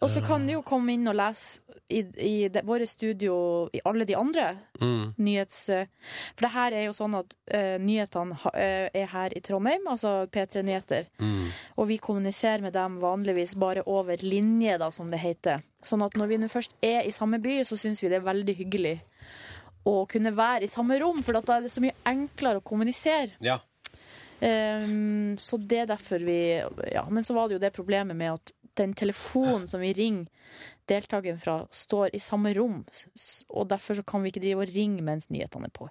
S4: Og så kan du jo komme inn og lese i, i det, våre studio i alle de andre
S3: Mm.
S4: nyhets... eh, For det her er jo sånn at eh, nyhetene ha- eh, er her i Trondheim, altså P3 Nyheter.
S3: Mm.
S4: Og vi kommuniserer med dem vanligvis bare over linje, da, som det heter. Sånn at når vi nå først er i samme by, så syns vi det er veldig hyggelig å kunne være i samme rom, for at da er det så mye enklere å kommunisere.
S3: Ja.
S4: Ehm, så det er derfor vi Ja, men så var det jo det problemet med at den telefonen som vi ringer deltakeren fra, står i samme rom, s- og derfor så kan vi ikke drive og ringe mens nyhetene er på.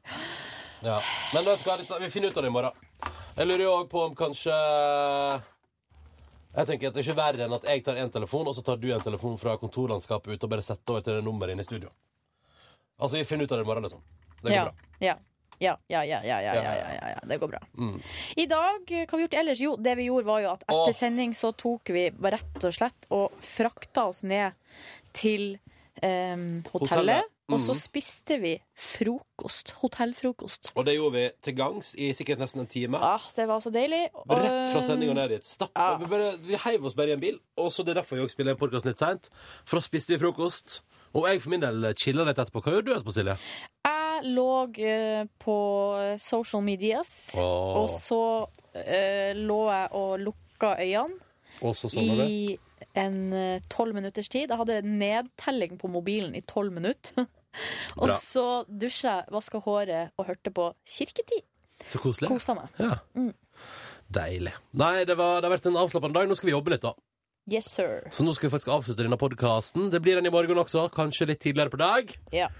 S3: Ja. Men vet du hva, dette- vi finner ut av det i morgen. Jeg lurer jo òg på om kanskje Jeg tenker at det er ikke verre enn at jeg tar én telefon, og så tar du en telefon fra kontorlandskapet ute og bare setter over til det nummeret inne i studio. Altså, vi finner ut av det i morgen, liksom. Det går
S4: ja,
S3: bra.
S4: Ja. Ja, ja, ja, ja, ja, ja, ja, ja, ja, det går bra.
S3: Mm.
S4: I dag, eh, hva har vi gjort ellers? Jo, det vi gjorde var jo at etter sending så tok vi bare rett og slett og frakta oss ned til eh, hotellet,
S3: Hotellet.
S4: og så
S3: Mm.
S4: spiste vi frokost, hotellfrokost.
S3: Og det gjorde vi til gangs i sikkert nesten en time.
S4: Ah, det var så deilig. Og,
S3: Rett fra sendinga ned dit. Stapp. Vi, bare, vi heiv oss bare i en bil. Og så Det er derfor vi også spiller en podkast litt seint. For da spiste vi frokost. Og jeg for min del chilla litt etterpå. Hva gjorde du etterpå, Silje?
S4: Jeg lå eh, på social medias,
S3: Åh.
S4: og så eh, lå jeg og lukka øynene.
S3: Og så sånn sovna du?
S4: I en eh, tolv minutters tid. Jeg hadde nedtelling på mobilen i tolv minutter. [LAUGHS] og
S3: Bra.
S4: så dusja jeg, vaska håret og hørte på Kirketid.
S3: Så koselig.
S4: Kosa meg.
S3: Ja.
S4: Mm.
S3: Deilig. Nei, det, var, det har vært en avslappende dag. Nå skal vi jobbe litt, da.
S4: Yes, sir.
S3: Så nå skal vi faktisk avslutte denne podkasten. Det blir en i morgen også. Kanskje litt tidligere på dag.
S4: Ja.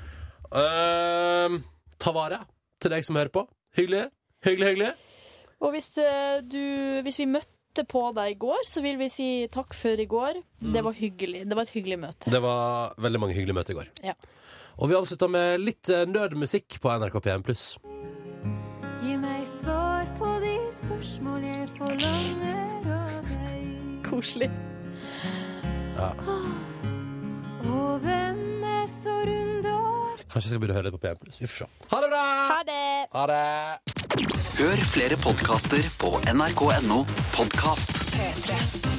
S3: Ehm, ta vare til deg som hører på. Hyggelig. Hyggelig, hyggelig.
S4: Og hvis, eh, du, hvis vi møtte på deg i går, så vil vi si takk for i går. Det var hyggelig. Det var et hyggelig møte.
S3: Mm. Det var veldig mange hyggelige møter i går.
S4: Ja.
S3: Og vi avslutta med litt eh, nødmusikk på NRK P1 pluss.
S10: Gi meg svar på de spørsmål jeg forlanger av deg.
S4: Koselig.
S3: Ja.
S10: Og hvem er så rund og
S3: Kanskje jeg skal begynne å høre litt på P1 pluss. Vi får se. Ha det bra!
S10: Ha det!
S3: Ha det!
S20: Hør flere podkaster på nrk.no podkast.
S10: P3.